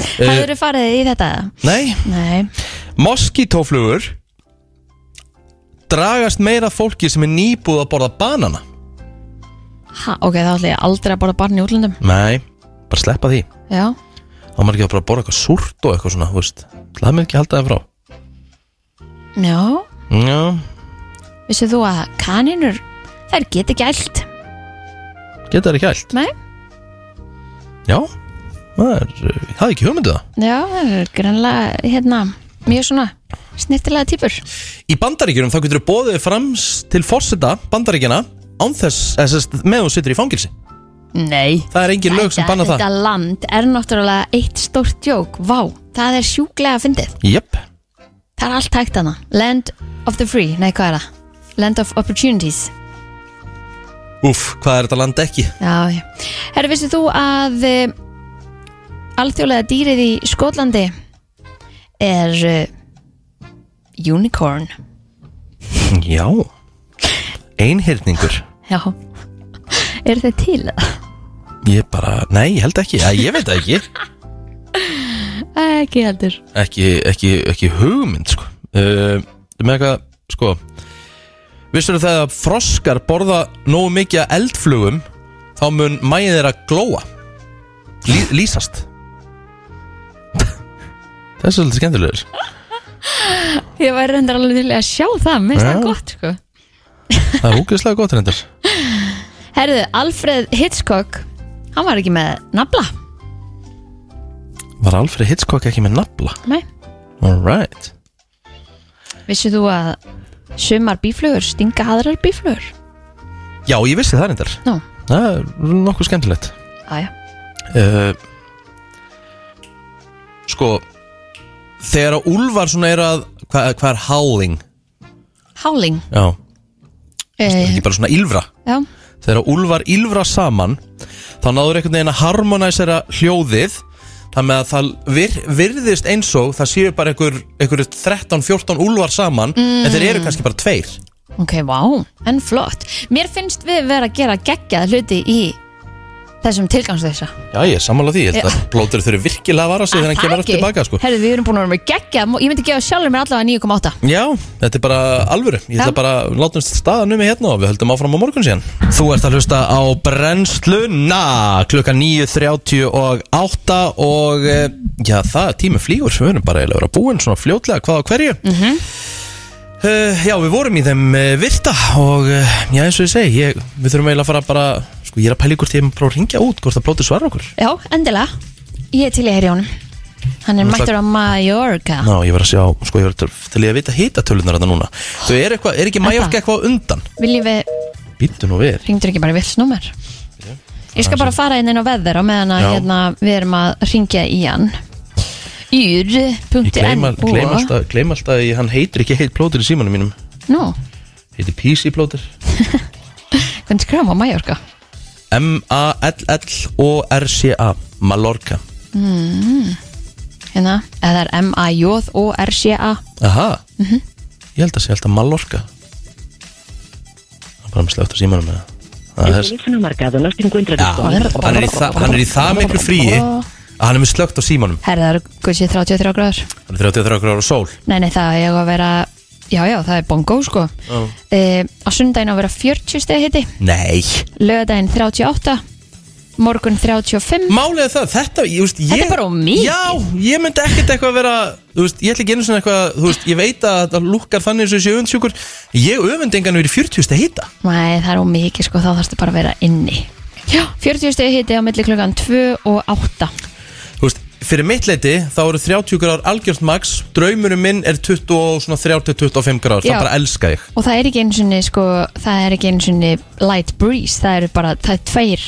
[SPEAKER 3] Uh,
[SPEAKER 2] uh,
[SPEAKER 3] Hafður farið í þetta?
[SPEAKER 2] Nei,
[SPEAKER 3] Nei.
[SPEAKER 2] moskítóflugur Dragast meira að fólki sem er nýbúð að borða banana
[SPEAKER 3] Ha, ok, þá ætla ég aldrei að borða barn í útlöndum.
[SPEAKER 2] Nei, bara sleppa því
[SPEAKER 3] Já.
[SPEAKER 2] Það maður ekki að bara borða eitthvað súrt og eitthvað svona, þú veist Það með ekki halda það frá
[SPEAKER 3] Já.
[SPEAKER 2] Já,
[SPEAKER 3] Vissið þú að kaninur, þær get ekki ælt.
[SPEAKER 2] geta það ekki allt
[SPEAKER 3] Nei.
[SPEAKER 2] Já, það er, eh, það er ekki hugmyndu það
[SPEAKER 3] Já, það er grannlega, hérna, mjög svona snittilega típur.
[SPEAKER 2] Í bandaríkjunum þá getur þú bóðið fram til fórseta bandaríkjana án þess, eða sem sagt, með þú situr í fangilsi
[SPEAKER 3] Nei.
[SPEAKER 2] Það er engin lög sem banna það
[SPEAKER 3] Þetta land er náttúrulega eitt stórt djók. Vá, það er sjúklega fyndið.
[SPEAKER 2] Jöpp,
[SPEAKER 3] Það er allt hægt hana. Land of the free, nei hvað er það? Land of opportunities.
[SPEAKER 2] úf, hvað er þetta land ekki?
[SPEAKER 3] Já, já. Herra, vissið þú að e, alþjóðlega dýrið í Skotlandi er e, unicorn?
[SPEAKER 2] Já Einhyrningur
[SPEAKER 3] Já. Er það til?
[SPEAKER 2] Ég bara, nei, ég held ekki, Æ, ég veit það ekki
[SPEAKER 3] Ekki heldur.
[SPEAKER 2] ekki, ekki, ekki hugmynd sko. uh, með eitthvað sko vissur það að froskar borða nógu mikið af eldflugum þá mun mæðið þeirra glóa Lý, lýsast það er svolítið skemmtilegur
[SPEAKER 3] Ég væri reyndar alveg til í að sjá það, minnst
[SPEAKER 2] Já.
[SPEAKER 3] það gott sko.
[SPEAKER 2] það er úkvæðslega gott reyndur
[SPEAKER 3] Herðu, Alfred Hitchcock, hann var ekki með nafla.
[SPEAKER 2] var Alfred Hitchcock ekki með nafla
[SPEAKER 3] Nei.
[SPEAKER 2] alright
[SPEAKER 3] Vissið þú að sumar bíflugur stinga aðrar bíflugur?
[SPEAKER 2] já ég vissi það reyndur
[SPEAKER 3] Nú.
[SPEAKER 2] það er nokkuð skemmtilegt
[SPEAKER 3] Æja.
[SPEAKER 2] uh, Sko Þegar að úlfar svona er að Hvað hva er howling?
[SPEAKER 3] Háling.
[SPEAKER 2] Já,
[SPEAKER 3] Uh,
[SPEAKER 2] ekki bara svona ylfra
[SPEAKER 3] já.
[SPEAKER 2] Þegar að úlfar ylfra saman Þá náður einhvern veginn að harmonæsera hljóðið Þannig að það vir, virðist eins og Það séu bara einhver, einhver 13-14 úlfar saman En þeir eru kannski bara tveir
[SPEAKER 3] Ok, vá, en flott. Mér finnst við vera að gera geggjað hluti í þessum tilgangsleysa.
[SPEAKER 2] Já, ég er sammála því, ég held
[SPEAKER 3] Já. Ah,
[SPEAKER 2] að blótur þurfi virkilega að vara sig þegar hann kemur aftur tilbaka sko.
[SPEAKER 3] Herðu, við erum búin að vera með geggjað, ég myndi gefa sjálfur mér allavega 9,8.
[SPEAKER 2] Já, þetta er bara alvöru Ég ætla
[SPEAKER 3] Já.
[SPEAKER 2] bara að láta um staðan um mig hérna og við höldum áfram á morgun síðan Þú ert að hlusta á brennsluna klukka 9.30 og 8 og eh, já, það tími flýgur við erum bara eiginlega að vera búin svona fljótlega hvað á hverju uh, Já, við vorum í þeim uh, virta og uh, já, eins og ég segi ég, við þurfum eiginlega að fara bara sko, ég er að pæla ykkur til að prófa að ringja út hvort það blóti svar okkur
[SPEAKER 3] Já, endilega. Ég er til í heyri honum. Hann er
[SPEAKER 2] Nú,
[SPEAKER 3] mættur á Mallorca.
[SPEAKER 2] Ná, ég verð að sjá, sko, ég verð til, til í að vita hitatölunar þetta núna Þú er, eitthva, er ekki Mallorca eitthvað á undan?
[SPEAKER 3] Viljum við,
[SPEAKER 2] Býttu nú við
[SPEAKER 3] ringdur ekki bara vilsnúmer? Ég skal bara fara inn inn á veður á meðan að
[SPEAKER 2] Já.
[SPEAKER 3] hérna, við erum að ringja í hann. Yr.no
[SPEAKER 2] Ég gleym al- gleym alltaf, gleym alltaf að ég- hann heitir ekki heit plótur í símanum mínum
[SPEAKER 3] Nú,
[SPEAKER 2] Heitir PC plótur
[SPEAKER 3] hvernig skræma á Mallorca?
[SPEAKER 2] M-A-L-L-O-R-C-A Mallorca
[SPEAKER 3] mm. Hérna, eða það er M-A-J-O-R-C-A
[SPEAKER 2] Aha, ég held að sé alltaf Mallorca Það er bara með slögt á símanum með það er, já, hann, er í það, hann er í það miklu fríi að hann er með slögt á símanum
[SPEAKER 3] Herra, það eru guðsið 33 gráður
[SPEAKER 2] Hann er 33 gráður og sól
[SPEAKER 3] Nei, nei, það er að vera Já, já, það er bongo, sko
[SPEAKER 2] Já.
[SPEAKER 3] e, Á sundaginn á að vera 40 stegi hitti
[SPEAKER 2] Nei
[SPEAKER 3] Lögadaginn 38 Morgun 35
[SPEAKER 2] Málið er það, þetta, ég veist ég,
[SPEAKER 3] Þetta er bara of mikið.
[SPEAKER 2] Já, ég myndi ekkert eitthvað vera Þú veist, ég ætla ekki einu svona eitthvað Þú veist, ég veit að það lukkar þannig eins og þessi öfundsjúkur Ég öfund engan verið 40 stið hýta
[SPEAKER 3] Nei, það er ómikið, sko, þá þarfstu bara að vera inni Já, 40 stegi hitti á milli klukkan 2 og 8
[SPEAKER 2] Þú veist, fyrir mitt leiti þá eru 30 gráður algjört max Draumurinn minn er 20 og svona 30-25 gráður
[SPEAKER 3] Já.
[SPEAKER 2] Það bara elska ég
[SPEAKER 3] Og það er ekki einu sinni, sko, það er ekki einu sinni light breeze, það eru bara, það er tveir,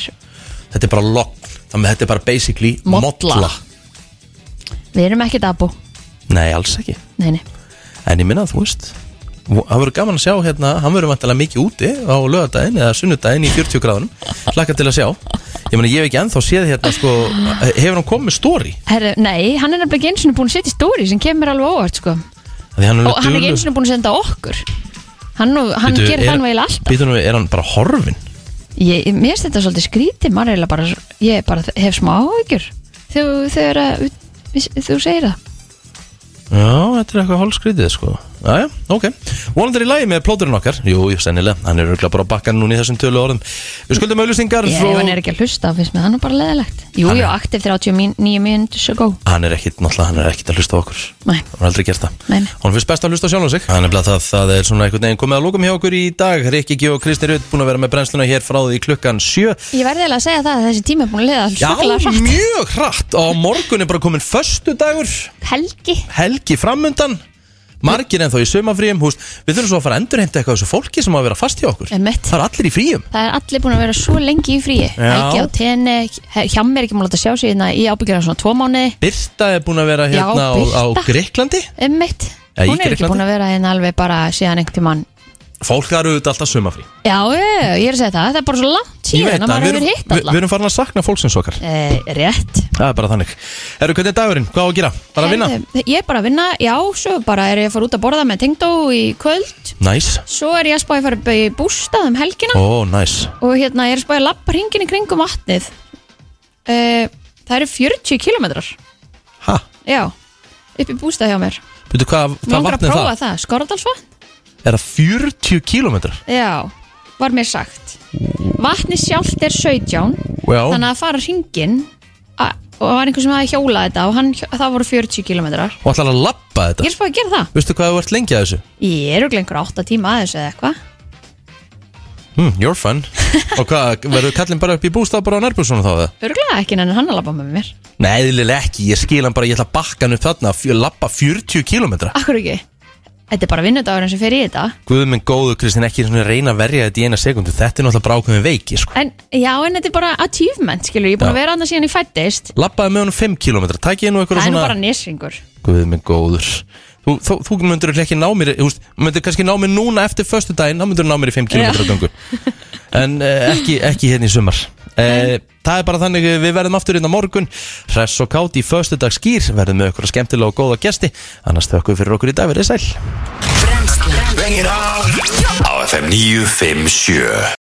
[SPEAKER 2] Þetta er bara logn Þannig að þetta er bara basically
[SPEAKER 3] Molla.
[SPEAKER 2] modla
[SPEAKER 3] við erum ekki dabu,
[SPEAKER 2] Nei, alls ekki
[SPEAKER 3] nei, nei,
[SPEAKER 2] En ég minna, þú veist Það verður gaman að sjá hérna, hann verður vantilega mikið úti á lögadaginn eða sunnudaginn í 40 gráðunum Laka til að sjá Ég meina, ég hef ekki ennþá séð hérna, sko Hefur hann komið með story?
[SPEAKER 3] Herru, nei, hann er nefnilega ekki einu sinni búin að setja í stóri sem kemur alveg óvart, sko,
[SPEAKER 2] Af Því hann er
[SPEAKER 3] og hann er ekki einu sinni búin að senda okkur, hann, nú, hann
[SPEAKER 2] Bíddu,
[SPEAKER 3] gerir
[SPEAKER 2] er-
[SPEAKER 3] þannig veil alltaf,
[SPEAKER 2] Býtum við, er hann bara horfin?
[SPEAKER 3] ég, mér finnst þetta svolítið skrítið, maður er eiginlega bara, ég bara hef smá áhyggjur, þú, þegar að, þú segir það,
[SPEAKER 2] Já, þetta er eitthvað hálfskrítið, sko Jæja, ok Vonandur í lagi með plóturinn okkar Jú, jú, sennilega, hann er örgulega bara á bakkan núna í þessum tölu orðum Við skuldum auðlýsingar
[SPEAKER 3] ég, ef hann er ekki að hlusta, finnst mér það nú bara leðilegt, jú,
[SPEAKER 2] Hann er-
[SPEAKER 3] jú, aktiv 39 minutes ago,
[SPEAKER 2] Hann er ekkit, náttúrulega, hann er ekkit að hlusta á okkur
[SPEAKER 3] nei,
[SPEAKER 2] Hún er aldrei gert það
[SPEAKER 3] Nei, nei.
[SPEAKER 2] Hún finnst best að hlusta sjálf á sig Það er nefnilega það, það er svona einhvern veginn komið að lókum hjá okkur í dag Rikki G og Kristi Rutt búin að vera með brennsluna hér frá því klukkan 7
[SPEAKER 3] ég verði eiginlega að segja það að þessi tími er búin að leða
[SPEAKER 2] Já,
[SPEAKER 3] svakalega hratt.
[SPEAKER 2] mjög hratt og á morgun er bara komin förstu dagur
[SPEAKER 3] helgi
[SPEAKER 2] Helgi framundan Margir ennþá í sömafríum húst. Við þurfum svo að fara að endurheimta eitthvað af þessu fólki sem á að vera fast hjá okkur
[SPEAKER 3] Einmitt.
[SPEAKER 2] Það er allir í fríum
[SPEAKER 3] Það er allir búin að vera svo lengi í fríi Helgi á tenni, hjá mér er ekki múin að láta sjá sig hérna í ábyggjara svona tvo mánuði
[SPEAKER 2] Birta er búin að vera
[SPEAKER 3] Já,
[SPEAKER 2] hérna á, á
[SPEAKER 3] Birta.
[SPEAKER 2] Greiklandi
[SPEAKER 3] Ummitt,
[SPEAKER 2] Ja, í
[SPEAKER 3] hún er ekki
[SPEAKER 2] Grikklandi.
[SPEAKER 3] búin að vera hérna alveg bara síðan einhvern tímann
[SPEAKER 2] Fólk það eru auðvitað alltaf sömafrí
[SPEAKER 3] Já, ég, ég er að segja það, það er bara svo langt síðan að maður
[SPEAKER 2] við,
[SPEAKER 3] hefur
[SPEAKER 2] erum-
[SPEAKER 3] hitt
[SPEAKER 2] við, við
[SPEAKER 3] alla
[SPEAKER 2] erum farin að sakna fólksins okkar
[SPEAKER 3] Eh, Rétt
[SPEAKER 2] Það er bara þannig Herru, hvernig er dagurinn? Hvað á að gera? Bara að vinna?
[SPEAKER 3] Herðu, Ég er bara að vinna, já, svo bara er ég að fara út að borða með tengdó í kvöld
[SPEAKER 2] Næs
[SPEAKER 3] Svo er ég að spá að fara upp í bústað um helgina
[SPEAKER 2] Ó, næs
[SPEAKER 3] Og hérna, ég er að spá að lappa hringin í kringum vatnið Eh, Það eru 40 kilometrar
[SPEAKER 2] Hæ?
[SPEAKER 3] Já, upp í bústað hjá mér
[SPEAKER 2] Veitu hvað,
[SPEAKER 3] Mér
[SPEAKER 2] hvað
[SPEAKER 3] langar að
[SPEAKER 2] vatn er
[SPEAKER 3] prófa
[SPEAKER 2] það?
[SPEAKER 3] það, það. Skorradalsvatn?
[SPEAKER 2] Er það 40 kílómetrar?
[SPEAKER 3] Já, var mér sagt Vatni sjálft er 17
[SPEAKER 2] Já
[SPEAKER 3] Þannig að fara hringin a- Og það var einhver sem hafi hjólað þetta Og hann, hjó- það voru 40 kilometrar
[SPEAKER 2] Og ætlar að lappa þetta?
[SPEAKER 3] Ég er spáð að gera það
[SPEAKER 2] Veistu hvað þú ert lengi að þessu?
[SPEAKER 3] Ég er örugglega einhver 8 tíma aðeins eða eitthvað
[SPEAKER 2] Hmm, you're fun Og hvað, verður kallinn bara upp í bústað bara á nærbúrssonu þá eða?
[SPEAKER 3] Örglega ekki en hann að labba með mér
[SPEAKER 2] Nei, eðlilega ekki, ég skil hann bara, ég ætla að bakka hann upp þarna fjö- Lappa 40 kílómetra
[SPEAKER 3] Akkur ekki Þetta er bara vinnudagurinn sem fer í þetta
[SPEAKER 2] Guðum minn góðu, Kristinn, ekki svona reyna að verja þetta í eina sekundu Þetta er náttúrulega brákuðum veiki, sko
[SPEAKER 3] En já, en þetta er bara achievement skilur Ég er búin
[SPEAKER 2] Já.
[SPEAKER 3] að vera annað síðan ég fættist
[SPEAKER 2] Lappaði með honum 5 kílómetra, tækið nú
[SPEAKER 3] Það
[SPEAKER 2] eitthvað
[SPEAKER 3] er nú
[SPEAKER 2] svona
[SPEAKER 3] bara nesringur
[SPEAKER 2] Guð minn góður Þú, þú, þú myndur ekki ná mér Þú veist, myndur kannski ná mér núna eftir föstu daginn þá myndur ná mér í 5 km gangu En uh, ekki, ekki hérna í sumar uh, Það er bara þannig eh, Við verðum aftur inn á morgun Hress og kátt í föstu dag skýr Verðum með okkur skemmtilega og góða gesti Annars þau okkur fyrir okkur í dag verið sæl
[SPEAKER 1] Á FM 957